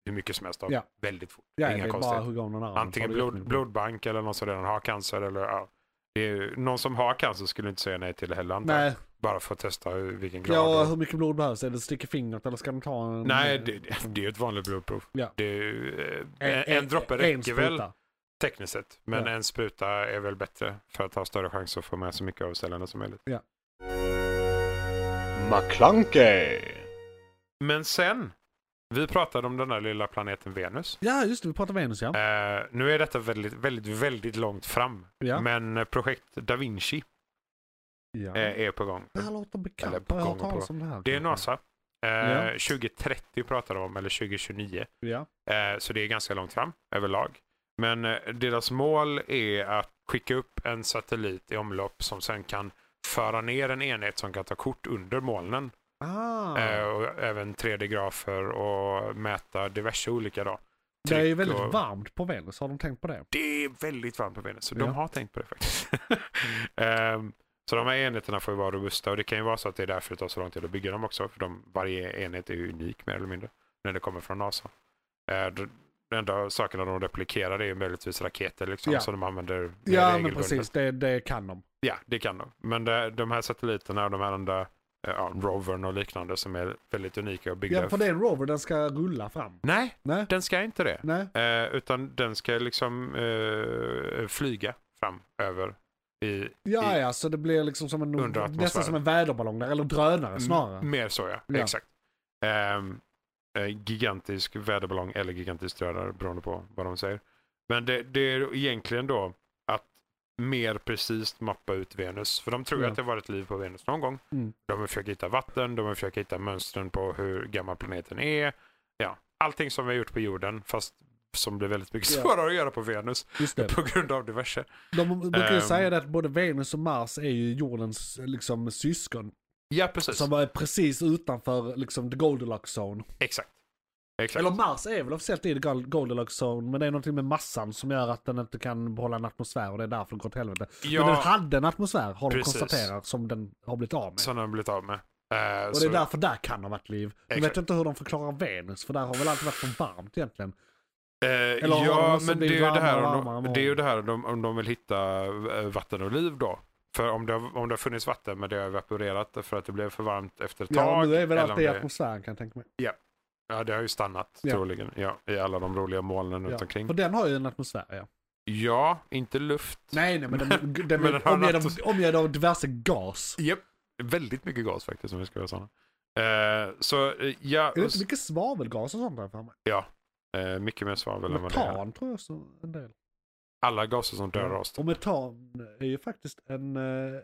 C: hur mycket som helst av
B: Ja.
C: väldigt fort.
B: Ja, det
C: Inga
B: är bara
C: konstigheter.
B: hugga om någon annan.
C: Antingen
B: Har du
C: blod,
B: jättemycket.
C: blodbank eller någon som redan har cancer. Eller, ja. det är, ju- någon som har cancer skulle inte säga nej till det heller. antar jag.
B: Nej,
C: Bara för att testa hur- vilken grad.
B: ja,
C: och-
B: hur mycket blod behövs? Är det stick i fingret eller ska de ta en...
C: Nej, det, det- det är ju ett vanligt blodprov.
B: Ja.
C: Det är, ju, eh, en, en droppe
B: en
C: räcker väl
B: spruta.
C: tekniskt sett, men
B: Ja.
C: en spruta är väl bättre för att ha större chans att få med så mycket av cellerna som möjligt.
D: McClunkey.
C: Men sen, vi pratade om den där lilla planeten Venus.
B: Ja, just det. Vi pratar Venus ja.
C: Eh, nu är detta väldigt, väldigt, väldigt långt fram,
B: Ja.
C: men eh, projekt Da Vinci
B: ja.
C: eh, är på gång.
B: det här låter
C: eller
B: bekant.
C: på
B: Har jag hört
C: gång och
B: talas om det här?
C: Det är
B: kanske?
C: NASA. Eh,
B: Ja.
C: 2030 pratar de om, eller 2029.
B: Ja.
C: Eh, Så det är ganska långt fram överlag. Men eh, deras mål är att skicka upp en satellit i omlopp som sen kan föra ner en enhet som kan ta kort under molnen.
B: Ah,
C: Eh, Och även 3D-grafer och mäta diverse olika. Då.
B: det är ju
C: tryck
B: väldigt
C: och-
B: varmt på Venus. Har de tänkt på det?
C: Det är väldigt varmt på Venus, så
B: Ja. Mm.
C: de har tänkt på det faktiskt. <laughs> Ehm, så de här enheterna får ju vara robusta och det kan ju vara så att det är därför det tar så lång tid att bygga dem också. För de, varje enhet är ju unik mer eller mindre när det kommer från NASA. Eh, d- Den enda sakerna de replikerar är ju möjligtvis raketer liksom,
B: Ja.
C: som de använder mer
B: Ja, men
C: regelbundet.
B: precis. Det, det kan de.
C: Ja, det kan de. Men det, de här satelliterna och de här andra eh, ja, rovern och liknande som är väldigt unika och byggda.
B: Ja, för det är en rover. Den ska rulla fram.
C: Nej,
B: Nej.
C: den ska inte det.
B: Nej.
C: Eh, utan den ska liksom eh, flyga fram över i,
B: Ja,
C: i-
B: ja, så det blir liksom som en,
C: Under
B: nästan
C: atmosfären. Mm.
B: som en väderballong där, eller drönare snarare.
C: M- Mer så ja,
B: Ja.
C: exakt. Ehm, eh, gigantisk väderballong eller gigantisk drönare beroende på vad de säger. Men det, det är egentligen då att mer precis mappa ut Venus. För de tror ju
B: Ja.
C: att det har varit liv på Venus någon gång.
B: Mm.
C: De har försökt hitta vatten, de har försökt hitta mönstren på hur gammal planeten är. Ja, allting som vi har gjort på jorden fast som blir väldigt mycket
B: Ja.
C: svårare att göra på Venus
B: Just det.
C: på grund av diverse.
B: De brukar ju
C: Ehm.
B: säga det att både Venus och Mars är ju jordens liksom, syskon.
C: Ja, precis.
B: Som är precis utanför liksom, the Goldilocks zone.
C: Exakt. Exakt.
B: Eller Mars är väl officiellt i the Gold- Goldilocks zone, men det är någonting med massan som gör att den inte kan behålla en atmosfär och det är därför det går till helvete. Men den
C: ja,
B: hade en atmosfär, har de
C: Precis.
B: konstaterat, som den har blivit av med.
C: som de har blivit av med. Eh,
B: och det
C: så-
B: är därför där kan ha varit liv. Jag vet
C: Exakt.
B: inte hur de förklarar Venus, för där har väl alltid varit för varmt egentligen.
C: Eh,
B: har de
C: ja,
B: också
C: men det är
B: blivit
C: ju det här,
B: varmare och
C: om
B: varmare
C: de,
B: och
C: det är ju det här om de, om de vill hitta eh, vatten och liv då. För om det, har- om det har funnits vatten men det har evaporerat för att det blev för varmt efter ett tag.
B: Ja, nu är väl
C: eller om
B: allt i
C: det-
B: atmosfären kan jag tänka mig.
C: ja, det har ju stannat
B: Ja.
C: troligen ja, i alla de roliga molnen runt
B: Ja,
C: omkring.
B: För den har ju en atmosfär ja.
C: Ja, inte luft.
B: Nej, nej men <laughs> den, den,
C: Men den
B: är
C: har en
B: omgärd av,
C: atmos-
B: omgärd av diverse gas.
C: Japp. Väldigt mycket gas faktiskt om vi ska vara sådana. Eh, så eh, ja,
B: Är det inte mycket svavelgas och sånt där framme?
C: eh, mycket mer svavel än vad det är.
B: Metan tror jag så en del.
C: Alla gaser som dödar oss.
B: Och metan är ju faktiskt en, eh,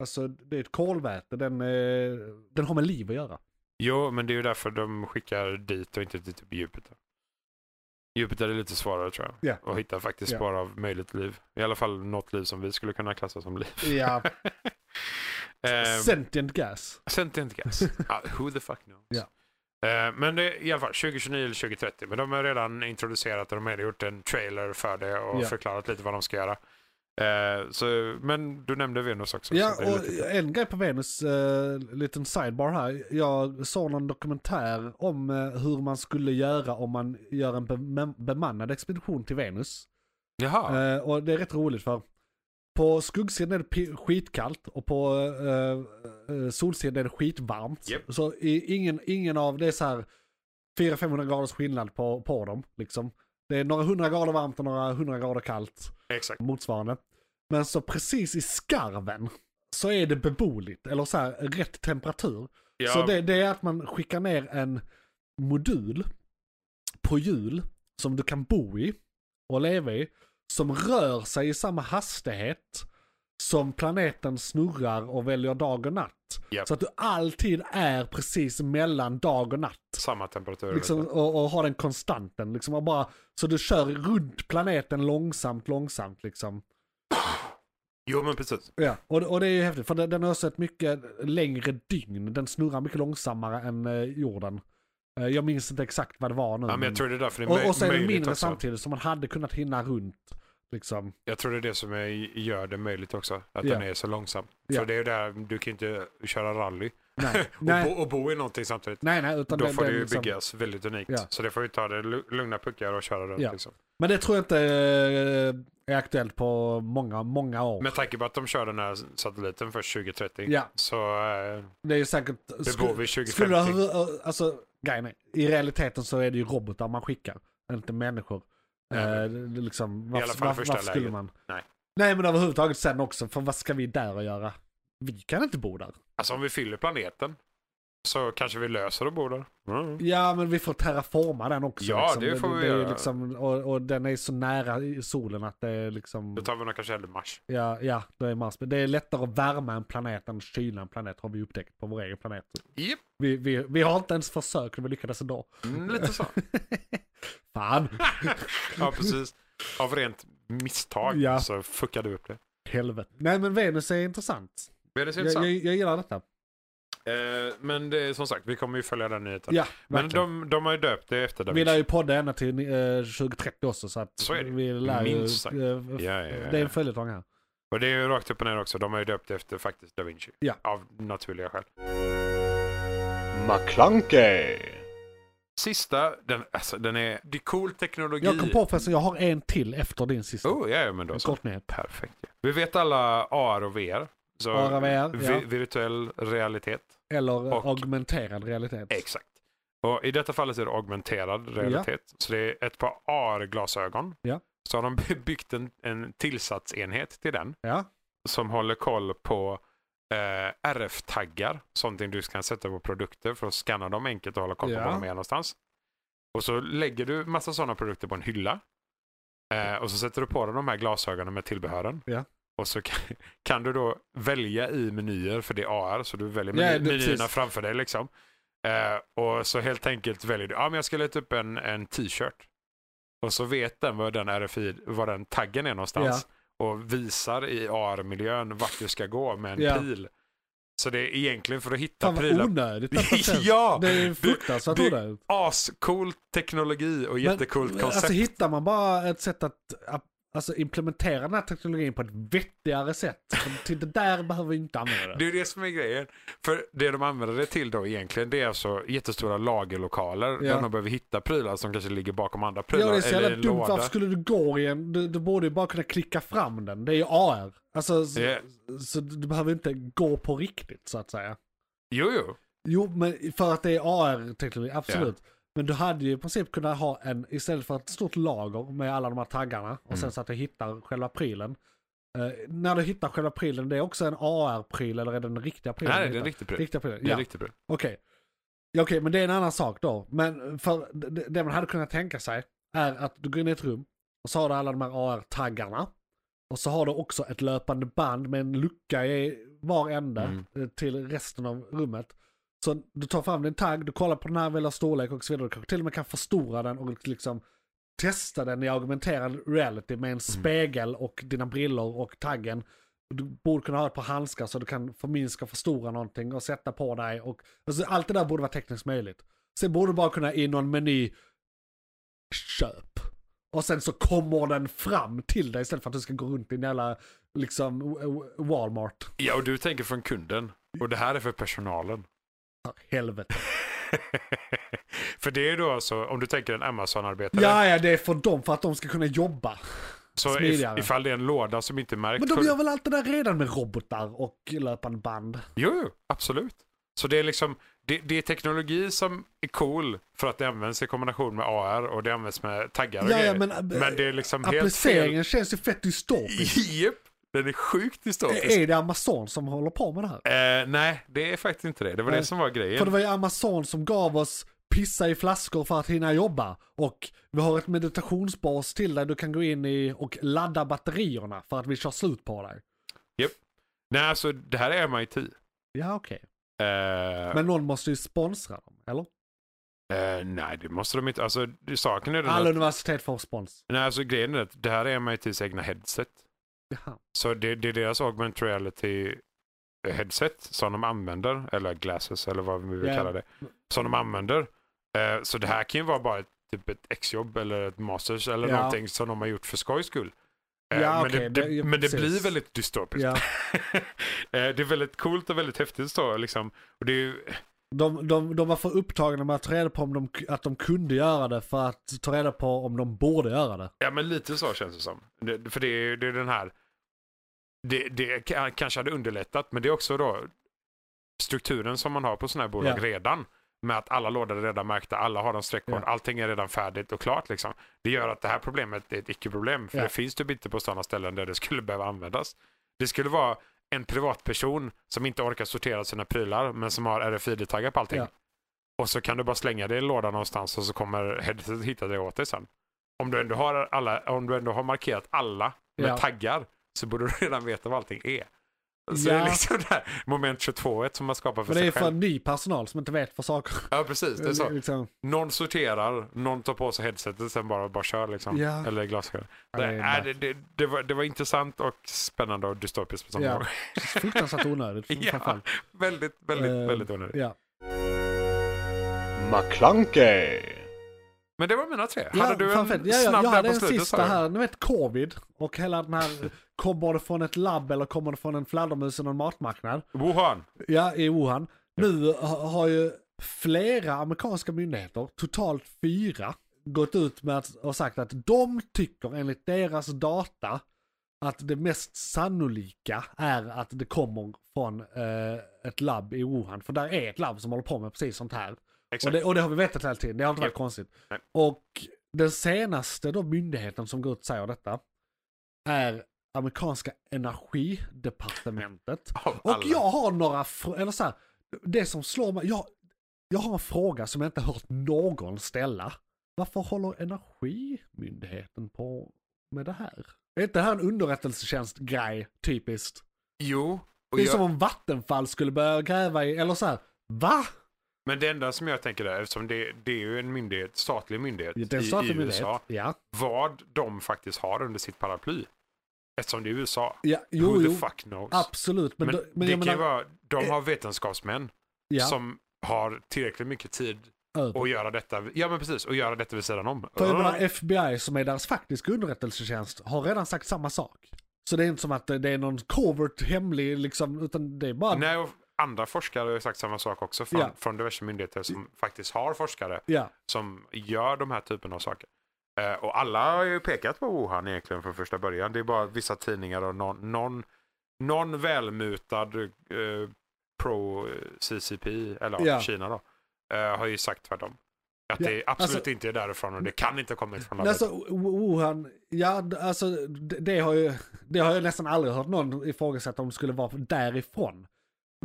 B: alltså det är ett kolväte, den, eh, den har med liv att göra.
C: Jo, men det är ju därför de skickar dit och inte till typ Jupiter. Jupiter är lite svårare tror jag.
B: Ja.
C: Och hitta faktiskt
B: Ja.
C: bara möjligt liv. I alla fall något liv som vi skulle kunna klassa som
B: <laughs>
C: liv. <laughs>
B: Ja,
C: eh,
B: sentient gas.
C: sentient gas. ah, who the fuck knows.
B: Ja.
C: Eh, men det, i alla fall 2029 eller 2030. Men de har redan introducerat och de har gjort en trailer för det och
B: Ja.
C: förklarat lite vad de ska göra. Eh, så, men du nämnde Venus också.
B: Ja,
C: så det är
B: och
C: lite-
B: en grej på Venus, eh, liten sidebar här. Jag såg någon dokumentär om eh, hur man skulle göra om man gör en bem- bemannad expedition till Venus.
C: Jaha,
B: Eh, och det är rätt roligt för på skuggsidan är det pi- skitkallt och på eh, eh, solsidan är det skitvarmt.
C: Japp.
B: Så i, ingen, ingen av, det är så här, 400-500 graders skillnad på, på dem. Liksom. Det är några hundra grader varmt och några hundra grader kallt
C: Exakt.
B: motsvarande. Men så precis i skarven så är det beboeligt, eller så här rätt temperatur.
C: Ja,
B: Så det, det är att man skickar ner en modul på hjul som du kan bo i och leva i. Som rör sig i samma hastighet som planeten snurrar och väljer dag och natt.
C: Japp.
B: Så att du alltid är precis mellan dag och natt.
C: samma temperatur.
B: Liksom, och, och ha den konstanten. Liksom, och bara, så du kör runt planeten långsamt, långsamt. Liksom.
C: Jo, men precis.
B: Ja, och, och det är ju häftigt. För den, den har också ett mycket längre dygn. Den snurrar mycket långsammare än eh, jorden. Eh, jag minns inte exakt vad det var nu.
C: Ja, men
B: men-
C: jag tror det är därför det är
B: Mm. och,
C: möj-
B: och så är den
C: möjligt
B: mindre
C: också.
B: samtidigt, så man hade kunnat hinna runt. Liksom.
C: Jag tror det är det som är, gör det möjligt också. Att
B: Ja.
C: den är så långsam.
B: Ja.
C: För det är ju där, du kan ju inte köra rally
B: Nej,
C: <laughs> och,
B: nej,
C: bo, och bo i någonting samtidigt.
B: nej, nej utan
C: Då
B: den-
C: får det
B: den
C: ju
B: liksom-
C: byggas väldigt unikt.
B: Ja.
C: Så det får ju ta det lu- lugna puckar och köra runt.
B: Ja.
C: Liksom.
B: Men det tror jag inte eh, är aktuellt på många, många år.
C: Med tanke på att de kör den här satelliten först 2030
B: Ja.
C: så eh,
B: det är ju säkert...
C: det bor vi 2050.
B: Skulle du ha, alltså, grejen är, i realiteten så är det ju robotar man skickar, inte människor.
C: Nej,
B: Eh,
C: men-
B: det- det liksom,
C: alla
B: varför,
C: fall
B: varför,
C: första
B: varför skulle
C: läget.
B: man?
C: Nej.
B: Nej men överhuvudtaget sen också, för vad ska vi där och göra? Vi kan inte bo där.
C: Alltså om vi fyller planeten så kanske vi löser och bor där. Mm.
B: Ja men vi får terraforma den också.
C: Ja,
B: liksom.
C: det får vi
B: är ju
C: göra.
B: Liksom, och, och den är så nära i solen att det är liksom,
C: Då tar vi nog kanske hellre Mars.
B: ja, ja det är Mars. Men Det är lättare att värma en planet än att kyla en planet har vi upptäckt på vår egen planet.
C: Japp,
B: Vi, vi, vi har inte ens försökt, vi lyckades ändå.
C: mm, lite så.
B: <laughs> Fan,
C: <laughs> ja, precis. Av rent misstag
B: Ja.
C: så fuckade du upp det.
B: helvete. Nej men Venus är intressant.
C: Men det ser
B: Jag,
C: intressant.
B: jag, jag gillar detta.
C: Eh, men det är som sagt, vi kommer ju följa den nyheten.
B: Ja,
C: men
B: verkligen.
C: de, de har ju döpt det efter
B: vi
C: David.
B: lär ju podda ända till eh, 2030 också så att
C: Så är det.
B: vi lär
C: Minst sagt.
B: ju... eh,
C: Ja, ja, ja.
B: Det är en följetong här.
C: Och det är ju rakt upp och ner också. De har ju döpt det efter faktiskt Da Vinci.
B: Ja.
C: Av naturliga skäl.
D: McClunkey.
C: Sista, den, alltså, den är... Det är cool teknologi.
B: Jag kom på förresten, jag har en till efter din sista.
C: Oh, ja, ja, men då
B: en
C: så.
B: kort nyhet.
C: Perfekt. ja. Vi vet alla AR och VR. Så
B: AR och VR,
C: vi-
B: ja.
C: Virtuell realitet.
B: Eller eh,
C: Och-
B: augmenterad realitet.
C: Exakt. Och I detta fallet är det augmenterad realitet. Så det är ett par AR-glasögon.
B: Ja.
C: Så har de <laughs> by- byggt en, en tillsatsenhet till den
B: Ja,
C: som håller koll på eh, RF-taggar. Sånting du kan sätta på produkter för att scanna dem enkelt och hålla koll på
B: Ja.
C: var de är någonstans. Och så lägger du massa sådana produkter på en hylla. Eh, och så sätter du på dig de här glasögonen med tillbehören.
B: Ja.
C: Och så kan, kan du då välja i menyer för det är AR. Så du väljer
B: Ja,
C: meny,
B: det- precis.
C: menyerna framför dig liksom. Eh, och så helt enkelt väljer du, ja men jag ska leta upp en, en t-shirt. Och så vet den var den RFID, var den taggen är någonstans. Och visar i AR-miljön vart du ska gå med en
B: Ja.
C: pil. Så det är egentligen för att hitta
B: fan vad
C: prylar. <laughs>
B: onödigt detta känns.
C: ja!
B: Det är
C: Du-
B: fruktansvärt
C: du-
B: onödigt.
C: Ascool teknologi och
B: Men,
C: jättecoolt koncept.
B: Alltså hittar man bara ett sätt att att, alltså, implementera den här teknologin på ett vettigare sätt. För Till det där behöver vi inte använda
C: Det
B: det.
C: är det som är grejen. För det de använder det till då egentligen det är alltså jättestora lagerlokaler
B: Ja.
C: där de behöver hitta prylar som kanske ligger bakom andra
B: Ja,
C: prylar.
B: det är så
C: eller
B: jävla
C: i en
B: dumt.
C: låda.
B: Varför skulle du gå i en... Du, du borde ju bara kunna klicka fram den. Det är ju AR. Alltså, så,
C: Ja.
B: så du behöver inte gå på riktigt så att säga.
C: Jo, jo.
B: Jo, men för att det är AR-teknologi, absolut. Men du hade ju i princip kunnat ha en, istället för ett stort lager med alla de här taggarna och
C: Mm.
B: sen så att du hittar själva prylen. Eh, när du hittar själva prylen, det är också en AR-pryl eller är det den riktiga prylen?
C: Nej,
B: du
C: det är en
B: hittar?
C: riktig pryl.
B: Riktiga prylen,
C: Det är
B: ja.
C: en riktig pryl.
B: Okej. Ja, Okej, men det är en annan sak då. Men för det, det man hade kunnat tänka sig är att du går in i ett rum och så har du alla de här AR-taggarna. Och så har du också ett löpande band med en lucka i var ände
C: Mm.
B: eh, till resten av rummet. Så du tar fram din tagg, du kollar på den här, väljer storlek och så vidare. Du kanske till och med kan förstora den och liksom testa den i augmenterad reality med en spegel och dina brillor och taggen. Du borde kunna ha ett par handskar så du kan förminska och förstora någonting och sätta på dig. Och, alltså, allt det där borde vara tekniskt möjligt. Sen borde du bara kunna i någon meny köp. Och sen så kommer den fram till dig istället för att du ska gå runt i en jävla liksom, w- w- Walmart.
C: Ja, och du tänker från kunden. Och det här är för personalen. <laughs>
B: För helvete.
C: för det är då alltså, om du tänker en Amazon-arbetare.
B: Ja, ja, det är för dem för att de ska kunna jobba.
C: så if,
B: smidigare.
C: ifall det är en låda som inte märks.
B: Men de
C: för-
B: gör väl allt det där redan med robotar och löpande band?
C: Jo, jo, absolut. Så det är liksom, Det, det är teknologi som är cool för att det används i kombination med AR och det används med taggar och
B: Ja, ja,
C: grejer.
B: men, äh,
C: men det är liksom helt fel.
B: Appliceringen känns ju fett dystopisk.
C: Japp, den är sjukt dystopisk.
B: Är det Amazon som håller på med det här?
C: Eh, nej, det är faktiskt inte det. Det var
B: Nej.
C: det som var grejen.
B: För det var ju Amazon som gav oss pissa i flaskor för att hinna jobba. Och vi har ett meditationsbas till där du kan gå in i och ladda batterierna för att vi kör slut på dig.
C: Nej, alltså det här är MIT. Eh,
B: Ja, okej. Men någon måste ju sponsra dem, eller?
C: eh, nej, det måste de inte. Alltså det- saken är den
B: Alla
C: att,
B: universitet får spons.
C: nej, alltså, grejen är att det här är MITs egna headset.
B: Jaha.
C: Så det, det är deras augment reality headset som de använder, eller glasses eller vad vi vill
B: Ja.
C: kalla det, som de använder. Eh, så det här kan ju vara bara ett, typ ett exjobb eller ett masters eller
B: Ja.
C: någonting som de har gjort för skojs skull. Eh,
B: Ja,
C: men
B: okej,
C: det, det,
B: det- ja,
C: men det
B: precis.
C: blir väldigt dystopiskt.
B: Ja.
C: <laughs> Eh, det är väldigt coolt och väldigt häftigt då, liksom. Och det är ju,
B: De, de, de var för upptagna med att ta reda på om de, att de kunde göra det för att ta reda på om de borde göra det.
C: ja men lite så känns det som. Det, för det är ju det är den här, det, det ka- kanske hade underlättat, men det är också då strukturen som man har på sådana här bolag
B: Ja.
C: redan. Med att alla lådor är redan märkta, alla har en streckkod,
B: Ja.
C: allting är redan färdigt och klart liksom. Det gör att det här problemet är ett icke-problem, för
B: Ja.
C: det finns typ inte på sådana ställen där det skulle behöva användas. Det skulle vara en privatperson som inte orkar sortera sina prylar, men som har RFID-taggar på allting.
B: Ja.
C: Och så kan du bara slänga det i lådan någonstans och så kommer headsetet hitta det åt dig sen. Om du ändå har, alla, om du ändå har markerat alla med
B: Ja.
C: taggar så borde du <laughs> redan veta vad allting är. Så det
B: Ja.
C: är liksom det här moment 22 som man skapar för
B: Men det
C: sig
B: är för
C: själv.
B: ny personal som inte vet vad saker
C: Ja, precis. Det är så.
B: <laughs> Liksom,
C: Någon sorterar, någon tar på sig headsetet sen bara, bara kör liksom.
B: Ja.
C: Eller glasögon.
B: Ja, det är
C: Nej, nej, det, det, det, var, det var intressant och spännande och dystopiskt på samma
B: Ja. <laughs>
C: gång.
B: fruktansvärt onödigt.
C: <laughs> ja,
B: framförallt.
C: väldigt, väldigt,
B: Eh,
C: väldigt onödigt.
B: Ja.
D: McClunkey.
C: Men det var mina tre.
B: Ja,
C: hade du en
B: framförallt. ja, ja,
C: snabb
B: Jag
C: där
B: hade
C: på
B: en
C: slutet?
B: sista
C: sa du?
B: här, ni vet covid och hela
C: <laughs>
B: den här, kommer det från ett labb eller kommer det från en fladdermus eller en matmarknad?
C: Wuhan.
B: Ja, i Wuhan. Nu ha- har ju flera amerikanska myndigheter, totalt fyra, gått ut med att, och sagt att de tycker enligt deras data att det mest sannolika är att det kommer från eh, ett labb i Wuhan. För där är ett labb som håller på med precis sånt här. Och
C: Exakt.
B: det, och det har vi vetat hela tiden, det har inte
C: Ja.
B: varit konstigt.
C: Nej.
B: Och den senaste då myndigheten som går ut och säger detta är amerikanska energidepartementet.
C: Av
B: Och
C: alla.
B: jag har några, fr- eller så här, det som slår mig, jag, jag har en fråga som jag inte hört någon ställa. Varför håller energimyndigheten på med det här? Är inte det här en underrättelsetjänstgrej, typiskt?
C: Jo. Och
B: Det är
C: jag...
B: som om Vattenfall skulle börja gräva i, eller så här, va?
C: Men det enda som jag tänker där, eftersom det, det är ju en myndighet, statlig myndighet
B: Det är en
C: i,
B: statlig
C: i USA,
B: myndighet. Ja.
C: vad de faktiskt har under sitt paraply. Eftersom det är USA.
B: ja, jo,
C: Who
B: jo,
C: the fuck knows?
B: absolut. Men,
C: Men,
B: då, men
C: det
B: jag
C: kan ju
B: menar, Eh,
C: vara, de har vetenskapsmän
B: ja,
C: som har tillräckligt mycket tid
B: över.
C: att göra detta, ja men precis, att göra detta vid sidan om.
B: För jag menar, FBI som är deras faktiska underrättelsetjänst har redan sagt samma sak. Så det är inte som att det är någon covert hemlig liksom, utan det är bara...
C: Nej, och andra forskare har ju sagt samma sak också från,
B: Ja.
C: från diverse myndigheter som faktiskt har forskare
B: Ja,
C: som gör de här typen av saker. Eh, och alla har ju pekat på Wuhan egentligen från första början. Det är bara vissa tidningar och någon, någon, någon välmutad eh, pro-CCP, eller
B: Ja.
C: ja. Kina då, eh, har ju sagt tvärtom. Att
B: Ja,
C: det absolut
B: alltså-
C: inte är därifrån och det kan inte komma ifrån
B: Men
C: landet.
B: alltså Wuhan, ja d- alltså det, det har ju, det har jag nästan aldrig hört någon ifrågasätta om det skulle vara därifrån.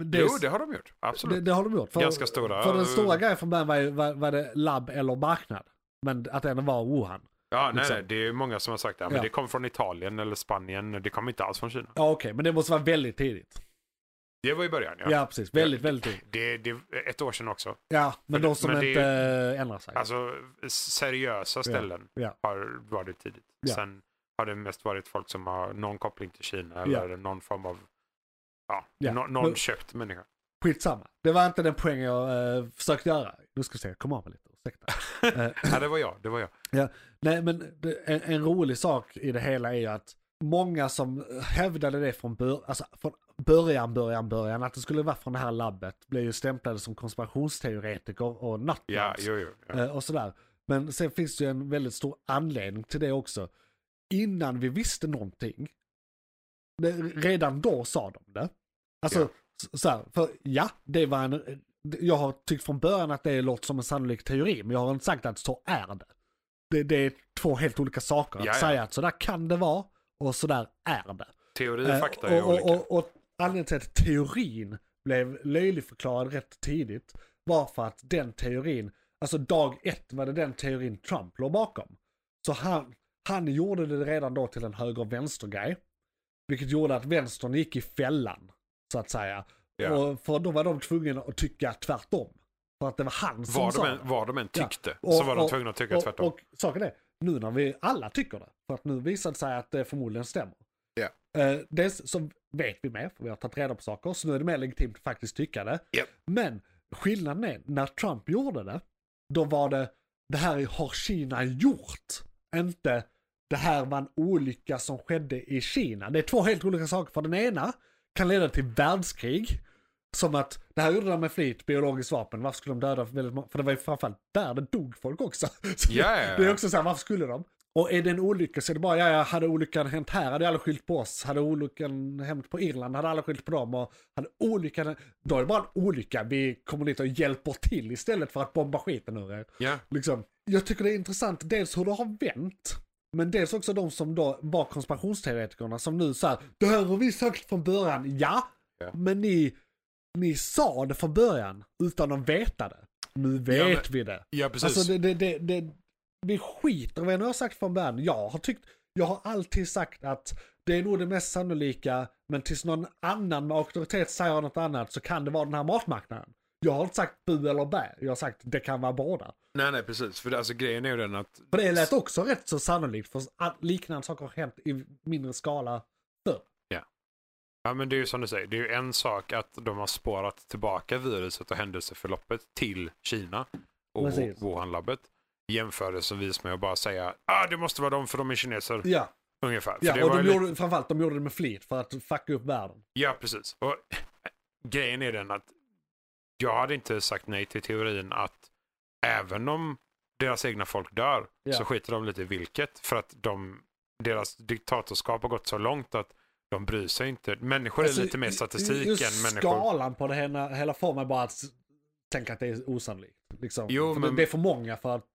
B: Men
C: jo, det har de gjort.
B: det,
C: Absolut.
B: det har de gjort. För,
C: Ganska stora.
B: För den
C: eh,
B: stora grejen från början var, ju- var, var det labb eller marknad. Men att det ändå var Wuhan.
C: Ja, nej,
B: liksom.
C: nej, det är ju många som har sagt det. Men
B: Ja.
C: det kom från Italien eller Spanien. Det kom inte alls från Kina.
B: Ja okej, men det måste vara väldigt tidigt.
C: Det var i början, ja.
B: Ja, precis, väldigt, väldigt tidigt.
C: Det, det är ett år sedan också.
B: Ja, men
C: Men-
B: de som
C: men det är
B: inte
C: ju-
B: eh, ändrar sig.
C: Alltså seriösa ställen
B: ja.
C: har varit tidigt.
B: Ja.
C: Sen har det mest varit folk som har någon koppling till Kina eller någon form av, ja,
B: Ja.
C: nå- någon
B: Men-
C: köpt
B: <clears throat>
C: människa.
B: Skitsamma. Det var inte den poängen jag eh, försökte göra. Nu ska vi se, jag kommer av mig lite,
C: <laughs>
B: ursäkta. Eh,
C: ja, det var jag, det var jag.
B: Nej, men det, en, en rolig sak i det hela är ju att många som hävdade det från, bör, alltså från början, början, början, att det skulle vara från det här labbet, blev ju stämplade som konspirationsteoretiker och
C: Ja,
B: nattmans
C: jo, jo. Ja.
B: eh, och sådär. Men sen finns det ju en väldigt stor anledning till det också. Innan vi visste någonting, det, redan då sa de det. Alltså,
C: Ja.
B: så, så här, för ja, det var en jag har tyckt från början att det låter som en sannolik teori, men jag har inte sagt att så är det. Det, det är två helt olika saker. Att
C: Jaja.
B: säga att sådär kan det vara och sådär är det.
C: Teori och
B: Eh,
C: fakta är
B: och, och,
C: olika.
B: och, och anledningen till att teorin blev löjligförklarad rätt tidigt var för att den teorin, alltså dag ett var det den teorin Trump låg bakom. Så han, han gjorde det redan då till en höger och vänster-grej. Vilket gjorde att vänstern gick i fällan, så att säga.
C: Ja.
B: Och för då var de tvungna att tycka tvärtom. För att det var han som
C: Vad
B: sa
C: de,
B: det.
C: än, vad de än
B: Ja.
C: tyckte
B: Och-
C: så var de
B: och-
C: tvungna att tycka
B: och,
C: tvärtom.
B: Och saken är, nu när vi alla tycker det, för att nu visar det sig att det förmodligen stämmer.
C: Ja.
B: Eh, dels så vet vi mer, för vi har tagit reda på saker, så nu är det mer legitimt att faktiskt tycka det.
C: Ja.
B: Men skillnaden är, när Trump gjorde det, då var det, det här har Kina gjort, inte det här var en olycka som skedde i Kina. Det är två helt olika saker, för den ena kan leda till världskrig, som att det här gjorde de med flit, biologiskt vapen, varför skulle de döda väldigt många? För det var ju framförallt där det dog folk också. <laughs> Så
C: Ja, ja, ja.
B: Det är också så här, varför skulle de? Och är det en olycka så är det bara, ja, ja, hade olyckan hänt här hade alla skyllt på oss. Hade olyckan hänt på Irland hade alla skyllt på dem. Och hade olyckan, då är det bara en olycka. Vi kommer dit och hjälper till istället för att bomba skiten ur er.
C: Ja.
B: Liksom, jag tycker det är intressant dels hur det har vänt. Men dels också de som då var konspirationsteoretikerna som nu säger det här har vi sagt från början. Ja,
C: Ja.
B: men ni, ni sa det från början utan att veta det. Nu vet
C: Ja, men-
B: vi det.
C: ja, precis.
B: Alltså det, det, det, det, vi skiter i vad jag har sagt från början. Jag har, tyckt, jag har alltid sagt att det är nog det mest sannolika, men tills någon annan med auktoritet säger något annat så kan det vara den här matmarknaden. Jag har inte sagt bu eller bä, jag har sagt det kan vara båda.
C: Nej, nej, precis. För det, alltså, grejen är ju den att...
B: För det lät också rätt så sannolikt, för att liknande saker har hänt i mindre skala förr.
C: Ja, men det är ju som du säger. Det är ju en sak att de har spårat tillbaka viruset och händelseförloppet till Kina och
B: Precis.
C: Wuhan-labbet. Jämförelsevis med att bara säga ah, det måste vara de för de är kineser.
B: Ja,
C: Ungefär. För det
B: ja och
C: var
B: de
C: ju
B: gjorde, framförallt de gjorde det med flit för att fucka upp världen.
C: Ja, precis. Och eh, grejen är den att jag hade inte sagt nej till teorin att även om deras egna folk dör
B: Ja.
C: så skiter de lite i vilket för att de, deras diktatorskap har gått så långt att de bryr sig inte. Människor
B: Alltså,
C: är lite mer statistik
B: just
C: än människor.
B: skalan på det hela, hela formen är bara att s- tänka att det är osannolikt. Liksom.
C: Jo,
B: för det,
C: men-
B: det är för många för att...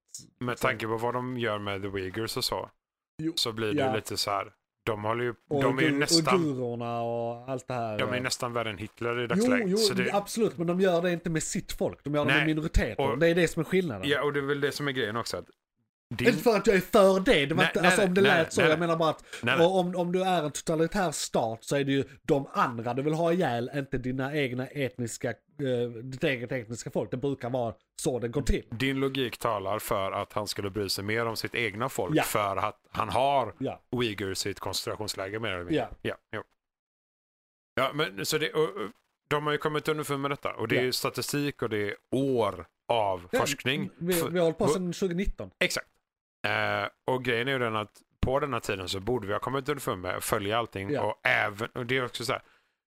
C: Med tanke på vad de gör med the Uyghurs och så.
B: Jo,
C: Så blir det
B: ja.
C: lite så här. De, håller ju,
B: Och
C: de är ju
B: gu-
C: nästan,
B: Och gurorna och allt det här.
C: de är nästan värre än Hitler i
B: Jo,
C: dagsläget.
B: jo
C: så det,
B: absolut, men de gör det inte med sitt folk. De gör det
C: Nej,
B: med minoriteter.
C: och-
B: det är det som är skillnaden.
C: ja, och det är väl det som är grejen också. Att din,
B: Inte för att jag är för det, det var
C: Nej,
B: inte,
C: nej,
B: alltså, om det
C: nej,
B: lät
C: nej,
B: så.
C: nej,
B: jag
C: nej.
B: menar bara att
C: Nej, nej.
B: och om, om du är en totalitär stat så är det ju de andra du vill ha ihjäl, inte dina egna etniska, eh, ditt eget etniska folk. Det brukar vara så det går till.
C: Din logik talar för att han skulle bry sig mer om sitt egna folk
B: Ja.
C: för att han har
B: Ja,
C: uigurs i ett koncentrationsläger mer eller mindre.
B: ja.
C: Ja, jo. ja men så det, och, och, de har ju kommit underfund med detta och det är
B: Ja.
C: ju statistik och det är år av
B: Ja,
C: forskning.
B: Vi, vi
C: För-
B: har hållit på
C: och-
B: sedan 2019.
C: Exakt. Eh, och grejen är ju den att på den här tiden så borde vi ha kommit underfund med att följa allting
B: Ja.
C: och även, och det är också så här,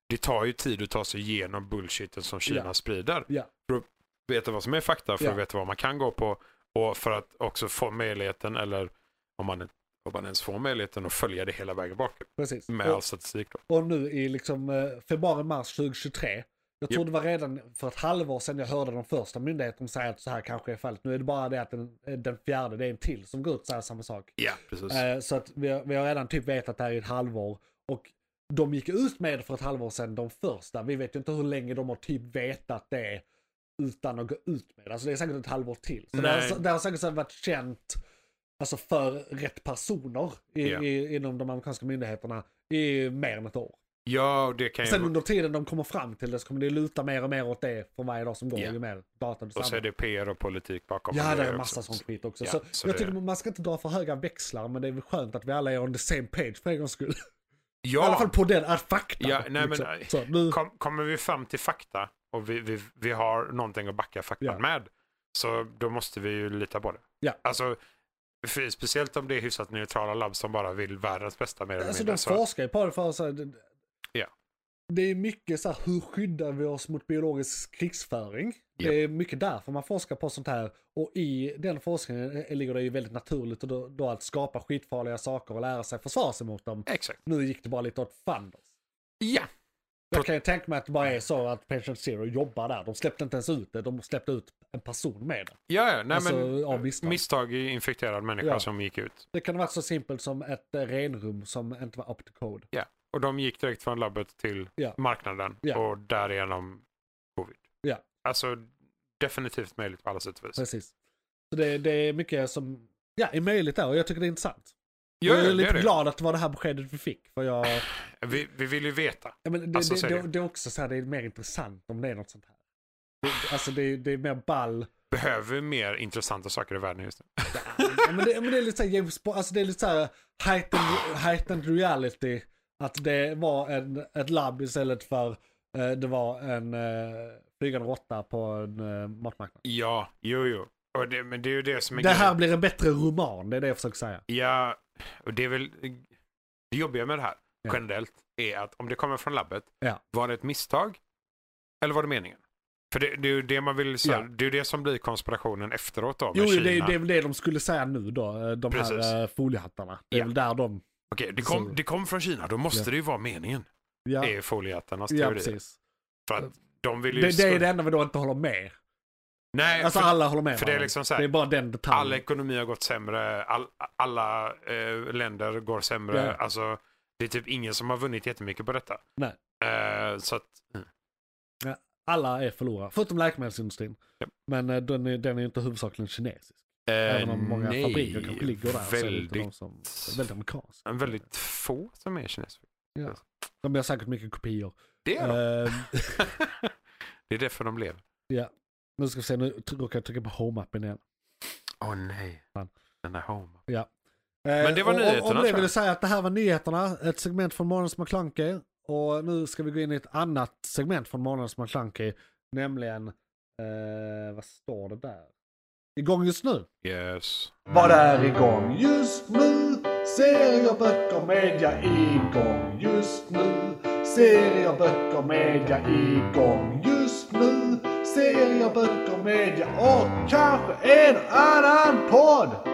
C: det tar ju tid att ta sig igenom bullshiten som Kina
B: Ja.
C: sprider.
B: Ja.
C: För att veta vad som är fakta, för
B: Ja.
C: att veta vad man kan gå på och för att också få möjligheten eller om man, om man ens får möjligheten att följa det hela vägen bak
B: Precis.
C: med all
B: Och,
C: statistik då.
B: och nu i liksom eh, februari-mars 2023. Jag
C: Ja.
B: tror det var redan för ett halvår sedan jag hörde de första myndigheterna säga att så här kanske är fallet. Nu är det bara det att den, eh, den fjärde, det är en till som går ut och säger samma sak.
C: Ja, precis.
B: Eh, Så att vi har, vi har redan typ vetat det här i ett halvår. Och de gick ut med det för ett halvår sedan, de första. Vi vet ju inte hur länge de har typ vetat det utan att gå ut med det. Alltså det är säkert ett halvår till. Så det har,
C: Nej.
B: det har säkert så här varit känt alltså för rätt personer i,
C: Ja.
B: i, inom de amerikanska myndigheterna i mer än ett år.
C: ja, och det kan
B: Sen
C: ju
B: under tiden de kommer fram till det så kommer det luta mer och mer åt det för varje dag som går.
C: Ja.
B: Ju mer data du
C: Och så är
B: samlar.
C: det PR och politik bakom.
B: Ja,
C: och
B: det
C: grejer
B: är
C: också.
B: massa sånt skit också.
C: Ja,
B: så
C: så
B: jag
C: det-
B: tycker man ska inte dra för höga växlar, men det är väl skönt att vi alla är on the same page för en gångs skull.
C: Ja,
B: I alla fall på den här faktan.
C: Ja, nej, men-
B: så, nu,
C: Kom, kommer vi fram till fakta och vi, vi, vi har någonting att backa faktan
B: Ja.
C: med, så då måste vi ju lita på det.
B: Ja.
C: Alltså, för, speciellt om det är hyfsat neutrala labb som bara vill världens bästa mer eller
B: alltså
C: mindre.
B: de
C: Så,
B: forskar ju på det för att så här, det-
C: Ja.
B: Det är mycket så här, hur skyddar vi oss mot biologisk krigsföring?
C: Ja.
B: Det är mycket därför man forskar på sånt här. Och i den forskningen eh, ligger det ju väldigt naturligt och då, då att skapa skitfarliga saker och lära sig försvara sig mot dem.
C: exakt.
B: Nu gick det bara lite åt fanders.
C: Ja.
B: Jag kan ju tänka mig att det bara är så att Patient Zero jobbar där. De släppte inte ens ut det, de släppte ut en person med det.
C: Ja, ja. Nej,
B: Alltså,
C: men,
B: av misstag.
C: misstag i infekterad människa
B: Ja.
C: som gick ut.
B: Det kan ha varit så simpelt som ett eh, renrum som inte var up to code.
C: Ja. Och de gick direkt från labbet till
B: Ja.
C: marknaden
B: Ja.
C: och därigenom covid.
B: Ja.
C: Alltså definitivt möjligt på alla sätt och vis.
B: Precis. Så det, det är mycket som ja, är möjligt där och jag tycker det är intressant.
C: Ja,
B: jag
C: ja,
B: är
C: det
B: lite
C: är det.
B: glad att det var det här beskedet vi fick. För jag,
C: Vi, vi vill ju veta.
B: ja, men det,
C: Alltså, så
B: det,
C: är
B: det,
C: det.
B: det är också så här, det är mer intressant om det är något sånt här. Det, alltså det, det är mer ball.
C: Behöver vi mer intressanta saker i världen just nu?
B: Ja, men, det, men det är lite så här James Bond, alltså det är lite så här heightened, heightened reality. Att det var en, ett labb istället för eh, det var en eh, flygande råtta på en eh, matmarknad.
C: Ja, jo, jo. Och det, men det är ju det som är
B: Det här
C: grejen.
B: blir en bättre roman, det är det jag försöker säga.
C: Ja, och det är väl det jobbiga med det här
B: Ja.
C: generellt är att om det kommer från labbet,
B: Ja.
C: var det ett misstag? Eller var det meningen? För det, det är ju det man vill, så här,
B: Ja.
C: det är ju det som blir konspirationen efteråt då med
B: Jo,
C: Kina.
B: det, det är väl det de skulle säga nu då, eh, de
C: Precis.
B: här eh, foliehattarna. Det är
C: Ja.
B: väl där de...
C: Okej, det kom, det kom från Kina, då måste
B: Ja.
C: det ju vara meningen.
B: Ja,
C: Det är foliehattarnas
B: ja
C: teori.
B: precis.
C: för att de vill ju...
B: Det, det är det enda vi då inte håller med.
C: Nej,
B: Alltså
C: för
B: alla håller med
C: för det är
B: varandra.
C: liksom så här-
B: det är bara den
C: all
B: detaljen.
C: ekonomi har gått sämre, all, alla eh, länder går sämre.
B: Ja.
C: Alltså, det är typ ingen som har vunnit jättemycket på detta.
B: Nej.
C: Eh, så att,
B: Alla är förlorare, förutom läkemedelsindustrin.
C: Ja.
B: Men eh, den är, den är ju inte huvudsakligen kinesisk.
C: eh,
B: Även om många
C: nej,
B: fabriker kanske ligger där. så är det
C: Väldigt,
B: inte de som, det är väldigt amerikanskt.
C: väldigt få som är kineser.
B: Ja. De gör säkert mycket kopior.
C: Det är de.
B: Eh,
C: <laughs> det är därför de lever.
B: nu ska vi se, nu tr- råkar jag trycka på home-appen igen.
C: Åh nej.
B: Fan.
C: Den där home.
B: Eh,
C: Men det var
B: och- och-
C: nyheterna,
B: Om
C: tror
B: det
C: jag.
B: vill jag säga att det här var nyheterna, ett segment från Månadens McKlunky. Och nu ska vi gå in i ett annat segment från Månadens McKlunky. Nämligen, eh, vad står det där? Igång just nu.
C: Yes.
B: Vad är igång just nu? Serier, böcker, media igång just nu. Serier, böcker, media igång just nu. Serier, böcker, media och kanske en annan podd.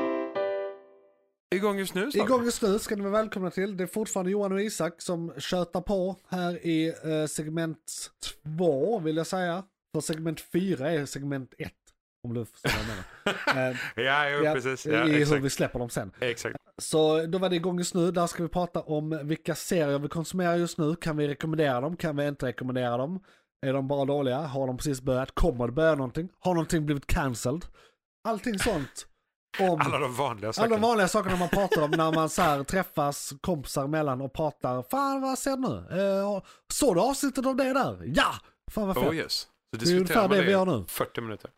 C: Igång just nu, sa
B: Igång
C: vi.
B: just nu ska ni vara välkomna till. Det är fortfarande Johan och Isak som tjötar på här i eh, segment två vill jag säga. För segment fyra är segment ett. Om du förstår vad
C: <laughs>
B: jag menar. Eh,
C: Ja, jo,
B: ja,
C: precis. Ja,
B: I hur
C: exakt.
B: vi släpper dem sen.
C: exakt.
B: Så då var det igång just nu. Där ska vi prata om vilka serier vi konsumerar just nu. Kan vi rekommendera dem? Kan vi inte rekommendera dem? Är de bara dåliga? Har de precis börjat? Kommer det börja någonting? Har någonting blivit cancelled? Allting sånt. Om
C: Alla de vanliga
B: alla
C: sakerna.
B: de vanliga sakerna man pratar om när man så här träffas kompisar emellan och pratar. Fan vad ser du nu? Eh, såg du avsnittet av det där? Ja! Fan vad fett.
C: Oh yes. Så
B: är ungefär
C: diskuterar man
B: det
C: det
B: vi gör
C: i
B: nu.
C: 40 minuter.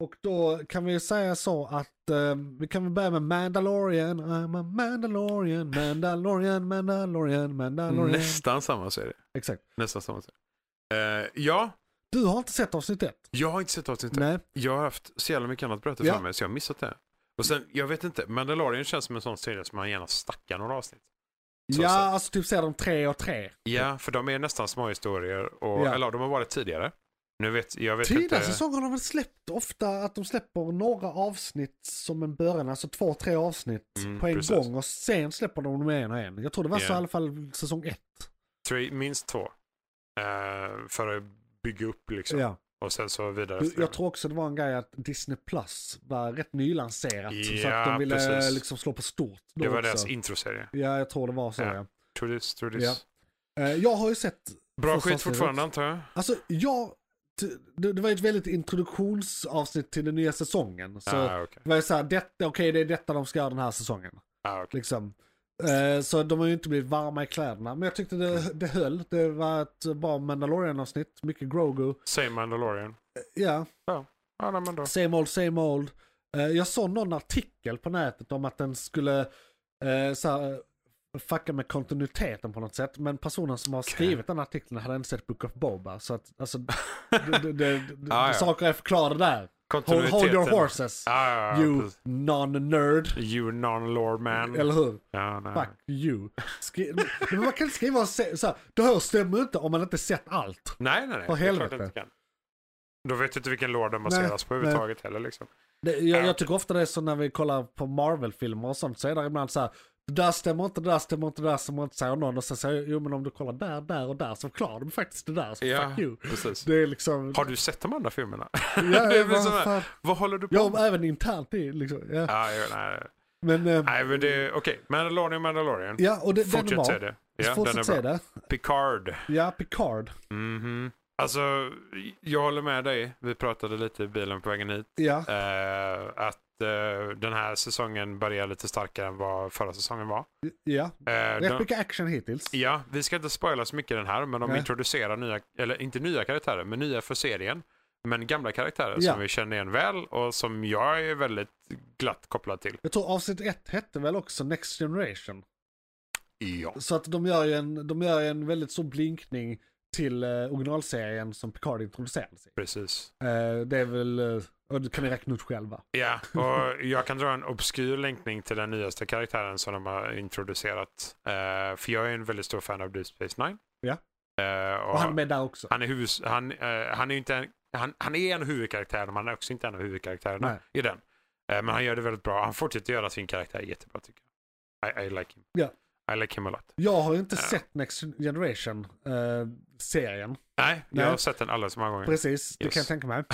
B: Och då kan vi säga så att eh, vi kan väl börja med Mandalorian, I'm a Mandalorian, Mandalorian, Mandalorian, Mandalorian.
C: Nästan samma serie.
B: Exakt.
C: Nästan samma serie. Eh, ja,
B: Du har inte sett avsnitt ett?
C: jag har inte sett avsnittet.
B: Nej.
C: Jag har haft så jävla mycket annat bröte
B: Ja.
C: för mig så jag har missat det. Och sen, jag vet inte, Mandalorian känns som en sån serie som man gärna stackar några avsnitt. Så
B: ja,
C: sett.
B: alltså typ ser de tre och tre.
C: Ja, för de är nästan små historier och,
B: Ja.
C: eller de har varit tidigare. Nu vet, jag vet
B: Tidigare
C: inte.
B: säsonger har de väl släppt ofta att de släpper några avsnitt som en början, alltså två, tre avsnitt
C: Mm,
B: på en
C: precis.
B: gång och sen släpper de dem en och en. Jag tror det var så
C: Ja.
B: i alla fall säsong ett.
C: Tre, minst två. Eh, för att bygga upp liksom.
B: Ja.
C: Och sen så vidare.
B: Du,
C: efter
B: jag
C: det.
B: tror också det var en grej att Disney Plus var rätt nylanserat. så
C: Ja,
B: att de ville
C: precis.
B: liksom slå på stort. då
C: det var
B: också.
C: deras introserie.
B: Ja, jag tror det var så.
C: Ja.
B: Ja.
C: Tror this, tror this.
B: Ja. Eh, Jag har ju sett,
C: Bra
B: Första
C: skit
B: avsnittet.
C: fortfarande antar jag.
B: alltså jag, t- det, det var ju ett väldigt introduktionsavsnitt till den nya säsongen. Så
C: ah, okej.
B: det var ju såhär, detta, okej det är detta de ska göra den här säsongen.
C: Ah, okej.
B: Liksom. Eh, Så de har ju inte blivit varma i kläderna. Men jag tyckte det, det höll. Det var ett bra Mandalorian-avsnitt, mycket Grogu.
C: Same Mandalorian.
B: Ja,
C: Ja, nej, men då.
B: Same old, same old. Eh, jag såg någon artikel på nätet om att den skulle uh, såhär, fucka med kontinuiteten på något sätt. Men personen som har skrivit den artikeln hade inte sett Book of Boba. Så att alltså, det, det, det,
C: <laughs>
B: det,
C: Ah, ja.
B: saker är förklarade där. Hold,
C: Kontinuiteten.
B: hold your horses,
C: Ah, ja, ja,
B: you
C: precis.
B: non-nerd.
C: You non-lord man.
B: Eller hur?
C: Ja, nej.
B: Fuck you. Skri- Men man kan inte skriva så så här, det här stämmer ju inte om man inte sett allt.
C: Nej, nej, nej. Det är
B: För
C: klart
B: helvete.
C: det inte kan. Då vet du inte vilken lår den
B: Nej,
C: baseras på
B: nej.
C: överhuvudtaget heller. Liksom.
B: Det, jag, jag tycker ofta det är så när vi kollar på Marvel-filmer och sånt så är det ibland så här, det där stämmer inte, det där stämmer inte, det där stämmer inte, säger någon. Och sen säger jag, jo men om du kollar där, där och där så förklarar de faktiskt det där. Så
C: Ja,
B: fuck you.
C: precis.
B: Det är liksom...
C: Har du sett de andra filmerna? <laughs>
B: ja,
C: det är väl
B: vad
C: sån här-
B: fan.
C: Vad håller du på
B: Ja,
C: med?
B: även internt i liksom. Ja.
C: Ja, ja, nej,
B: Men, eh,
C: nej, men det... Okej, Mandalorian, Mandalorian.
B: ja, och det, den är
C: Fortsätt se
B: bra.
C: det. Ja, den
B: Fortsätt
C: är
B: se
C: bra.
B: det.
C: Picard.
B: Ja, Picard.
C: Mhm. Alltså, jag håller med dig. Vi pratade lite i bilen på vägen hit.
B: Ja,
C: Eh, att eh, den här säsongen börjar lite starkare än vad förra säsongen var.
B: ja.
C: Eh, de-
B: Rätt mycket action hittills.
C: Ja, vi ska inte spoila så mycket i den här, men de
B: Nej.
C: introducerar nya, eller inte nya karaktärer, men nya för serien. Men gamla karaktärer
B: Ja.
C: som vi känner igen väl och som jag är väldigt glatt kopplad till.
B: Jag tror avsnitt ett hette väl också Next Generation.
C: Ja.
B: Så att de gör ju en, de gör ju en väldigt stor blinkning till eh, originalserien som Picard introducerades i.
C: Precis.
B: Eh, det är väl, eh, och det kan ni räkna ut själva.
C: Ja, och jag kan dra en obskyr länkning till den nyaste karaktären som de har introducerat. Eh, för jag är en väldigt stor fan av Deep Space Nine.
B: Ja.
C: Eh, och
B: Och han är med där också.
C: han är, huvud, han, eh, han är ju inte en, han, han är en av huvudkaraktärerna, men han är också inte en av huvudkaraktärerna
B: Nej.
C: i den. Eh, men han gör det väldigt bra. Han fortsätter göra sin karaktär jättebra tycker jag. I, I like him.
B: Ja.
C: I like him a lot.
B: Jag har ju inte
C: Ja.
B: sett Next eh, Generation-serien.
C: Nej,
B: Nej.
C: jag har sett den alldeles för många gånger.
B: Precis, det
C: Yes.
B: kan jag
C: <laughs>
B: tänka mig.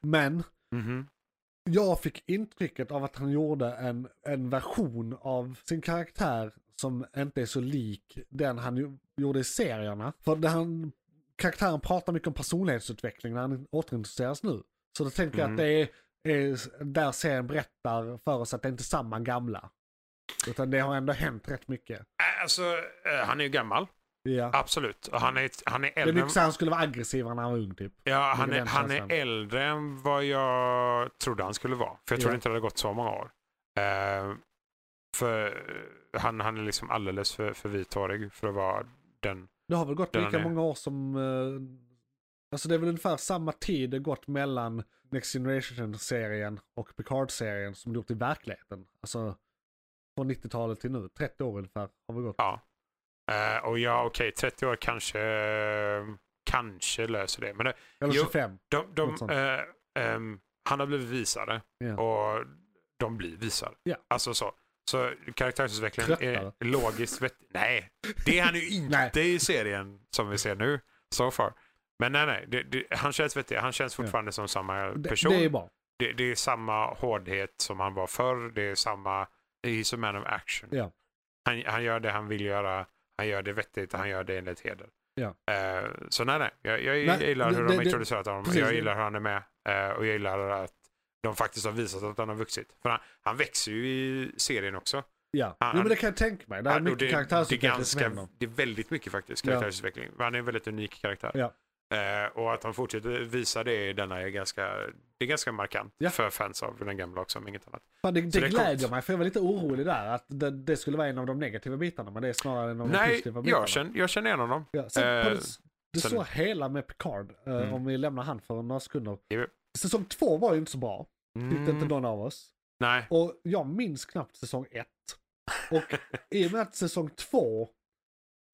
B: Men
C: Mhm.
B: jag fick intrycket av att han gjorde en, en version av sin karaktär som inte är så lik den han ju- gjorde i serierna. För när han, karaktären pratar mycket om personlighetsutveckling när han återintroduceras nu. Så då tänker jag att det är, är där serien berättar för oss att det inte är samma gamla. Utan det har ändå hänt rätt mycket.
C: Eh, Alltså, eh, han är ju gammal.
B: Ja.
C: Absolut. Och Han är, han är
B: Det är
C: äldre.
B: mycket så här, han skulle vara aggressivare när han var ung typ.
C: Ja, han
B: mycket
C: är,
B: den
C: han är
B: känslan.
C: äldre än vad jag trodde han skulle vara. För jag trodde
B: Ja.
C: inte det hade gått så många år. Eh, för han, han är liksom alldeles för, för vithårig för att vara den
B: Det har väl gått
C: Där
B: lika
C: han är.
B: många år som... eh, alltså det är väl ungefär samma tid det gått mellan Next Generation-serien och Picard-serien som det gjort i verkligheten. Alltså från 90-talet till nu, 30 år ungefär har vi gått.
C: Ja. Eh, och ja, okej, 30 år kanske eh, kanske löser det. Men det,
B: Eller
C: jo.
B: 25.
C: de, de,
B: Något sånt.
C: eh, ehm, han har blivit visare
B: Ja.
C: och de blir visare.
B: Ja.
C: Alltså så. Så karaktärsutvecklingen
B: Tröttare.
C: är logiskt vettig. Nej, det är han
B: <laughs>
C: ju
B: Nej.
C: inte i serien som vi ser nu. So far. Men nej, nej. Det, det, han känns vettig. Han känns fortfarande som samma
B: Det,
C: person.
B: det är bra.
C: Det, det är samma hårdhet som han var förr. Det är samma... He's a man of action.
B: Ja.
C: Han, han gör det han vill göra. Han gör det vettigt och han gör det enligt heder.
B: Ja.
C: Eh, så nej, nej. Jag, jag
B: Nej,
C: gillar hur
B: det-
C: de
B: det-
C: har introducerat honom.
B: precis.
C: jag gillar hur han är med. eh, och jag gillar att de faktiskt har visat att han har vuxit. För han, han växer ju i serien också.
B: Ja.
C: Han-
B: jo, men det kan jag tänka mig. Det är
C: Han- och
B: mycket
C: det, är
B: karaktärsutveckling som
C: ganska,
B: händer.
C: det är väldigt mycket faktiskt
B: Ja.
C: karaktärsutveckling. Han är en väldigt unik karaktär.
B: Ja.
C: Eh, och att han fortsätter visa det i denna är ganska, det är ganska markant
B: Ja.
C: för fans av den gamla också, om inget annat.
B: Fan, det
C: så
B: det,
C: det är
B: gläder
C: coolt.
B: mig, för jag var lite orolig där att det, det skulle vara en av de negativa bitarna, men det är snarare en av de
C: Nej,
B: positiva bitarna.
C: jag känner, jag känner igen honom.
B: Ja, sen
C: Eh,
B: på det, det
C: sen-
B: står hela med Picard, eh,
C: Mm.
B: om vi lämnar han för några sekunder.
C: Japp.
B: Säsong två var ju inte så bra, tyckte inte
C: Mm,
B: någon av oss.
C: nej,
B: Och jag minns knappt säsong ett. Och i och med att säsong två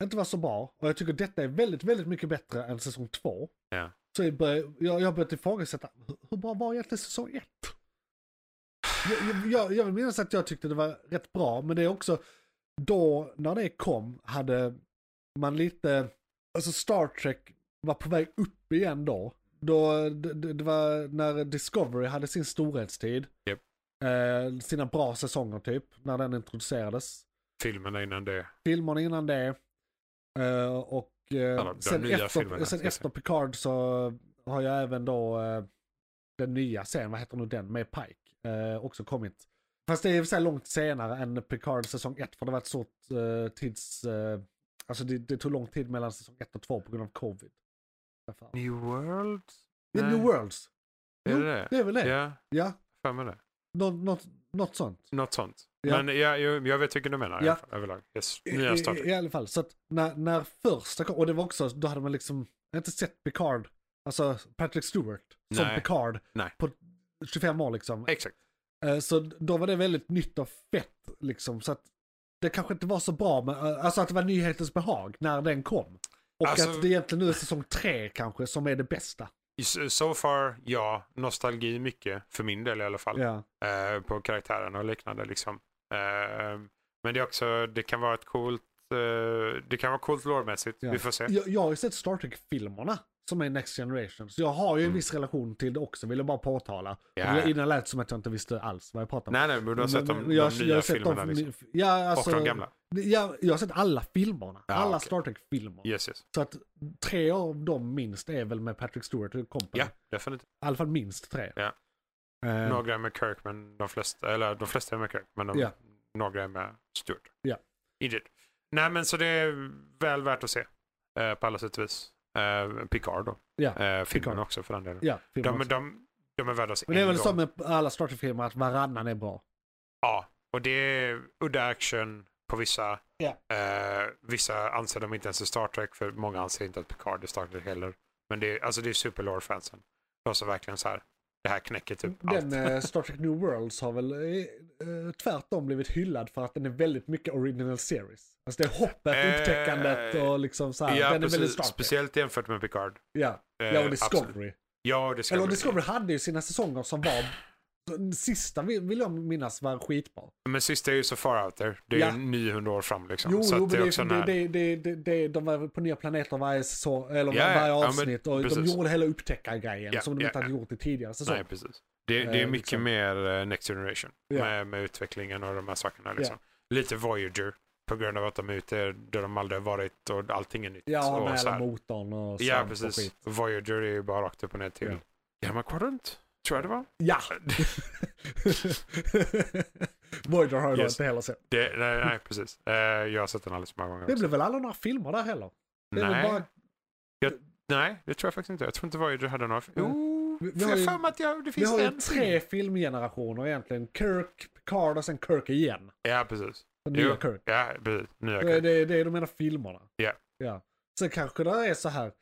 B: inte var så bra, och jag tycker detta är väldigt, väldigt mycket bättre än säsong två.
C: Ja.
B: Så jag började, jag, jag började ifrågasätta, hur, hur bra var egentligen säsong ett? Jag- Jag, jag, jag vill minnas att jag tyckte det var rätt bra, men det är också då när det kom hade man lite, alltså Star Trek var på väg upp igen då. då det, det det var när Discovery hade sin storhetstid.
C: Japp.
B: Eh, sina bra säsonger typ, när den introducerades.
C: filmerna innan det.
B: Filmerna innan det. Eh, och eh,
C: Alla de
B: sen,
C: nya
B: efter,
C: filmerna,
B: sen
C: ska jag
B: efter Picard så har jag även då eh, den nya serien, vad heter nu den, med Pike, eh, också kommit. Fast det är i och för sig långt senare än Picard säsong 1 för det var ett stort eh, tids... Eh, alltså det, det tog lång tid mellan säsong 1 och 2 på grund av covid. Därför.
C: New World?
B: Det är New Worlds.
C: Är
B: Jo,
C: det det?
B: Det är väl det?
C: Ja,
B: Ja,
C: för mig det.
B: nå- något, något sånt.
C: Något sånt.
B: Ja.
C: Men ja, jag, jag vet vilken du menar i
B: Ja.
C: alla fall, överlag. Yes.
B: I,
C: Nya Star Trek.
B: i, I alla fall, så att när, när första kom, och det var också, då hade man liksom inte sett Picard, alltså Patrick Stewart, som
C: Nej.
B: Picard
C: Nej.
B: på 25 år liksom.
C: Exakt.
B: Eh, Så då var det väldigt nytt och fett liksom, så att det kanske inte var så bra, men eh, alltså att det var nyhetens behag när den kom. Och
C: Alltså-
B: att det egentligen nu är säsong tre kanske som är det bästa.
C: So- So far, ja. Nostalgi mycket, för min del i alla fall.
B: Ja,
C: eh, på karaktärerna och liknande. Liksom. Eh, Men det, är också, det kan vara ett coolt, eh, det kan vara coolt lårmässigt.
B: Ja.
C: Vi får se.
B: Jag, jag har ju sett Star Trek-filmerna som är Next Generation. Så jag har ju en
C: Mm.
B: viss relation till det också, vill jag bara påtala.
C: Ja.
B: Det- Innan lät det som att jag inte visste alls vad jag pratade om.
C: Nej, nej, men du har sett de,
B: Men-
C: de
B: jag-
C: nya
B: jag har sett de
C: filmerna. liksom.
B: ny- Ja, alltså,
C: Och de gamla.
B: Jag, jag har sett alla filmerna.
C: Ja,
B: alla
C: okej.
B: Star Trek-filmer.
C: Yes, yes.
B: Så att tre av dem minst är väl med Patrick Stewart och kompani.
C: Ja, definitivt.
B: I alla fall minst tre.
C: Ja.
B: Eh,
C: Några är med Kirk, men de flesta, eller de flesta är med Kirk, men de,
B: Ja.
C: några är med Stewart.
B: Ja.
C: Indeed. Nej, men så det är väl värt att se eh, på alla sätt och vis. Eh, Picard då.
B: Ja,
C: Eh, filmen
B: Picard.
C: också för den delen.
B: ja, filmerna
C: De,
B: också.
C: de, de är värda att se
B: Men det är
C: en
B: väl
C: gång.
B: så med alla Star Trek-filmer att varannan är bra.
C: Ja, och det är udda action på vissa.
B: Ja.
C: Eh, vissa anser de inte ens är Star Trek, för många anser inte att Picard är Star Trek heller. Men det är, alltså det är superlore-fansen. De som verkligen så här, det här knäcker typ
B: Den
C: allt.
B: eh, Star Trek New Worlds har väl eh, eh, tvärtom blivit hyllad för att den är väldigt mycket original series. Alltså det är hoppet,
C: Eh,
B: upptäckandet och liksom så här.
C: ja,
B: den är väldigt
C: precis.
B: Star Trek.
C: Speciellt jämfört med Picard.
B: Ja,
C: Eh,
B: ja och Discovery.
C: absolut. Ja, det ska
B: Eller
C: vi-
B: Discovery hade ju sina säsonger som var, den sista vill vill jag minnas var skitbra.
C: Men sista är ju så far out there. Det är
B: Ja.
C: ju 900 år fram liksom.
B: Jo,
C: så
B: jo
C: att
B: men det,
C: det är också
B: det,
C: när...
B: det, det, det, det, de var på nya planeter varje säsong, eller
C: Ja, ja,
B: varje
C: ja, men
B: avsnitt. och de
C: precis.
B: gjorde hela upptäckargrejen
C: Ja,
B: som de
C: ja,
B: inte hade gjort i tidigare
C: Nej,
B: säsonger.
C: precis. Det, det är
B: Eh,
C: mycket
B: liksom.
C: mer eh, Next Generation
B: Ja.
C: med, med utvecklingen och de här sakerna. Liksom. Lite Voyager på grund av att de är ute där de aldrig har varit och allting är nytt.
B: Ja,
C: och
B: med
C: så
B: hela
C: här.
B: motorn och sånt
C: ja
B: och
C: precis.
B: skit.
C: Voyager är ju bara rakt upp och ner till
B: Ja.
C: Gamma Quadrant, tror jag det var. <laughs>
B: Ja! Voyager har jag då
C: Yes.
B: inte heller sett.
C: Det, nej, nej, precis. Eh, jag har sett den alldeles för många gånger.
B: Mm. Det
C: också.
B: blev väl aldrig några filmer där heller? Det är väl
C: nej.
B: bara-
C: nej, det tror jag faktiskt inte. Jag tror inte Voyager hade några. Jo,
B: Vi- vi
C: jag
B: har ju-
C: har för mig att jag, det
B: Vi
C: finns
B: har ju
C: en.
B: tre filmgenerationer egentligen. Kirk, Picard och sen Kirk igen.
C: Ja, precis.
B: Den
C: Jo.
B: nya Kirk.
C: Ja, precis. Nya
B: Det,
C: Kirk.
B: det, det är de ena filmerna.
C: Ja.
B: ja. Sen kanske det är så här.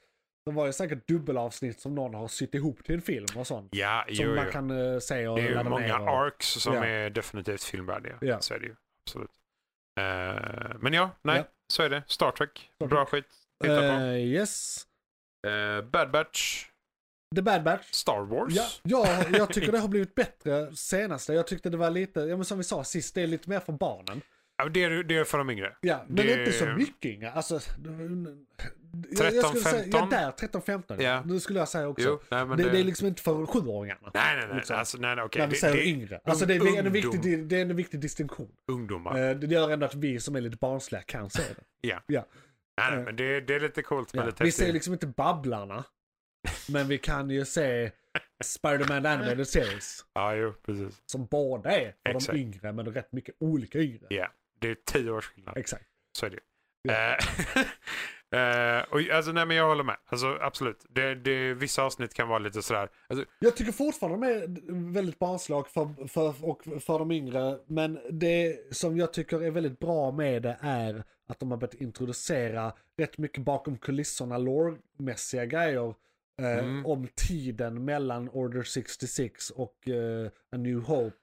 B: Det var ju säkert dubbelavsnitt som någon har sytt ihop till en film och sånt.
C: Ja,
B: som
C: jo,
B: man
C: jo.
B: kan eh, se och
C: Det är ju
B: ladda
C: många
B: ner. och-
C: arcs som
B: Ja.
C: är definitivt filmvärdiga.
B: Ja.
C: Så är det ju. Absolut. Eh, men ja, nej.
B: Ja.
C: Så är det. Star Trek.
B: Trek.
C: Bra skit. Titta på.
B: Eh, yes.
C: Eh, Bad Batch.
B: The Bad Batch.
C: Star Wars.
B: Ja, ja, jag tycker det har blivit bättre senaste. Jag tyckte det var lite, ja, men som vi sa sist, det är lite mer för barnen.
C: Ja, men det, är, det är för de yngre.
B: Ja, men
C: Det-
B: inte så mycket inga. Alltså, jag, jag skulle säga, ja,
C: 13-15.
B: där, 13-15.
C: Ja.
B: Nu skulle jag säga också.
C: Jo, nej, men
B: det, det...
C: det-
B: är liksom inte för sjuåringarna.
C: Nej, nej, nej.
B: Liksom.
C: Alltså, nej, nej okej.
B: När vi säger
C: det, det,
B: yngre. Alltså det, det, är en
C: ungdom.
B: viktig, det, det är en viktig distinktion.
C: ungdomar.
B: Eh, Det gör ändå att vi som är lite barnsliga kan se det.
C: ja.
B: ja.
C: Nej, nej, men det, det är lite coolt med
B: Eh. Ja.
C: lite
B: Vi ser
C: häftigt.
B: liksom inte Babblarna. Men vi kan ju se Spider-Man Animated Series.
C: Ja, jo, precis.
B: Som båda är för
C: Exakt.
B: de yngre, men rätt mycket olika yngre.
C: Ja, det är tio års skillnad.
B: Exakt.
C: Så är det ju.
B: Ja.
C: Eh, <laughs> eh, och, alltså, nej, men jag håller med. Alltså, absolut. Det, det, vissa avsnitt kan vara lite sådär. Alltså,
B: Jag tycker fortfarande de är väldigt barnslag för, för, och för de yngre. Men det som jag tycker är väldigt bra med det är att de har börjat introducera rätt mycket bakom kulisserna lore-mässiga grejer. Eh,
C: Mm.
B: Om tiden mellan Order 66 och eh, A New Hope.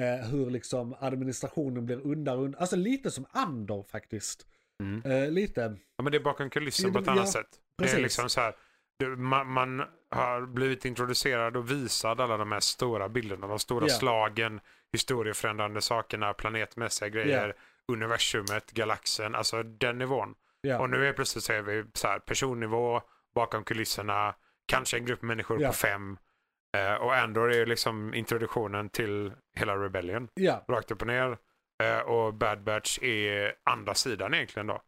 B: Eh, hur liksom administrationen blir undan, undan. Alltså lite som Andor faktiskt.
C: Mm.
B: Eh, lite.
C: ja, men det är bakom kulissen
B: Jo,
C: på
B: det-
C: ett annat
B: ja,
C: sätt. Det
B: precis.
C: är liksom så här. Det, man, man har blivit introducerad och visad alla de här stora bilderna. De stora
B: Ja.
C: slagen, historieförändrande sakerna, planetmässiga grejer, universumet, galaxen. Alltså den nivån.
B: Ja.
C: Och nu är plötsligt så är vi så här, personnivå, bakom kulisserna, kanske en grupp människor
B: Ja.
C: på fem. Eh, och ändå är ju liksom introduktionen till hela Rebellion
B: ja.
C: rakt upp och ner. Eh, och Bad Batch är andra sidan egentligen då.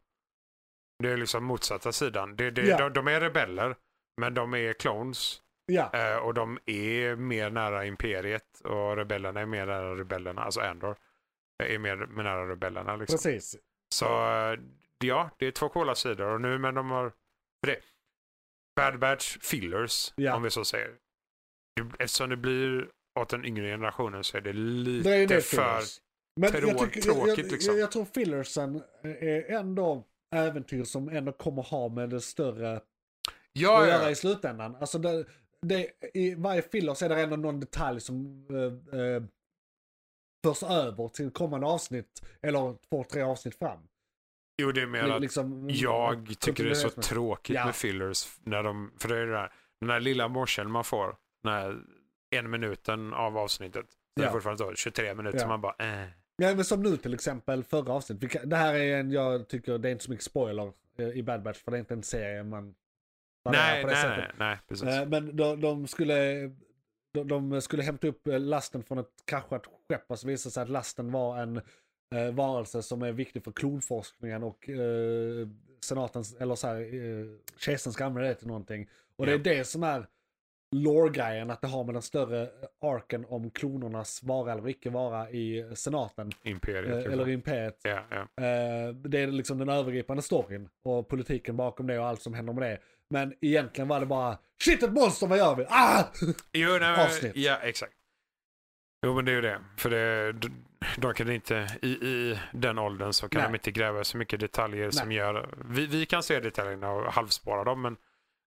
C: Det är liksom motsatta sidan. Det, det,
B: Ja.
C: de, de är rebeller, men de är clones.
B: Ja.
C: Eh, och de är mer nära imperiet och rebellerna är mer nära rebellerna. Alltså Andor är mer, mer nära rebellerna. Liksom.
B: Precis.
C: Så eh, ja, det är två coola sidor och nu men de har... För det, Bad Batch fillers,
B: Ja.
C: om vi så säger. Det- Eftersom det blir åt den yngre generationen så är det lite
B: Det är det
C: för...
B: fillers. Men
C: trå-
B: jag, jag,
C: tråkigt, liksom.
B: jag, jag tror fillersen är ändå äventyr som ändå kommer ha med det större
C: Ja,
B: att göra
C: ja.
B: i slutändan. Alltså det, det, I varje filler så är det ändå någon detalj som eh, eh, förs över till kommande avsnitt eller två, tre avsnitt fram.
C: Jo, det är mer att
B: liksom,
C: jag tycker det är så
B: kontinuitetsmässigt.
C: tråkigt
B: Ja.
C: med fillers. När de, för det är ju det här, den här lilla morseln man får, när en minuten av avsnittet. Det är
B: Ja.
C: fortfarande så, 23 minuter,
B: Ja.
C: man bara eh.
B: Ja, men som nu till exempel förra avsnittet. Vi kan, det här är en, jag tycker det är inte så mycket spoiler eh, i Bad Batch för det är inte en serie man... man är
C: Nej,
B: på det
C: nej,
B: sättet.
C: nej, nej, precis.
B: Eh, Men de, de skulle... De, de skulle hämta upp eh, lasten från ett kraschat skepp och så visade det sig att lasten var en eh, varelse som är viktig för klonforskningen och eh, senatens, eller så här, eh, kejsaren ska använda det till någonting. Och det är
C: Ja.
B: det som är lore-grejen, att det har med den större arken om klonernas vara eller icke vara i senaten,
C: Imperiet.
B: eh,
C: liksom.
B: eller imperiet.
C: ja, ja.
B: Eh, Det är liksom den övergripande storyn och politiken bakom det och allt som händer med det. Men egentligen var det bara shit ett monster, vad gör vi? Ah! <laughs>
C: Jo, nej, men-
B: Avsnitt.
C: Ja, exakt. Jo, men det är ju det. För det, de- de kan inte, i, i den åldern så kan
B: Nej.
C: de inte gräva så mycket detaljer som gör... Vi, vi kan se detaljerna och halvspåra dem, men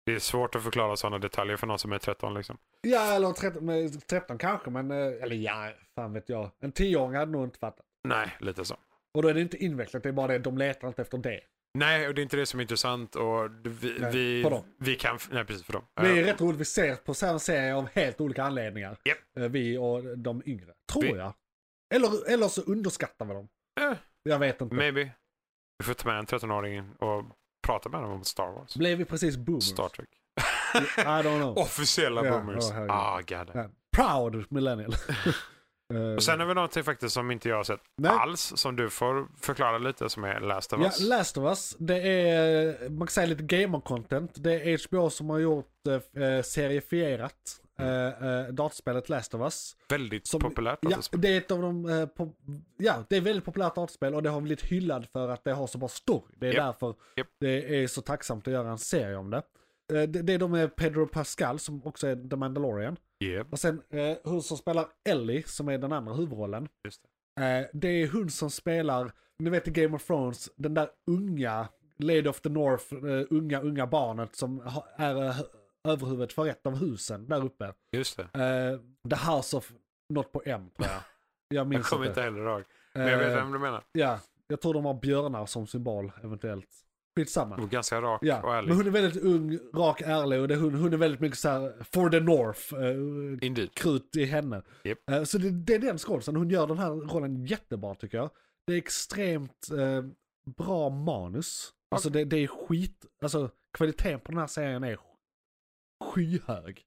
C: det är svårt att förklara sådana detaljer för någon som är 13. Liksom.
B: Ja, eller 13, men 13 kanske, men eh, eller ja, fan vet jag. En 10-åring hade nog inte fattat.
C: Nej, lite så.
B: Och då är det inte invecklat, det är bara det, de letar inte efter det.
C: Nej, och det är inte det som är intressant. Och vi,
B: Nej, för
C: vi,
B: dem.
C: vi kan... Nej, precis för dem.
B: Det är
C: Eh,
B: rätt roligt, vi ser på samma serie av helt olika anledningar.
C: Japp.
B: Eh, Vi och de yngre, tror
C: Vi-
B: jag. Eller, eller så underskattar vi dem.
C: Eh.
B: Jag vet inte.
C: Maybe. Vi får ta med en 13-åring och prata med dem om Star Wars.
B: Blev vi precis boomers?
C: Star Trek.
B: I
C: <laughs>
B: don't know.
C: Officiella
B: Ja,
C: boomers.
B: ja, herregud.
C: ah, god.
B: Eh,
C: <laughs>
B: Proud millennial. Eh,
C: Och sen har vi någonting faktiskt som inte jag har sett
B: Nej.
C: alls, som du får förklara lite, som är Last of
B: Ja,
C: Us.
B: Last of Us, det är, man kan säga lite gamer-content. Det är HBO som har gjort eh, eh, serifierat eh, eh, datorspelet Last of Us.
C: Väldigt
B: Som-
C: populärt.
B: Ja,
C: alltså.
B: det är ett av de, eh, po- ja, det är väldigt populärt dataspel och det har blivit hyllad för att det har så bra story. Det är
C: Japp.
B: därför
C: Japp.
B: det är så tacksamt att göra en serie om det. Eh, det, det är de med Pedro Pascal som också är The Mandalorian.
C: Yep,
B: Och sen eh, hon som spelar Ellie som är den andra huvudrollen.
C: just det.
B: Eh, det är hon som spelar, ni vet i Game of Thrones, den där unga Lady of the North, eh, unga, unga barnet som ha, är eh, överhuvudet för ett av husen där uppe.
C: Just det.
B: Eh, the House of, något på M tror jag. Jag
C: Jag
B: minns
C: kommer inte heller ihåg. Men jag vet
B: Eh,
C: vem du menar.
B: Ja, jag tror de har björnar som symbol eventuellt. Skitsamma.
C: Du var ganska rak
B: Ja,
C: och
B: men
C: ärlig.
B: hon är väldigt ung, rak, ärlig och det, hon, hon är väldigt mycket så här for the North, eh,
C: Indeed.
B: krut i henne.
C: Japp.
B: Eh, Så det, det är den skådisen, hon gör den här rollen jättebra tycker jag. Det är extremt eh, bra manus. Alltså det, det är skit, alltså kvaliteten på den här serien är skyhög.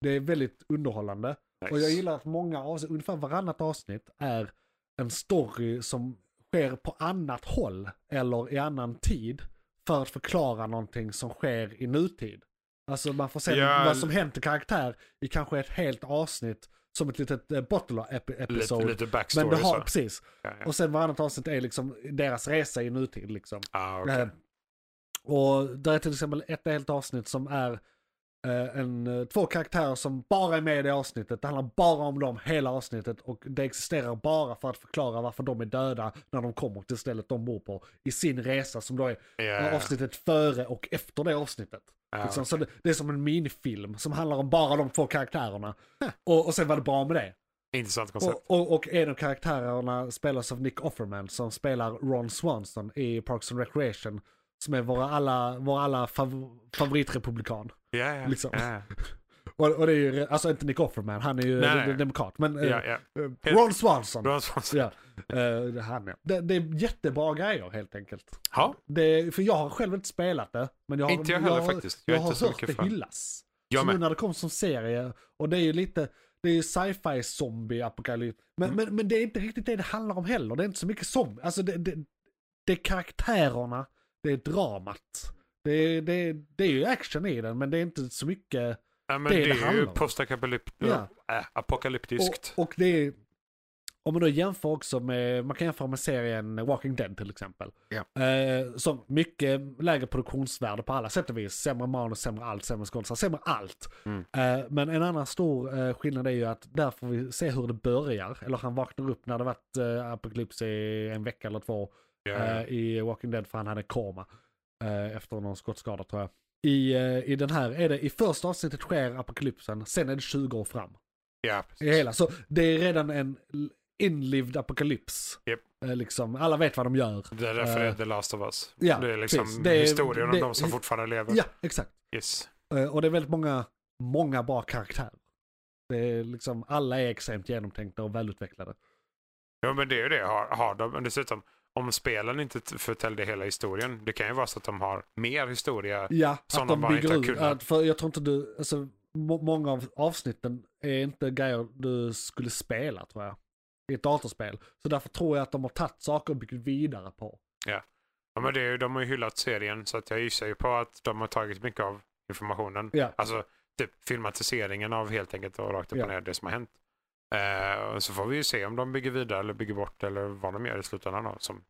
B: Det är väldigt underhållande.
C: Nice.
B: Och jag gillar att många avsnitt, ungefär varannat avsnitt är en story som sker på annat håll eller i annan tid för att förklara någonting som sker i nutid. Alltså man får se
C: Ja,
B: vad som hänt i karaktär i kanske ett helt avsnitt som ett litet eh, bottle epi-
C: lite,
B: episode.
C: lite backstory.
B: Men det har,
C: så.
B: precis.
C: Ja, ja.
B: Och sen varannat avsnitt är liksom deras resa i nutid liksom.
C: Ah, okej.
B: Eh, Och där är till exempel ett helt avsnitt som är eh, en, eh, två karaktärer som bara är med i det avsnittet. Det handlar bara om dem hela avsnittet och det existerar bara för att förklara varför de är döda när de kommer till stället de bor på i sin resa som då är
C: Ja,
B: eh,
C: ja, ja.
B: avsnittet före och efter det avsnittet.
C: Ah,
B: Liksom. Så det, det är som en minifilm som handlar om bara de två karaktärerna. Och, och sen var det bra med det.
C: Intressant koncept.
B: Och, och, och en av karaktärerna spelas av Nick Offerman som spelar Ron Swanson i Parks and Recreation. Som är våra alla, vår alla fav, favoritrepublikan.
C: ja, ja.
B: liksom.
C: Ja,
B: Och, och det är ju, re- alltså inte Nick Offerman, han är ju
C: Nej, nej.
B: demokrat. Men eh,
C: ja, ja.
B: eh, Ron Swanson.
C: Bra svar.
B: Ja, eh, han är. Det, det är jättebra grejer helt enkelt.
C: Ja,
B: Det, är- för jag har själv inte spelat det. Men jag har,
C: Inte jag heller
B: har-
C: faktiskt.
B: Jag,
C: Jag är
B: har
C: inte så
B: hört
C: mycket
B: det
C: fan.
B: hyllas.
C: jag
B: så nu
C: med.
B: när det kom som serie, och det är ju lite, det är ju sci-fi zombie apokalyps. Men, men, men det är inte riktigt det det handlar om heller. Det är inte så mycket zombie. Alltså det, det, det är karaktärerna, det är dramat. Det, är- det, är- det är ju action i den, men det är inte så mycket.
C: Ja, men
B: det
C: det,
B: det
C: är
B: handlar
C: ju
B: om.
C: postapokalyptiskt.
B: Ja.
C: Äh, apokalyptiskt.
B: Och, och det är, om man då jämför också med, man kan jämföra med serien Walking Dead till exempel.
C: Ja.
B: Eh, som mycket lägre produktionsvärde på alla sätt och vis. Sämre manus, sämre allt, sämre skådisar, sämre allt.
C: Mm.
B: Eh, men en annan stor eh, skillnad är ju att där får vi se hur det börjar. Eller han vaknar upp när det varit eh, apokalyps i en vecka eller två
C: Ja,
B: eh, i Walking Dead för han hade koma eh, efter någon skottskada tror jag. I, eh, I den här är det, i första avsnittet sker apokalypsen, sen är det 20 år fram.
C: ja, precis.
B: I hela. Så det är redan en l- inlivd apokalyps.
C: Japp.
B: Eh, Liksom, alla vet vad de gör.
C: Det är därför det är
B: Eh,
C: The Last of Us.
B: ja,
C: det är liksom
B: precis. Det är-
C: historien om
B: det-
C: de som fortfarande lever.
B: Ja, exakt.
C: Yes.
B: Eh, Och det är väldigt många, många bra karaktärer. Det är liksom, alla är extremt genomtänkta och välutvecklade.
C: Ja men det är ju det. Har, har de, men dessutom, om spelen inte t- förtällde hela historien, det kan ju vara så att de har mer historia.
B: Ja,
C: Som
B: att
C: de
B: de
C: bara inte
B: bygger
C: har
B: ut.
C: kunnat.
B: Att för jag tror inte du, alltså, må- många av avsnitten är inte grejer du skulle spela tror jag. I ett datorspel. Så därför tror jag att de har tagit saker och byggt vidare på.
C: Ja, men det är, ju- de har ju hyllat serien så att jag gissar ju på att de har tagit mycket av informationen.
B: Ja.
C: Alltså typ filmatiseringen av helt enkelt och rakt upp
B: Ja.
C: och ner det som har hänt. Eh, och så får vi ju se om de bygger vidare eller bygger bort eller vad de gör i slutändan då, som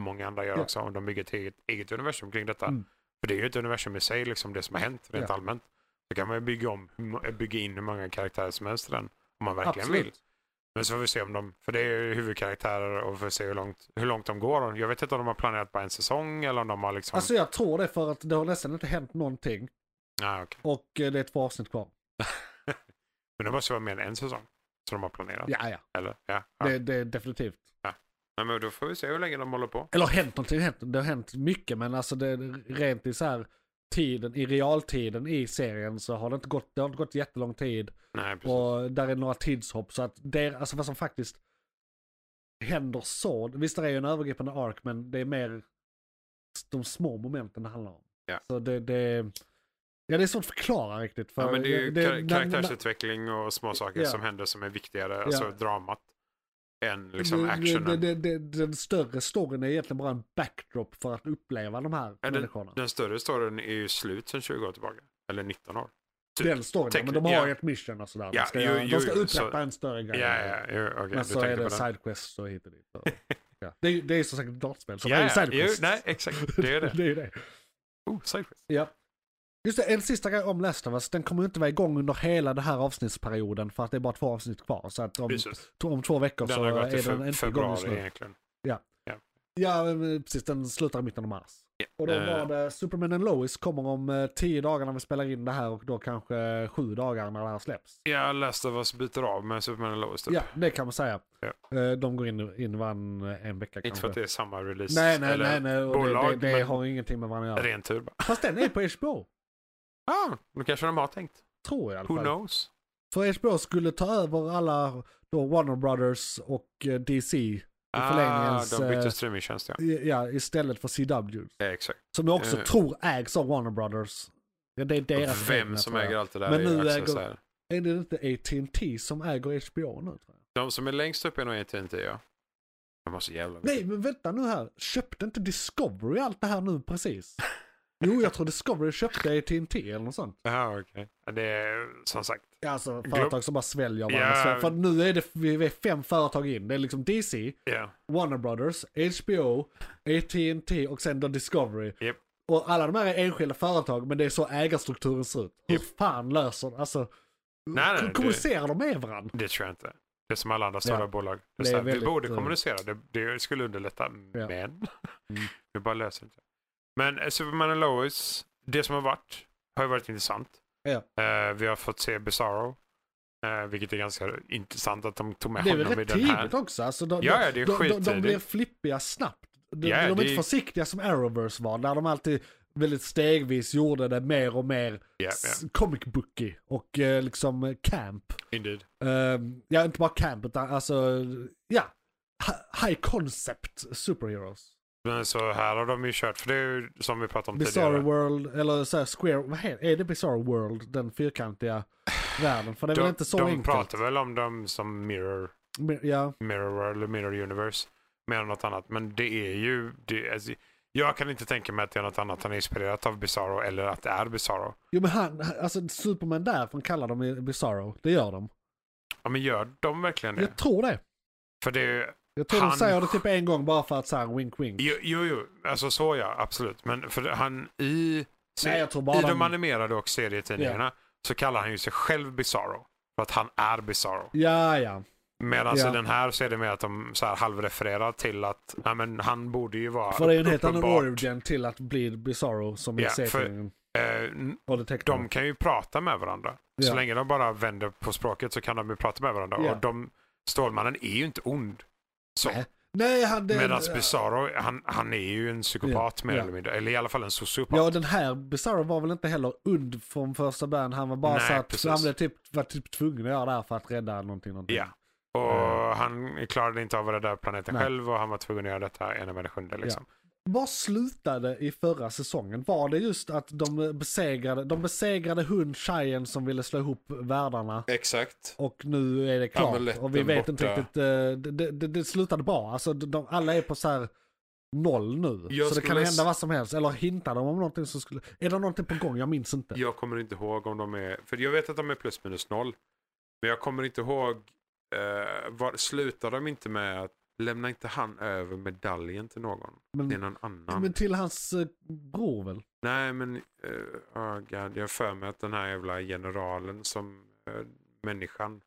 C: många andra gör
B: Ja.
C: också. Om de bygger ett eget, eget universum kring detta.
B: Mm.
C: För det är ju ett universum i sig, liksom det som har hänt rent
B: Ja.
C: allmänt. Då kan man ju bygga, om, hur må- bygga in hur många karaktärer som helst i den. Om man verkligen vill. Men så får vi se om de, för det är ju huvudkaraktärer och vi får se hur långt, hur långt de går. Jag vet inte om de har planerat bara en säsong eller om de har liksom...
B: Alltså jag tror det för att det har nästan inte hänt någonting.
C: Nej, okej.
B: Och eh, det är två avsnitt kvar.
C: Men det måste ju vara mer än en säsong som de har planerat.
B: Ja, ja.
C: Eller? Ja. ja.
B: Det, det är definitivt.
C: Nej, men då får vi se hur länge de håller på.
B: Eller har hänt någonting, hänt, det har hänt mycket men alltså det, rent i så här tiden, i realtiden i serien så har det inte gått, det har inte gått jättelång tid.
C: Nej, precis.
B: Och där är några tidshopp. Så att det, alltså vad som faktiskt händer så. Visst det är ju en övergripande ark men det är mer de små momenten det handlar om.
C: Ja.
B: Så det, det, ja, det är svårt att förklara riktigt. För
C: ja, men det är ju
B: det-
C: kar-
B: när-
C: karaktärsutveckling och små saker
B: Ja.
C: som händer som är viktigare. Alltså dramat. Än liksom
B: det-
C: actionen.
B: Det, det, det, den större storyn är egentligen bara en backdrop för att uppleva de här
C: Ja,
B: människorna.
C: Den större storyn är ju slut sedan 20 år tillbaka. Eller 19 år. typ,
B: den storyn, ja, men de
C: tekniskt,
B: har
C: ja.
B: ju ett mission och sådär.
C: Ja,
B: de ska,
C: jo,
B: göra-
C: jo,
B: de ska
C: jo,
B: upprepa
C: så-
B: en större
C: Ja,
B: grej.
C: ja, ja. Okej,
B: Men
C: du
B: så är
C: tänkte
B: det
C: på den.
B: sidequests och hit och dit.
C: <laughs>
B: Och, ja. det, är ju- det är ju som sagt ett dataspel, så
C: Ja,
B: det är ju
C: ja, jo,
B: sidequests.
C: nej, exakt. Det är det.
B: <laughs> det är ju det.
C: Oh, sidequest.
B: Ja. Just det, en sista grej om Last of Us. Den kommer ju inte vara igång under hela den här avsnittsperioden för att det är bara två avsnitt kvar. Så att om,
C: Precis.
B: t- om två veckor
C: Den
B: så
C: har gått i
B: är den
C: fe-
B: inte igång just
C: februari
B: nu.
C: egentligen.
B: Ja, men precis. Den slutar i mitten av mars. Och då
C: Eh.
B: var det Superman and Lois kommer om eh, tio dagar när vi spelar in det här och då kanske sju dagar när det här släpps.
C: Jag läste vad som byter av med Superman and Lois typ.
B: Ja, det kan man säga.
C: Ja.
B: Eh, De går in, in varann en vecka
C: Inte för att
B: kanske.
C: det är samma release.
B: Nej, nej,
C: eller
B: nej, nej. Och
C: bolag,
B: det, det, det
C: men-
B: har ingenting med varandra att göra.
C: Ren tur bara.
B: Fast den är på HBO.
C: Ah, då kanske de har tänkt.
B: Tror jag i alla
C: Who
B: fall.
C: knows?
B: För HBO skulle ta över alla då Warner Brothers och eh, DC
C: Ah,
B: förlängningens,
C: de bytte
B: eh,
C: streamingtjänst ja.
B: i- ja, istället för CW.
C: ja exakt.
B: Som jag också
C: Eh.
B: tror ägs av Warner Brothers. Ja, det är deras egna,
C: Vem som
B: tror jag.
C: äger allt det där
B: Men
C: är
B: nu
C: ju också
B: äger-
C: så här.
B: Är det inte AT&T som äger HBO nu? Tror jag.
C: De som är längst upp är nog E AT&T ja. De har så jävla mycket.
B: Nej, men vänta nu här. Köpte inte Discovery allt det här nu precis?
C: <laughs>
B: Jo, jag tror Discovery köpte AT&T eller något sånt.
C: Ah, okej. Ja, Det är som sagt.
B: Ja, Alltså
C: Glöm-
B: företag som bara sväljer varandra.
C: Ja.
B: Så- För nu är det vi är fem företag in. Det är liksom DC,
C: Ja.
B: Warner Brothers, HBO, AT&T och sen då Discovery.
C: Japp.
B: Och alla de här är enskilda företag men det är så ägarstrukturen ser ut. Hur fan löser de? Alltså,
C: Nej, nej,
B: hur
C: det-
B: kommunicerar de med varande?
C: Det tror jag inte. Det är som alla andra stora
B: Ja.
C: bolag. Det är
B: Det
C: så
B: är
C: här, vi
B: väldigt,
C: borde
B: eh,
C: kommunicera, det, det skulle underlätta. Men <laughs>
B: Mm.
C: vi bara löser inte. Men eh, Superman and Lois, det som har varit, har ju varit intressant.
B: Ja.
C: Eh, vi har fått se Bizarro, eh, vilket är ganska intressant att de tog med
B: Det är väl
C: honom i
B: rätt
C: den här.
B: tidigt också. Alltså, de,
C: Ja, ja, det är
B: de, de, de
C: skittidigt.
B: blir flippiga snabbt. De,
C: Ja,
B: de är
C: det
B: inte
C: är-
B: försiktiga som Arrowverse var. Där de alltid väldigt stegvis gjorde det mer och mer
C: Ja,
B: s- comic booky och eh, liksom eh, camp.
C: ja, indeed.
B: Ehm, ja, inte bara camp utan alltså, ja. Hi- High concept superheroes.
C: Men så här har de ju kört, för det är ju som vi pratade om
B: Bizarre
C: tidigare.
B: World, eller så här Square, vad heter, är det Bizarre World? Den
C: <sighs>
B: fyrkantiga världen? För det är väl
C: de
B: inte så
C: de
B: enkelt?
C: pratar väl om dem som mirror,
B: Men- Ja,
C: mirror World eller mirror universe, mer än något annat. Men det är ju, det, alltså, jag kan inte tänka mig att det är något annat han är inspirerat av Bizarro eller att det är Bizarro.
B: jo men han, alltså Superman därifrån kallar de ju Bizarro, det gör de.
C: Ja men gör de verkligen det?
B: Jag tror det.
C: För det är ju,
B: Jag tror
C: Han-
B: de säger det typ en gång bara för att såhär wink wink.
C: jo, jo, jo, alltså så ja, absolut. Men för han i, se-
B: Nej, jag tror bara
C: i de
B: de-
C: animerade och serietidningarna så kallar han ju sig själv Bizarro. För att han är Bizarro.
B: Ja, ja.
C: Medan
B: Ja.
C: i den här så är det mer att de så här halvrefererar till att ja, men han borde ju vara
B: För det är en helt annan
C: uppenbart-
B: origin till att bli Bizarro som i
C: Ja,
B: yeah,
C: för-
B: serietidningen.
C: Eh, n-
B: Och det tecknade.
C: de kan ju prata med varandra. Så
B: Ja.
C: länge de bara vänder på språket så kan de ju prata med varandra.
B: Ja.
C: Och de, Stålmannen är ju inte ond. Så.
B: Nej. Nej, han... det-
C: Medan Bizarro, han, han är ju en psykopat
B: Ja,
C: mer
B: ja.
C: eller mindre. Eller i alla fall en sociopat.
B: Ja, den här Bizarro var väl inte heller und från första början. Han var bara
C: Nej,
B: så att
C: precis.
B: han blev typ, var typ tvungen att göra det här för att rädda någonting. någonting.
C: Ja. Och
A: Mm.
C: han klarade inte av att rädda planeten
B: Nej.
C: själv och han var tvungen att göra detta ena med det sjunde. Liksom.
B: Vad slutade i förra säsongen? Var det just att de besegrade, de besegrade hundtjejen som ville slå ihop världarna?
E: Exakt.
B: Och nu är det klart.
E: Amuletten
B: och vi vet inte
E: borta.
B: riktigt. eh, Det, det, det, det slutade bra. Alltså de, de, alla är på så här noll nu.
C: Jag
B: så det kan
C: skulle s-
B: hända vad som helst. Eller hintar de om någonting som skulle... Är det någonting på gång? Jag minns inte.
C: Jag kommer inte ihåg om de är... För jag vet att de är plus minus noll. Men jag kommer inte ihåg... Eh, var, slutar de inte med att lämna inte han över medaljen till någon?
B: men,
C: Till någon annan?
B: men till hans eh, bror väl?
C: Nej men... Eh, oh God, jag har för mig att den här jävla generalen som... Eh, människan.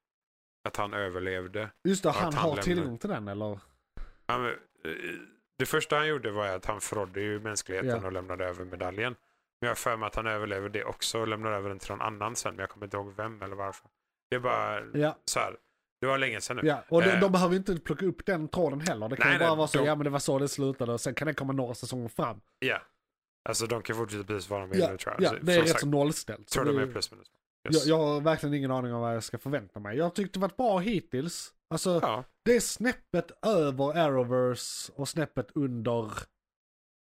C: Att han överlevde.
B: Just det,
C: Ja,
B: han
C: att
B: har
C: han lämnar.
B: tillgång till den eller?
C: Han, eh, det första han gjorde var att han förrådde ju mänskligheten
B: Ja.
C: och lämnade över medaljen. Men jag har för mig att han överlever det också och lämnar över den till någon annan sen. Men jag kommer inte ihåg vem eller varför. Det är bara
B: Ja.
C: så här. Det var länge sedan nu.
B: Ja, och de,
C: Eh.
B: de behöver ju inte plocka upp den tråden heller. Det kan
C: Nej,
B: ju bara
C: nej,
B: vara så,
C: de-
B: ja men det var så det slutade och sen kan det komma några säsonger fram.
C: Ja. Alltså de kan fortsätta precis vad de vill
B: Ja,
C: nu tror jag.
B: ja
C: Så-
B: det är
C: som
B: rätt
C: sagt,
B: så nollställt.
C: Tror
B: Så
C: de
B: det-
C: är plus minus.
B: jag,
C: Yes.
B: jag har verkligen ingen aning om vad jag ska förvänta mig. Jag tyckte det varit bra hittills. Alltså,
C: Ja.
B: det är snäppet över Arrowverse och snäppet under,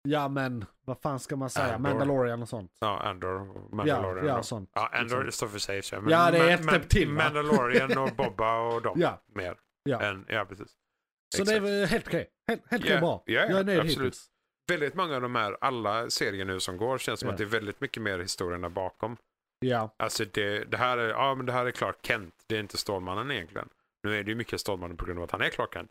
B: ja men, vad fan ska man säga,
C: Andor.
B: Mandalorian och sånt.
C: ja, Andor och Mandalorian.
B: ja,
C: då.
B: sånt,
C: Ja, Andor
B: liksom.
C: står för sig. så-
B: Ja, det är
C: Ma-
B: ett
C: Ma-
B: steg till, va?
C: Mandalorian
B: <laughs>
C: och Bobba och de.
B: Ja,
C: Mer.
B: Ja.
C: Än, ja, precis.
B: så
C: Exakt.
B: det är väl helt okej. Helt, helt okej
C: Ja,
B: bra.
C: ja, ja,
B: jag är nöjd
C: absolut.
B: hittills.
C: väldigt många av de här, alla serier nu som går, känns som
B: Ja.
C: att det är väldigt mycket mer historierna bakom.
B: Ja,
C: Alltså det, det här är, ja men det här är Clark Kent, det är inte Stålmannen egentligen. Nu är det ju mycket Stålmannen på grund av att han är Clark Kent.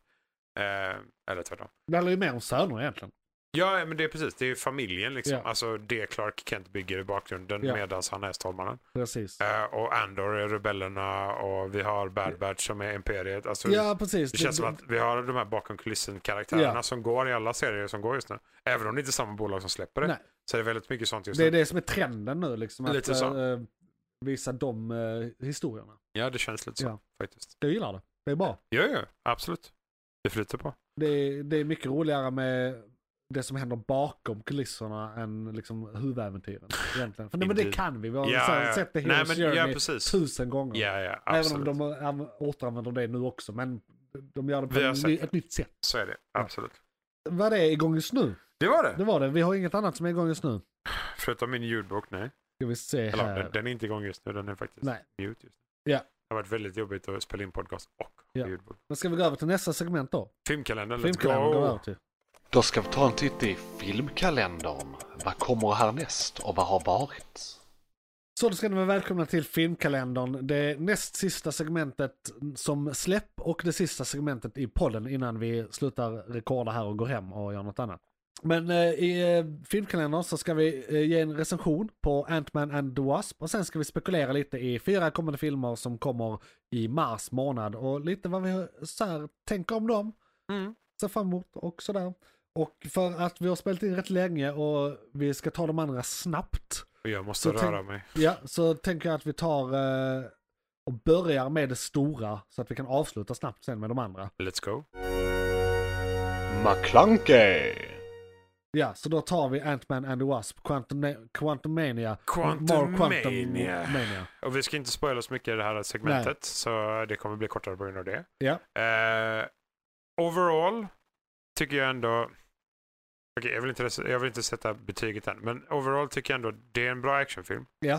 C: Eh, eller tvärtom.
B: det handlar ju mer om söner egentligen.
C: Ja, men det är precis, det är familjen liksom.
B: Ja.
C: Alltså det Clark Kent bygger i bakgrunden
B: Ja.
C: medan han är Stålmannen.
B: Precis.
C: Eh, och Andor är rebellerna och vi har Bad Batch som är Imperiet. Alltså,
B: ja, precis.
C: Det känns som att vi har de här bakom kulissen-karaktärerna
B: Ja.
C: som går i alla serier som går just nu. Även om det inte är samma bolag som släpper det.
B: Nej.
C: Så är det väldigt mycket sånt just
B: Det
C: nu.
B: är det som är trenden nu liksom.
C: Lite
B: att,
C: så.
B: eh, visa de eh, historierna.
C: Ja, det känns lite så
B: Ja.
C: faktiskt.
B: Jag gillar det. Det är bra.
C: Ja, ja, absolut. Det flyter på.
B: Det är, det är mycket roligare med det som händer bakom kulisserna än liksom huvudäventyren. Egentligen. För, nej, men det
C: Indeed.
B: kan vi. Vi har
C: Ja,
B: så här
C: ja.
B: sett det
C: Nej,
B: Heroes
C: men- ja,
B: Journey
C: precis.
B: tusen gånger.
C: Ja, ja,
B: Även
C: absolut.
B: om de äm, återanvänder det nu också. Men de gör det på
C: Vi har
B: en,
C: sett
B: ny,
C: det.
B: ett nytt sätt.
C: Så är det. Absolut.
B: Vad det är igång just nu.
C: Det var det.
B: Det var det. Vi har inget annat som är igång just nu.
C: Förutom min ljudbok, nej.
B: Ska vi se
C: Eller, den,
B: här.
C: den är inte igång just nu. Den är faktiskt
B: Nej.
C: mute just nu.
B: Ja.
C: Det har varit väldigt jobbigt att spela in podcast och
B: Ja.
C: ljudbok.
B: Men ska vi gå över till nästa segment då?
C: Filmkalendern, let's
B: Filmkalendern går vi över
C: go!
B: till.
F: Då ska vi ta en titt i filmkalendern. Vad kommer härnäst och vad har varit?
B: Så då ska ni vara välkomna till filmkalendern. Det näst sista segmentet som släpp och det sista segmentet i podden innan vi slutar rekorda här och går hem och gör något annat. Men eh, i eh, filmkalendern så ska vi eh, ge en recension på Ant-Man and the Wasp och sen ska vi spekulera lite i fyra kommande filmer som kommer i mars månad och lite vad vi så här, tänker om dem.
C: Mm.
B: Ser fram emot och sådär. Och för att vi har spelat in rätt länge och vi ska ta de andra snabbt
C: Och jag måste
B: Så tänk-
C: röra mig.
B: Ja, så tänker jag att vi tar eh, och börjar med det stora så att vi kan avsluta snabbt sen med de andra.
C: Let's go.
D: McClunkey!
B: Ja, så då tar vi Ant-Man and the Wasp, Quantum, Quantumania, More
C: Quantumania.
B: Quantumania.
C: Och vi ska inte spoila så mycket i det här segmentet. Så det kommer bli kortare på grund av det.
B: Ja.
C: Eh, overall tycker jag ändå... Okej, jag, vill inte, rec- jag vill inte sätta betyget än. Men overall tycker jag ändå det är en bra actionfilm.
B: Ja.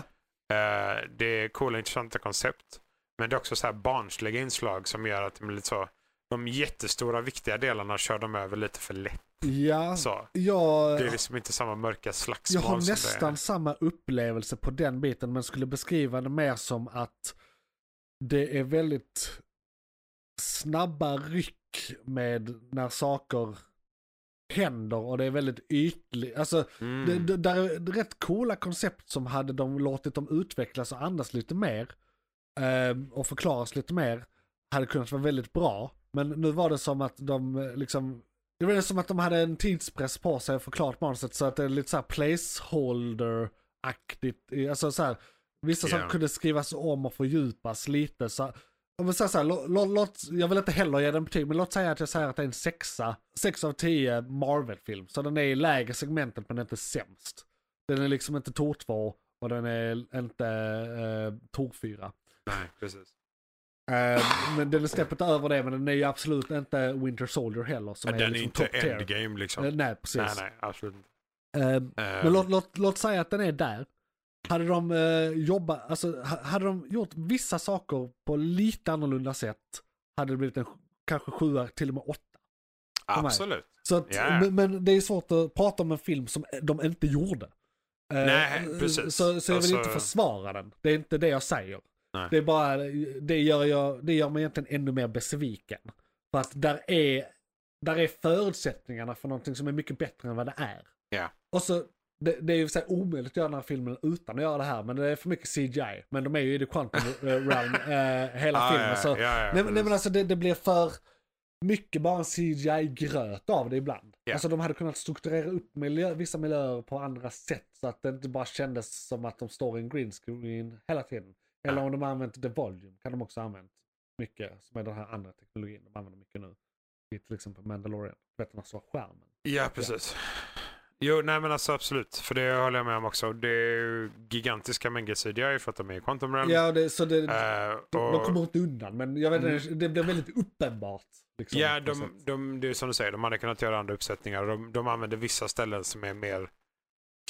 C: Eh, det är coola, intressanta koncept. Men det är också så här barnsliga inslag som gör att det blir lite så... De jättestora, viktiga delarna kör de över lite för lätt.
B: Ja,
C: Så.
B: jag,
C: Det är liksom inte samma mörka
B: jag
C: slagsmål
B: har
C: som
B: nästan
C: det
B: samma upplevelse på den biten men skulle beskriva det mer som att det är väldigt snabba ryck med när saker händer och det är väldigt ytligt. Alltså
C: är. Mm.
B: Det, det, där är det rätt coola koncept som hade de låtit dem utvecklas och andas lite mer eh, och förklaras lite mer hade kunnat vara väldigt bra. Men nu var det som att de eh, liksom det var som att de hade en tidspress på sig och förklarat manuset så att det är lite såhär placeholder-aktigt. i- Alltså så här, vissa
C: Ja.
B: saker kunde skrivas om och fördjupas lite. Så, om vi säger så här, lå- lå- låt, jag vill inte heller ge den betyg, men låt säga att jag säger att det är en sexa, sex av tio Marvel-film. Så den är i lägre segmentet men inte sämst. Den är liksom inte Tor 2 och den är inte eh, Tor 4.
C: Nej, precis.
B: Eh, men den är snäppet över det, men den är ju absolut inte Winter Soldier heller. Som
C: Den är
B: liksom
C: inte
B: top tier.
C: endgame liksom.
B: Eh, nej, precis.
C: nej, nej, absolut inte.
B: Eh,
C: Eh,
B: men låt, låt, låt säga att den är där. Hade de eh, jobbat, alltså ha- hade de gjort vissa saker på lite annorlunda sätt hade det blivit en sj- kanske sjua, till och med åtta. mig.
C: absolut.
B: Så att,
C: Ja.
B: men, men det är svårt att prata om en film som de inte gjorde. Eh,
C: Nej, precis.
B: Så, så jag vill
C: Alltså-
B: inte försvara den. Det är inte det jag säger.
C: Nej.
B: Det är bara, det gör, jag, det gör mig egentligen ännu mer besviken. För att där är, där är förutsättningarna för någonting som är mycket bättre än vad det är.
C: Ja.
B: Och så, det, det är ju så här omöjligt att göra den här filmen utan att göra det här, men det är för mycket CGI. Men de är ju i the quantum <laughs> eh, realm eh, hela
C: Ah,
B: filmen.
C: ja,
B: Så
C: ja, ja,
B: Nej, men-
C: precis.
B: nej men alltså det, det blir för mycket bara en CGI-gröt av det ibland.
C: Ja.
B: Alltså de hade kunnat strukturera upp miljö, vissa miljöer på andra sätt så att det inte bara kändes som att de står i en green screen hela tiden. Eller
C: Ja.
B: om de har använt The Volume kan de också ha använt mycket, som är den här andra teknologin de använder mycket nu. I till exempel Mandalorian, du vet den här stora skärmen.
C: Ja, precis. Jo, nej men alltså absolut. För det håller jag med om också. Det är ju gigantiska mängder CGI för att de är i Quantum Realm.
B: Ja, det, så det, de,
C: Mm. Eh,
B: de
C: och- Mm.
B: kommer inte undan men jag vet inte, det blir väldigt uppenbart. Liksom,
C: Ja,
B: på
C: de,
B: sätt.
C: de, det är som du säger, de hade kunnat göra andra uppsättningar. De, de använder vissa ställen som är mer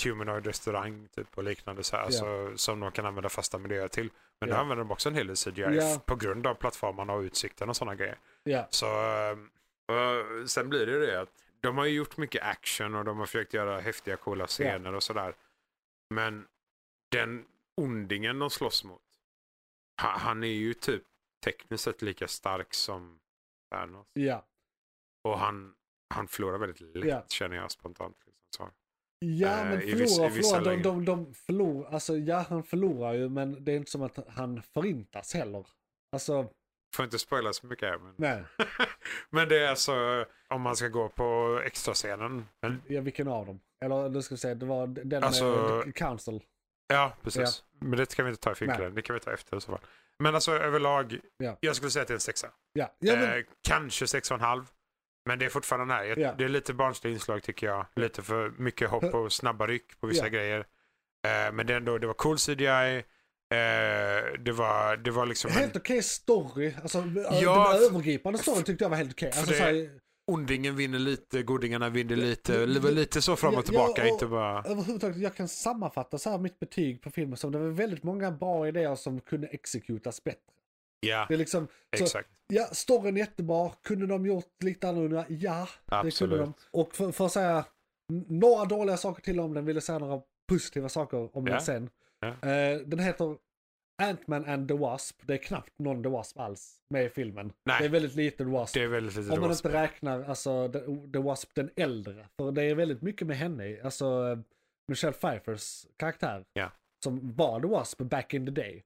C: humanoid restaurang typ och liknande så här,
B: Ja.
C: så, som de kan använda fasta miljöer till. Men
B: Ja.
C: då använder de också en hel del CGI
B: Ja.
C: på grund av plattformarna och utsikten och sådana grejer.
B: ja.
C: Så, eh, eh, sen blir det ju det att de har ju gjort mycket action och de har försökt göra häftiga coola scener och sådär. Men den ondingen de slåss mot, ha- han är ju typ tekniskt sett lika stark som Thanos.
B: ja.
C: Och han, han förlorar väldigt lätt
B: Ja.
C: känner jag spontant. Liksom. Så,
B: Ja,
C: Eh,
B: men
C: i vissa-
B: förlora,
C: i vissa
B: förlora. De,
C: lägen.
B: de, de förlorar, alltså ja, han förlorar ju, men det är inte som att han förintas heller. Alltså,
C: får inte spoila så mycket här. Men,
B: nej,
C: <laughs> men det är alltså om man ska gå på extrascenen. Men,
B: ja, vilken av dem? Eller nu ska vi säga, det var den eh,
C: Alltså-
B: med The Council.
C: ja, precis. Men det kan vi inte ta i filmkläder. Det kan vi ta efter i så fall. Men alltså överlag,
B: Ja.
C: jag skulle säga att det är en sexa.
B: Ja, ja men,
C: eh, kanske sex och en halv. Men det är fortfarande här. Jag,
B: Ja.
C: Det är lite barnsliga inslag tycker jag. Lite för mycket hopp
B: <laughs>
C: och snabba ryck på vissa
B: Ja.
C: grejer. Eh, men det, är ändå, det var cool CGI. Eh, det, var, det var liksom en
B: helt okej story. Alltså, den
C: för-
B: övergripande storyn tyckte jag var helt okej. Alltså,
C: det-
B: så här,
C: Ondingen vinner lite, godingarna vinner
B: ja,
C: lite. Det var lite så fram
B: ja,
C: och tillbaka,
B: ja, och-
C: inte bara...
B: överhuvudtaget, jag kan sammanfatta så här mitt betyg på filmen som det var väldigt många bra idéer som kunde exekutas bättre.
C: Ja,
B: Det är liksom, så,
C: exakt.
B: Ja, storyn är jättebra. Kunde de gjort lite annorlunda? Ja, det kunde
C: Absolut.
B: de. Och för, för att säga n- några dåliga saker till om den, ville säga några positiva saker om
C: Ja.
B: den sen.
C: Ja.
B: Eh, den heter Ant-Man and the Wasp. Det är knappt någon The Wasp alls med i filmen.
C: Nej.
B: Det är väldigt lite The Wasp.
C: Det är väldigt lite
B: om man
C: roligt.
B: inte räknar alltså, The, The Wasp den äldre. För det är väldigt mycket med henne, i, alltså eh, Michelle Pfeiffers karaktär.
C: Ja.
B: Som var The Wasp back in the day.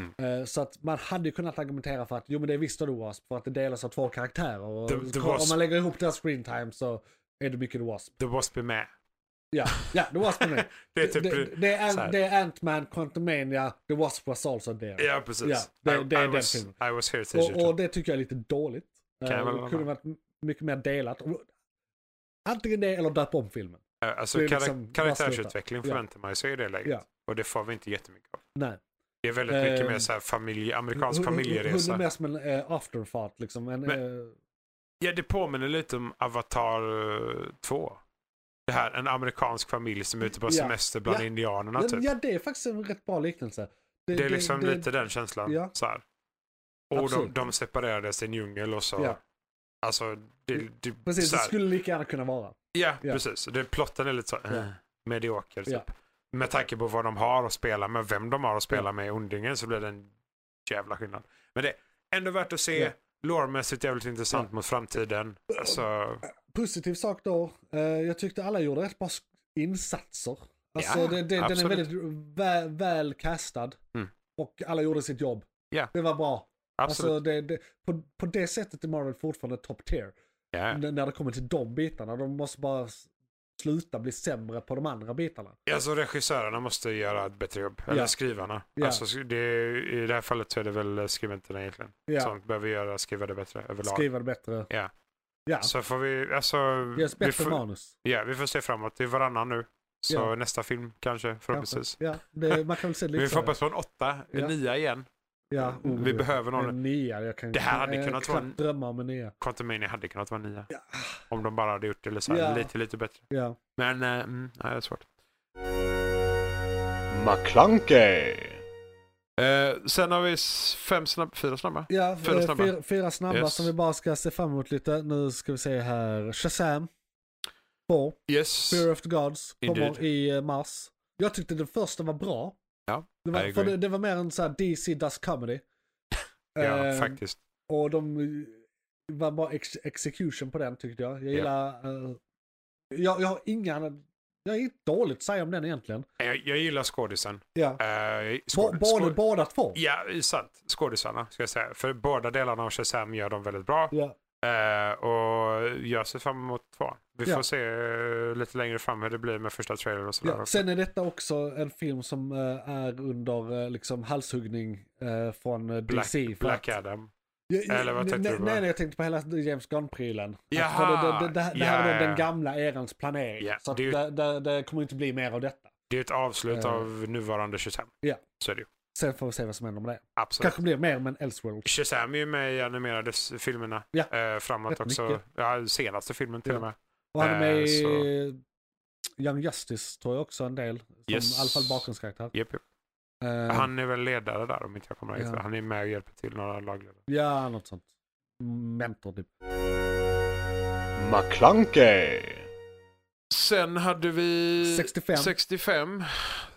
C: Mm.
B: Eh, Så att man hade ju kunnat argumentera för att jo men det är visst The Wasp för att det delas av två karaktärer. Och
C: The- The
B: om
C: Wasp-
B: man lägger ihop deras screen time så är det mycket The Wasp.
C: The Wasp är med.
B: Ja, ja The Wasp är med.
C: <laughs> Det är typ...
B: det, det, är,
C: så
B: Ant-
C: här.
B: det är Ant-Man, Quantumania, The Wasp was also there.
C: Ja, precis.
B: Ja, det- det är
C: I, I,
B: den
C: was,
B: filmen.
C: I was here teacher.
B: Och, och det tycker jag är lite dåligt. Eh,
C: Kan jag väl
B: Det kunde
C: hålla
B: varit m- mycket mer delat. Och- Antingen det eller döpa om filmen.
C: Eh, alltså,
B: det är
C: karak-
B: liksom
C: karaktärsutveckling
B: bara sluta.
C: förväntar man sig i det läget.
B: Ja.
C: Och det får vi inte jättemycket av.
B: Nej.
C: Det är väldigt mycket
B: Eh,
C: mer så här familj, amerikansk
B: Hon- hon- Hon
C: familjeresa.
B: är mer som en eh, afterthought liksom. En,
C: Men-
B: eh,
C: Ja, det påminner lite om Avatar eh, 2. Det här, en amerikansk familj som är ute på
B: Ja.
C: semester bland
B: Ja.
C: indianerna
B: ja,
C: typ.
B: ja, det är faktiskt en rätt bra liknelse.
C: Det är liksom lite den känslan.
B: ja.
C: Så här. Och de,
B: Absolut.
C: de separerades i en djungel och så.
B: Ja.
C: Alltså, det, det,
B: Precis,
C: så
B: det
C: här.
B: skulle lika gärna kunna vara.
C: Ja,
B: ja.
C: precis. Det, plotten är lite så eh,
B: Ja.
C: medioker. Typ.
B: Ja.
C: Med tanke på vad de har att spela med, vem de har att spela med i Ondingen så blir det en jävla skillnad. Men det är ändå värt att se.
B: Ja.
C: Lårmässigt jävligt intressant mot framtiden. Alltså,
B: Positiv sak då, eh, jag tyckte alla gjorde rätt bra sk- insatser. Alltså
C: Ja,
B: det, det, den är
C: absolut.
B: väldigt väl, väl castad.
C: Mm.
B: Och alla gjorde sitt jobb.
C: Ja.
B: Det var bra.
C: absolut.
B: Alltså det, det, på, på det sättet är Marvel fortfarande top tier.
C: ja.
B: N- När det kommer till de bitarna. De måste bara s- sluta bli sämre på de andra bitarna.
C: Alltså regissörerna måste göra ett bättre jobb. Eller
B: Ja.
C: skrivarna.
B: Ja.
C: Alltså, det, I det här fallet så är det väl skribenterna egentligen.
B: Ja.
C: Som behöver göra, skriva det bättre överlag.
B: Skriva det bättre.
C: Ja.
B: Ja,
C: Så får vi, alltså,
B: ge oss
C: vi,
B: bättre
C: får,
B: manus.
C: ja, vi får se framåt. Det är varannan nu. Så
B: Ja.
C: nästa film kanske förhoppningsvis.
B: Kanske. Ja, det, man kan väl se
C: <laughs>
B: lite
C: Vi
B: så
C: får
B: här.
C: hoppas på en åtta, en
B: Ja.
C: nia igen.
B: Ja, oh,
C: Vi
B: ja.
C: behöver någon-
B: En nia. Jag kan,
C: Det här hade
B: jag
C: kunnat
B: knappt
C: vara en-
B: drömma om en nia.
C: Quantumania hade kunnat vara nia.
B: Ja.
C: Om de bara hade gjort det eller så här,
B: Ja.
C: lite, lite bättre.
B: Ja.
C: Men, eh, mm, nej, det är svårt.
D: McClunkey.
C: Eh, sen har vi s- fem snabba, fyra snabba.
B: Ja,
C: Fyra
B: eh,
C: snabba.
B: Fyra, fyra snabba
C: Yes.
B: som vi bara ska se fram emot lite. Nu ska vi se här. Shazam. Två.
C: Yes.
B: Fear of the Gods kommer
C: Indeed.
B: i eh, mars. Jag tyckte den första var bra.
C: Ja,
B: det
C: I
B: var,
C: agree.
B: för det, det var mer en sån här DC Does Comedy.
C: <laughs> Ja,
B: Ehm,
C: faktiskt.
B: Och de eh, var bara ex execution på den tyckte jag. Jag gillar... eh, jag, jag har inga... annan- Jag har inget dåligt att säga om den egentligen.
C: Eh, Jag, jag gillar skådisen.
B: Ja.
C: Eh, jag-
B: Bo,
C: skåd-
B: både
C: skåd-
B: båda två.
C: Ja, det är sant. Skådisarna, ska jag säga. För båda delarna av Shazam gör de väldigt bra.
B: Ja.
C: Eh, och jag ser fram emot tvåan. Vi
B: Ja.
C: får se eh, lite längre fram hur det blir med första trailern och sådär.
B: Ja,
C: också.
B: sen är detta också en film som eh, är under eh, liksom, halshuggning eh, från eh,
C: Black,
B: DC. för
C: Black
B: att-
C: Adam.
B: Ja, ja,
C: Eller vad tänkte
B: nej,
C: du på?
B: nej, nej, jag tänkte på hela James Gunn-prylen. Att
C: Jaha!
B: Det, det, det, det, det här
C: Ja,
B: är då
C: ja,
B: den
C: ja.
B: gamla erans planering.
C: Ja,
B: så att
C: det är
B: det,
C: ju-
B: det, det, kommer inte bli mer av detta.
C: Det är ett avslut
B: Eh.
C: av nuvarande Shazam.
B: Ja.
C: Så är det ju.
B: Sen får vi se vad som händer med det.
C: Absolut.
B: Kanske blir mer men Elseworld.
C: Shazam är ju med i animerade s- filmerna
B: Ja,
C: eh, framåt
B: rätt
C: också.
B: mycket.
C: Ja, senaste filmen till
B: Ja.
C: och med.
B: Och han är med
C: Eh,
B: i
C: så-
B: Young Justice tror jag också en del. Som
C: Yes.
B: i alla fall bakgrundskaraktär.
C: Japp, japp.
B: Eh,
C: Han är väl ledare där om inte jag kommer ihåg.
B: Ja.
C: Ja. Han är med och hjälper till några lagledare.
B: Ja, något sånt. Mentor typ.
D: McClunkey.
C: Sen hade vi
B: 65.
C: 65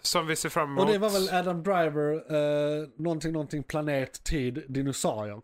C: som vi ser fram emot.
B: Och det var väl Adam Driver, eh, någonting, någonting, planet, tid, dinosaurier.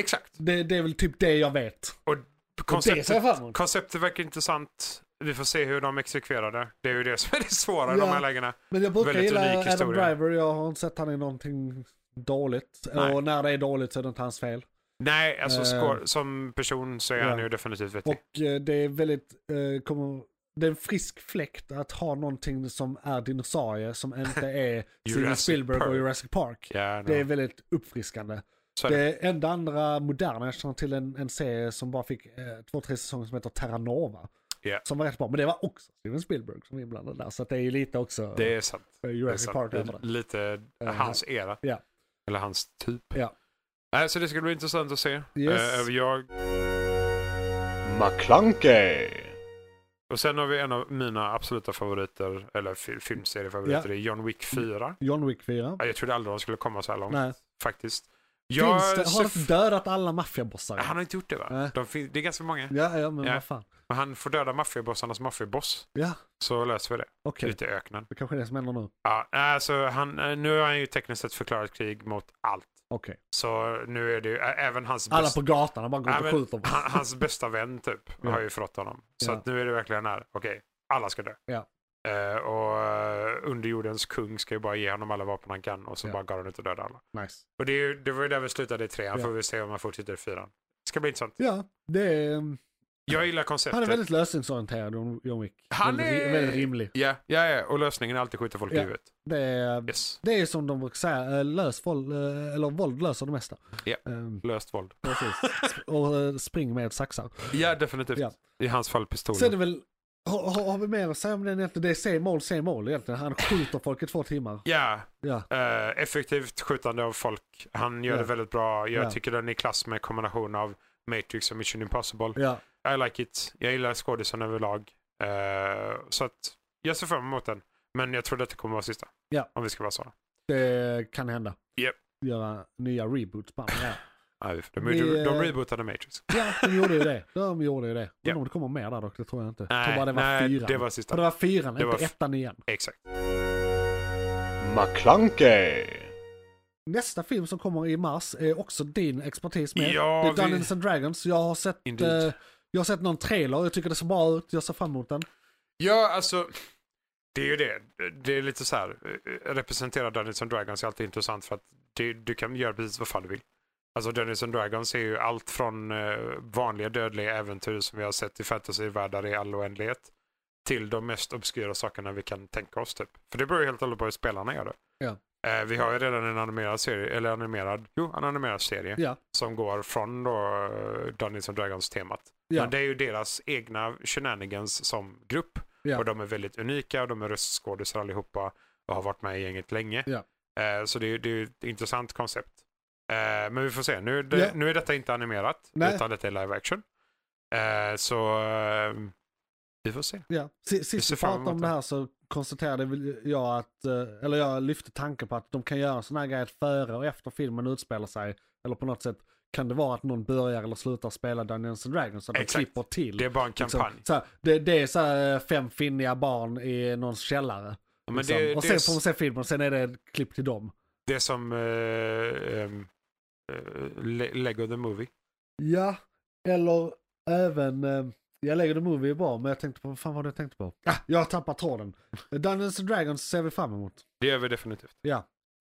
C: Exakt.
B: Det, det är väl typ det jag vet. det ser jag
C: Konceptet,
B: fram emot.
C: konceptet verkar intressant. Vi får se hur de exekverar det. Det är ju det som är det svåra i
B: Ja.
C: de här lägena.
B: Men jag brukar
C: Väldigt
B: gilla
C: unik
B: Adam
C: historia.
B: Driver, jag har inte sett han i någonting dåligt.
C: Nej.
B: Och när det är dåligt så är det inte hans fel.
C: Nej, alltså
B: Eh.
C: skå- som person så är han
B: Ja.
C: ju definitivt vettig.
B: Och eh, det är väldigt, eh, kommer, det är en frisk fläkt att ha någonting som är dinosaurie som
C: <laughs>
B: inte är Steven
C: Jurassic
B: Spielberg och
C: Park.
B: Jurassic Park.
C: Ja,
B: Det är
C: det,
B: väldigt uppfriskande.
C: så är det.
B: Det enda andra moderna, jag känner till en, en serie som bara fick eh, två, tre säsonger som heter Terra Nova.
C: Ja.
B: Som var rätt bra, men det var också Steven Spielberg som var inblandad där. Så att det är ju lite också
C: det är sant.
B: eh,
C: Det är
B: Jurassic
C: sant.
B: Park
C: Det
B: över
C: är
B: det.
C: lite
B: Eh,
C: hans era.
B: ja.
C: Eller hans typ.
B: Ja.
C: Nej, så det ska bli intressant att se.
B: Yes.
C: Eh, jag,
D: McClunkey.
C: och sen har vi en av mina absoluta favoriter, eller fi- filmseriefavoriter,
B: Ja.
C: det är John Wick 4.
B: John Wick 4.
C: Ja, Jag trodde aldrig de skulle komma så här långt
B: Nej.
C: faktiskt. Jag
B: Finns det,
C: ser
B: har de
C: f-
B: dödat alla maffiabossar?
C: Han har inte gjort det va?
B: Nej.
C: De fin- det är ganska många.
B: Ja, ja, men
C: Ja.
B: vad fan.
C: Men han får döda maffiabossarnas maffiaboss.
B: Ja,
C: Så löser vi det.
B: okej.
C: Ute i öknen.
B: Det kanske är det som händer nu.
C: Ja, alltså, han, eh, nu har han ju tekniskt sett förklarat krig mot allt.
B: Okej.
C: Så nu är det ju ä- även hans
B: Alla
C: bästa,
B: på gatan har bara gått
C: Ja,
B: och
C: men
B: skjuter. på-
C: han,
B: <laughs>
C: hans bästa vän typ
B: Ja.
C: har ju förrått honom. Så
B: Ja.
C: att nu är det verkligen här, okej, alla ska dö.
B: Ja.
C: Eh, och eh, underjordens kung ska ju bara ge honom alla vapen han kan och så
B: Ja.
C: bara går han ut och dödar alla.
B: Nice.
C: Och det, är ju, det var ju där vi slutade i trean,
B: Ja.
C: får vi se om han fortsätter i fyran. Ska bli intressant.
B: Ja, det är, mm,
C: Jag gillar konceptet.
B: han är väldigt lösningsorienterad, John- John Wick.
C: Han
B: Väldigt,
C: är-
B: väldigt rimlig.
C: Ja, ja, ja, och lösningen är alltid skjuta folk i
B: Ja.
C: huvudet.
B: Det är,
C: Yes.
B: det är som de brukar säga, eh, lös våld, eh, eller våld löser det mesta.
C: Ja.
B: Eh,
C: Löst våld.
B: Precis. Sp- Och eh, spring med saxar.
C: Ja, definitivt.
B: Ja.
C: I hans fall pistolen.
B: Sen är det väl, har, har, har vi mer att säga om den egentligen? Det är same mål, same all egentligen. Han skjuter folk i två timmar.
C: Ja,
B: Ja,
C: eh, effektivt skjutande av folk. Han gör
B: Ja.
C: det väldigt bra. Jag
B: Ja.
C: tycker den är i klass med kombination av Matrix och Mission Impossible.
B: ja,
C: I like it. Jag gillar skådisen överlag. Eh, så att jag ser fram emot den. Men jag tror att det kommer vara sista.
B: Ja.
C: Om vi ska vara sådana.
B: det kan hända.
C: Japp.
B: Göra nya reboots bara. Ja.
C: Nej, vi får- de,
B: Vi, eh,
C: de rebootade Matrix.
B: ja, de gjorde ju det. De gjorde ju det. Undrar
C: Ja.
B: om det kommer mer där dock, det tror jag inte. jag tror
C: Nej,
B: bara det var
C: nej
B: fyran.
C: det var
B: För
C: sista.
B: det var fyran,
C: Det var
B: inte
C: f-
B: ettan igen.
C: Exakt.
D: McClunkey.
B: Nästa film som kommer i mars är också din expertis med.
C: Ja,
B: det är
C: vi-
B: Dungeons and Dragons. Jag har sett,
C: Indeed.
B: eh, jag har sett någon trailer, jag tycker det ser bra ut, jag ser fram emot den.
C: Ja, alltså. Det är ju det. Det är lite så här. eh, Representera Dungeons and Dragons är alltid intressant för att du, du kan göra precis vad fan du vill. Alltså Dungeons and Dragons är ju allt från eh, vanliga dödliga äventyr som vi har sett i fantasyvärldar i all oändlighet till de mest obskyra sakerna vi kan tänka oss typ. För det beror ju helt och hållet på hur spelarna gör det.
B: Ja.
C: Eh, vi har ju redan en animerad serie, eller animerad, jo, en animerad serie
B: Ja.
C: som går från då eh, Dungeons and Dragons temat.
B: Ja.
C: Men det är ju deras egna shenanigans som grupp.
B: Ja.
C: Och de är väldigt unika och de är röstskådisar allihopa och har varit med i gänget länge.
B: Ja.
C: Eh, så det, är- det är ju ett intressant koncept. Eh, men vi får se. Nu, är det,
B: Ja.
C: nu är detta inte animerat,
B: Nej.
C: utan detta är live action. Eh, så eh, vi får se.
B: Ja. Si-
C: Vi
B: Sist
C: ser
B: vi
C: fram
B: pratade om
C: emot
B: det
C: det.
B: här så konstaterade väl jag att, eh, eller jag lyfte tanken på att de kan göra en sån här grej att före och efter filmen utspelar sig, eller på något sätt kan det vara att någon börjar eller slutar spela Dungeons and Dragons så att de
C: Exakt.
B: klipper till.
C: Det är bara en
B: liksom.
C: kampanj.
B: Så här, det, det är så här eh, fem finniga barn i någons källare.
C: Ja, men
B: liksom.
C: det,
B: och
C: det,
B: sen
C: är
B: får man
C: s-
B: se filmen, sen är det ett klipp till dem.
C: det är som eh, ehm, eh, Le- Lego the Movie.
B: Ja, eller även, eh, jag lägger The Movie är bra, men jag tänkte på, vad fan var det jag tänkte på? Ah, jag tappar tråden. Dungeons and Dragons ser vi fram emot.
C: Det gör vi definitivt.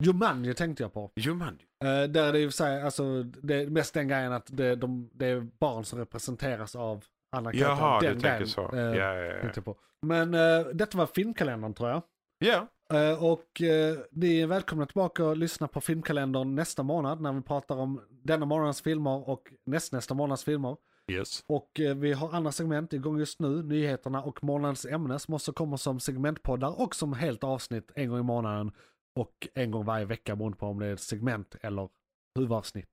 B: Jumanji tänkte jag på.
C: Jumanji.
B: Eh, där är det i och för sig, alltså, det är mest den grejen att det, de, det är barn som representeras av andra
C: Jaha,
B: karaktärer.
C: du
B: Den
C: tänker
B: grejen,
C: så.
B: eh,
C: Ja, ja, ja.
B: tänkte jag på. Men eh, detta var filmkalendern tror jag.
C: ja.
B: Eh, och eh, ni är välkomna tillbaka och lyssna på filmkalendern nästa månad när vi pratar om denna månadens filmer och nästnästa månads filmer.
C: Yes.
B: Och eh, vi har andra segment igång just nu, nyheterna och månadens ämne som också kommer som segmentpoddar och som helt avsnitt en gång i månaden och en gång varje vecka beroende på om det är ett segment eller huvudavsnitt.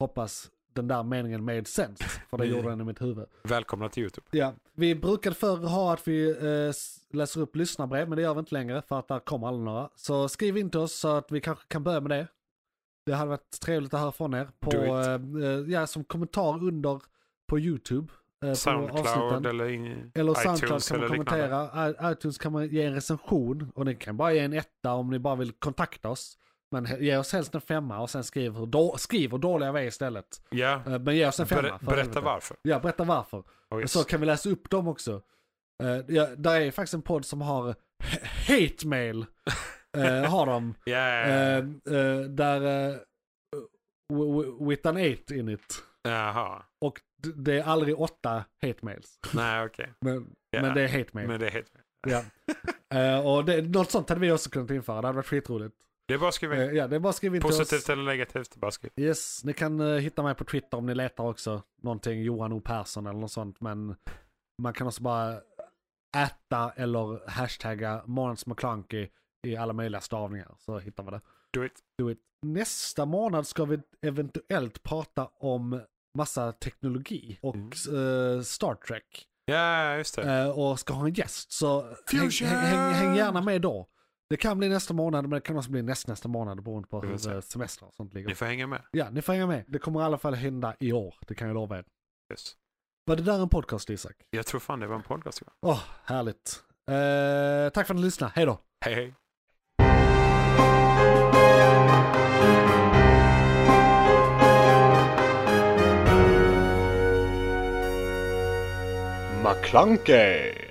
B: Hoppas den där meningen made sense, för det gjorde den i mitt huvud.
C: Välkomna till YouTube.
B: Ja, vi brukade förr ha att vi eh, s- läser upp lyssnarbrev, men det gör vi inte längre för att där kommer aldrig några. Så skriv in till oss så att vi kanske kan börja med det. Det hade varit trevligt att höra från er. På,
C: Do it.
B: eh, eh, ja, som kommentar under på YouTube. eh, på
C: Soundcloud
B: avsnitten.
C: eller, in,
B: Eller Soundcloud
C: iTunes
B: kan man
C: eller liknande.
B: kommentera. I- iTunes kan man ge en recension. Och ni kan bara ge en etta om ni bara vill kontakta oss. Men he- ge oss helst en femma och sen skriv hur, då, skriv hur dåliga vi är istället.
C: Ja.
B: Eh, Men ge oss en femma.
C: Ber,
B: för
C: berätta
B: helvete.
C: varför.
B: Ja, berätta varför.
C: Oh,
B: Och
C: yes.
B: så kan vi läsa upp dem också. Eh, ja, där är faktiskt en podd som har h- hate mail. Eh,
C: <laughs>
B: har de.
C: Ja,
B: Eh, eh, där eh, w- w- with an eight in it.
C: Jaha.
B: Och d- det är aldrig åtta hate mails.
C: Nej, okej.
B: Men,
C: Ja,
B: men det är hate mail.
C: Men det är helt... <laughs>
B: Ja. Eh, och det, något sånt hade vi också kunnat införa. Det hade varit skitroligt.
C: Det är bara att skriva in.
B: Eh, ja, det är bara skriv in till
C: Positivt
B: oss.
C: eller negativt, bara skriv.
B: Yes, ni kan eh, hitta mig på Twitter om ni letar också. Någonting Johan O Persson eller något sånt. Men man kan också bara äta eller hashtagga Månads McClunky i alla möjliga stavningar. Så hittar man det.
C: Do it.
B: Do it. Nästa månad ska vi eventuellt prata om massa teknologi och eh, Star Trek.
C: Mm. Ja, just det.
B: Eh, och ska ha en gäst. Så häng,
C: Fusion!
B: häng, häng gärna med då. Det kan bli nästa månad, men det kan också bli näst, nästa månad beroende på
C: Vi får
B: hur
C: se.
B: eh, semester och sånt
C: Ni
B: ligger.
C: får hänga med.
B: Ja, ni får hänga med. Det kommer i alla fall hända i år, det kan jag lova er.
C: Yes.
B: Var det där en podcast, Isak?
C: Jag tror fan det var en podcast. igår.
B: Åh, härligt. Eh, tack för att ni lyssnade, hej då!
C: Hej, hej.
D: McClunkey!